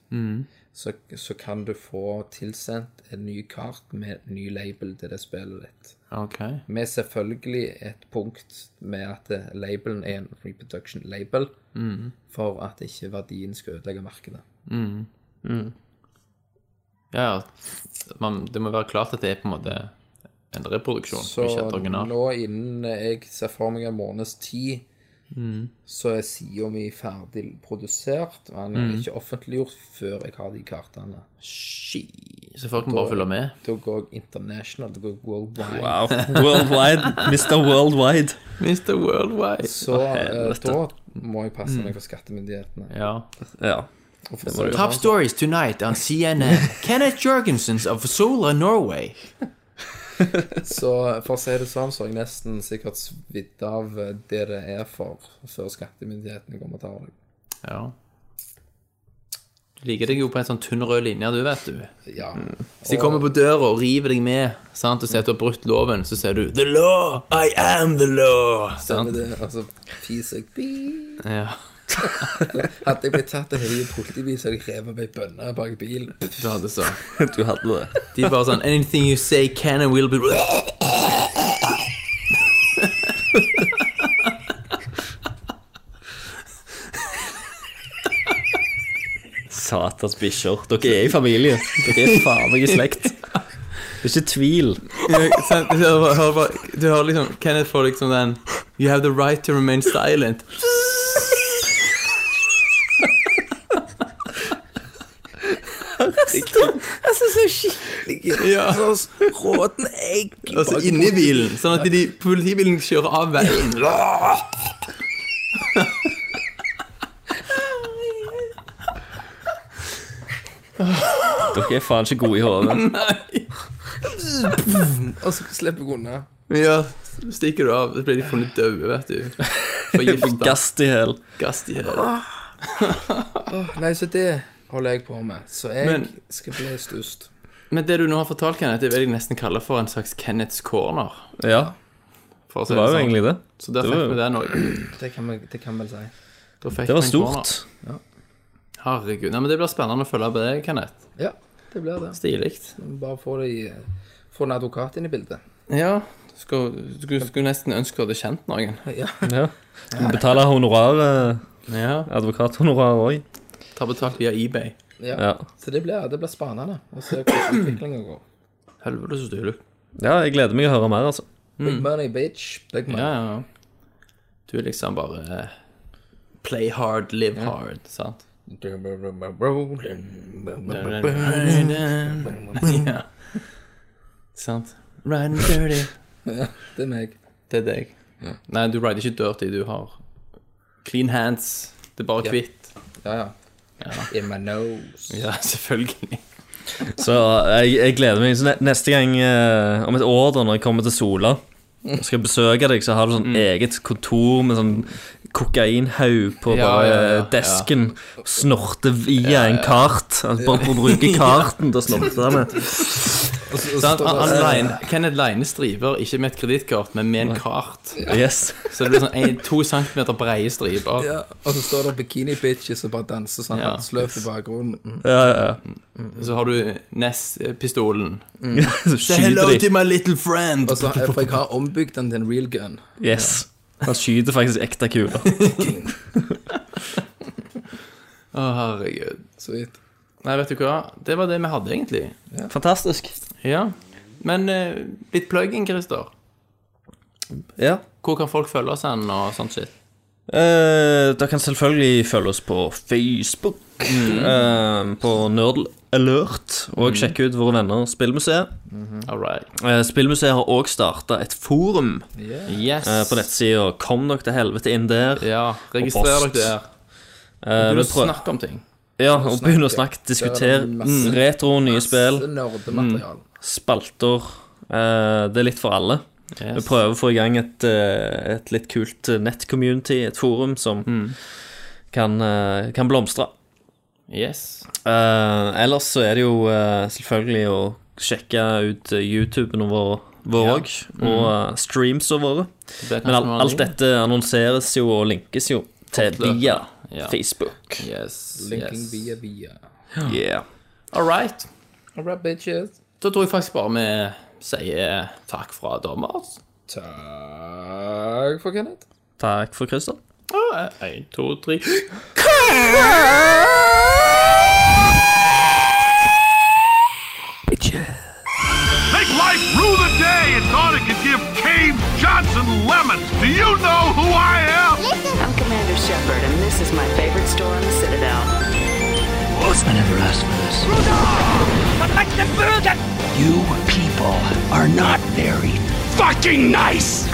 Speaker 6: så, så kan du få tilsendt en ny kart med ny label til det spillet ditt.
Speaker 5: OK.
Speaker 6: Med selvfølgelig et punkt med at eh, labelen er en reproduction label,
Speaker 5: Mm.
Speaker 6: for at ikke verdien skal ødelegge markedet.
Speaker 5: Ja, ja. Man, det må være klart at det er på en måte en reproduksjon,
Speaker 6: Så
Speaker 5: ikke et original.
Speaker 6: nå innen jeg ser for meg en måneds tid,
Speaker 5: Mm.
Speaker 6: så er sida mi ferdig produsert. Men
Speaker 5: Mm.
Speaker 6: den er ikke offentliggjort før jeg har de kartene.
Speaker 5: Shit. Så folk må bare følge med.
Speaker 6: Da går jeg international, da går jeg worldwide.
Speaker 7: Wow. Worldwide. Mr. Worldwide.
Speaker 5: Mr. Worldwide.
Speaker 6: Så eh, da må jeg passe meg for skattemyndighetene.
Speaker 5: Ja.
Speaker 7: Ja.
Speaker 6: Og for så-
Speaker 5: Top stories tonight on CNN. Kenneth Jørgensens of Sola Norway.
Speaker 6: Så for å si det sånn, så har jeg nesten sikkert svidd av eh, det det er for, før skattemyndighetene kommer og tar deg.
Speaker 5: Ja. Du liker deg jo på en sånn tynn rød linje, du, vet du.
Speaker 6: Ja.
Speaker 5: Hvis de kommer på døra og river deg med sant, og sier at du har brutt loven, så sier du The law! I am the law!
Speaker 6: Stemmer
Speaker 5: Sant?
Speaker 6: det. Altså, fis jeg Bii.
Speaker 5: Ja.
Speaker 6: Hadde jeg blitt tatt av høye politibil, så hadde jeg revet meg i bønner bak bilen.
Speaker 5: Du
Speaker 6: <laughs>
Speaker 5: hadde så.
Speaker 7: Du hadde det.
Speaker 5: De bare sånn Anything you say can and will be
Speaker 7: Satans bikkjer. Dere er i familie. Dere er faen meg i slekt. Det er ikke tvil.
Speaker 5: sant, du, hører, hører bare, du hører liksom Kenneth får liksom den You have the right to remain silent.
Speaker 6: Altså,
Speaker 5: Ja.
Speaker 6: Råten
Speaker 5: <laughs>
Speaker 6: egg
Speaker 5: Og så inni bilen, sånn at de politibilen kjører av veien.
Speaker 7: Dere er faen ikke gode i hodet.
Speaker 6: Og så slipper jeg unna.
Speaker 5: Ja, så stikker du av, så blir de funnet døde, vet du. Forgifta.
Speaker 7: Gass i hæl.
Speaker 5: Gass i hele.
Speaker 6: Nei, så det holder jeg på med. Så jeg
Speaker 5: Men-
Speaker 6: skal bli størst.
Speaker 5: Men det du nå har fortalt, Kenneth, det vil jeg nesten kalle for en slags Kenneths corner.
Speaker 7: Ja,
Speaker 5: For å si
Speaker 7: det var jo
Speaker 5: sånn.
Speaker 7: egentlig det.
Speaker 5: Så der
Speaker 7: det
Speaker 5: fikk
Speaker 7: var-
Speaker 5: vi den òg.
Speaker 6: Det kan man, det kan man si.
Speaker 7: Det var stort.
Speaker 5: Herregud. Nei, men det blir spennende å følge med deg, Kenneth.
Speaker 6: Ja, det blir det.
Speaker 5: Stilig.
Speaker 6: Bare få, det i, få en advokat inn i bildet.
Speaker 5: Ja. Skulle, skulle, skulle nesten ønske du hadde kjent noen.
Speaker 7: Ja. Du betaler honorar,
Speaker 5: Ja.
Speaker 7: eh, advokathonorar òg.
Speaker 5: Ta betalt via eBay.
Speaker 6: Ja.
Speaker 7: Ja.
Speaker 6: Så det blir, det blir spennende å se hvordan utviklingen går.
Speaker 5: Helvete, så stilig.
Speaker 7: ja, jeg gleder meg å høre mer, altså.
Speaker 6: Big money, bitch. Big money.
Speaker 5: Ja, ja, ja. Du er liksom bare eh, Play hard, live hard, sant? Ja. <laughs> Sant? Run dirty.
Speaker 6: Det er meg.
Speaker 5: Det er deg. Nei, du rider ikke dirty, du har clean hands. Det er bare kvitt.
Speaker 6: Ja, ja. In my nose.
Speaker 5: Ja, <laughs> selvfølgelig.
Speaker 7: Så eh, jeg, jeg gleder meg. Så ne- neste gang eh, om et år, da når jeg kommer til Sola og skal besøke deg, så har du
Speaker 5: Mm.
Speaker 7: sånn eget kontor med sånn kokainhaug på
Speaker 5: Ja,
Speaker 7: bare
Speaker 5: ja, ja,
Speaker 7: desken. Snorte via en kart. Altså, bare for å
Speaker 5: <laughs>
Speaker 7: bruke karten til å snorte med.
Speaker 5: Så han, han, han line, Kenneth Line striver, ikke med et kredittkort, men med en kart.
Speaker 7: Yes.
Speaker 5: Så det blir sånn en, to centimeter breie striper.
Speaker 6: Ja, og så står det bikini bitches og bare danser sånn
Speaker 5: Ja.
Speaker 6: sløvt i bakgrunnen. Mm.
Speaker 7: Ja, ja, ja.
Speaker 5: Så har du Ness-pistolen.
Speaker 7: <laughs> Så skyter de.
Speaker 5: my little friend!
Speaker 6: Og så, for jeg har ombygd den til en real gun.
Speaker 7: Yes. Han skyter faktisk ekte kuler.
Speaker 5: Å, herregud.
Speaker 6: Sweet.
Speaker 5: Nei, vet du hva? Det var det vi hadde, egentlig.
Speaker 7: Fantastisk.
Speaker 5: Ja. Men eh, litt plug-in, Christer.
Speaker 7: Ja.
Speaker 5: Hvor kan folk følge oss hen, og sånt shit?
Speaker 7: Eh, dere kan selvfølgelig følge oss på Facebook, eh, på Nerd Alert, og sjekke ut våre venner Spillmuseet.
Speaker 5: All right.
Speaker 7: Eh, Spillmuseet har òg starta et forum
Speaker 5: Yes.
Speaker 7: eh, på nettsida. Kom dere til helvete inn der.
Speaker 5: Ja, registrer
Speaker 7: Og post.
Speaker 5: dere der.
Speaker 7: Eh,
Speaker 5: Du
Speaker 7: vi
Speaker 5: vil
Speaker 7: prøv-
Speaker 5: snakke om ting.
Speaker 7: ja, og begynn å snakke, diskutere Mm.
Speaker 6: masse-
Speaker 7: retro, nye spill, Mm.
Speaker 6: Nerdemateriale.
Speaker 7: spalter. Eh, det er litt for alle. Vi
Speaker 5: Yes.
Speaker 7: prøver å få i gang et, eh, et litt kult eh, nett-community, et forum som kan, eh, kan blomstre.
Speaker 5: Yes.
Speaker 7: Eh, ellers så er det jo eh, selvfølgelig å sjekke ut eh, YouTuben vår vår òg, og eh, streamsa
Speaker 5: Mm.
Speaker 7: våre.
Speaker 5: Det er kanskje
Speaker 7: Men al
Speaker 5: noe
Speaker 7: alt
Speaker 5: annet.
Speaker 7: dette annonseres jo og linkes jo til
Speaker 5: Fortløpende.
Speaker 7: via
Speaker 5: Ja.
Speaker 7: Facebook.
Speaker 5: Yes.
Speaker 6: Linking
Speaker 5: yes.
Speaker 6: via via.
Speaker 7: Yeah.
Speaker 5: All right.
Speaker 6: Alright, bitches.
Speaker 5: Da tror jeg faktisk bare vi sier takk fra altså. dommer.
Speaker 6: Takk for Kenneth.
Speaker 7: Takk for Christer.
Speaker 5: Én, Eh, to, tre.
Speaker 2: Take life rue the day and thought it could give Cave Johnson lemons. Do you know who I am?
Speaker 3: I'm Commander Shepard, and this is my favorite store on the Citadel.
Speaker 4: I never asked for this. You people are not very fucking nice!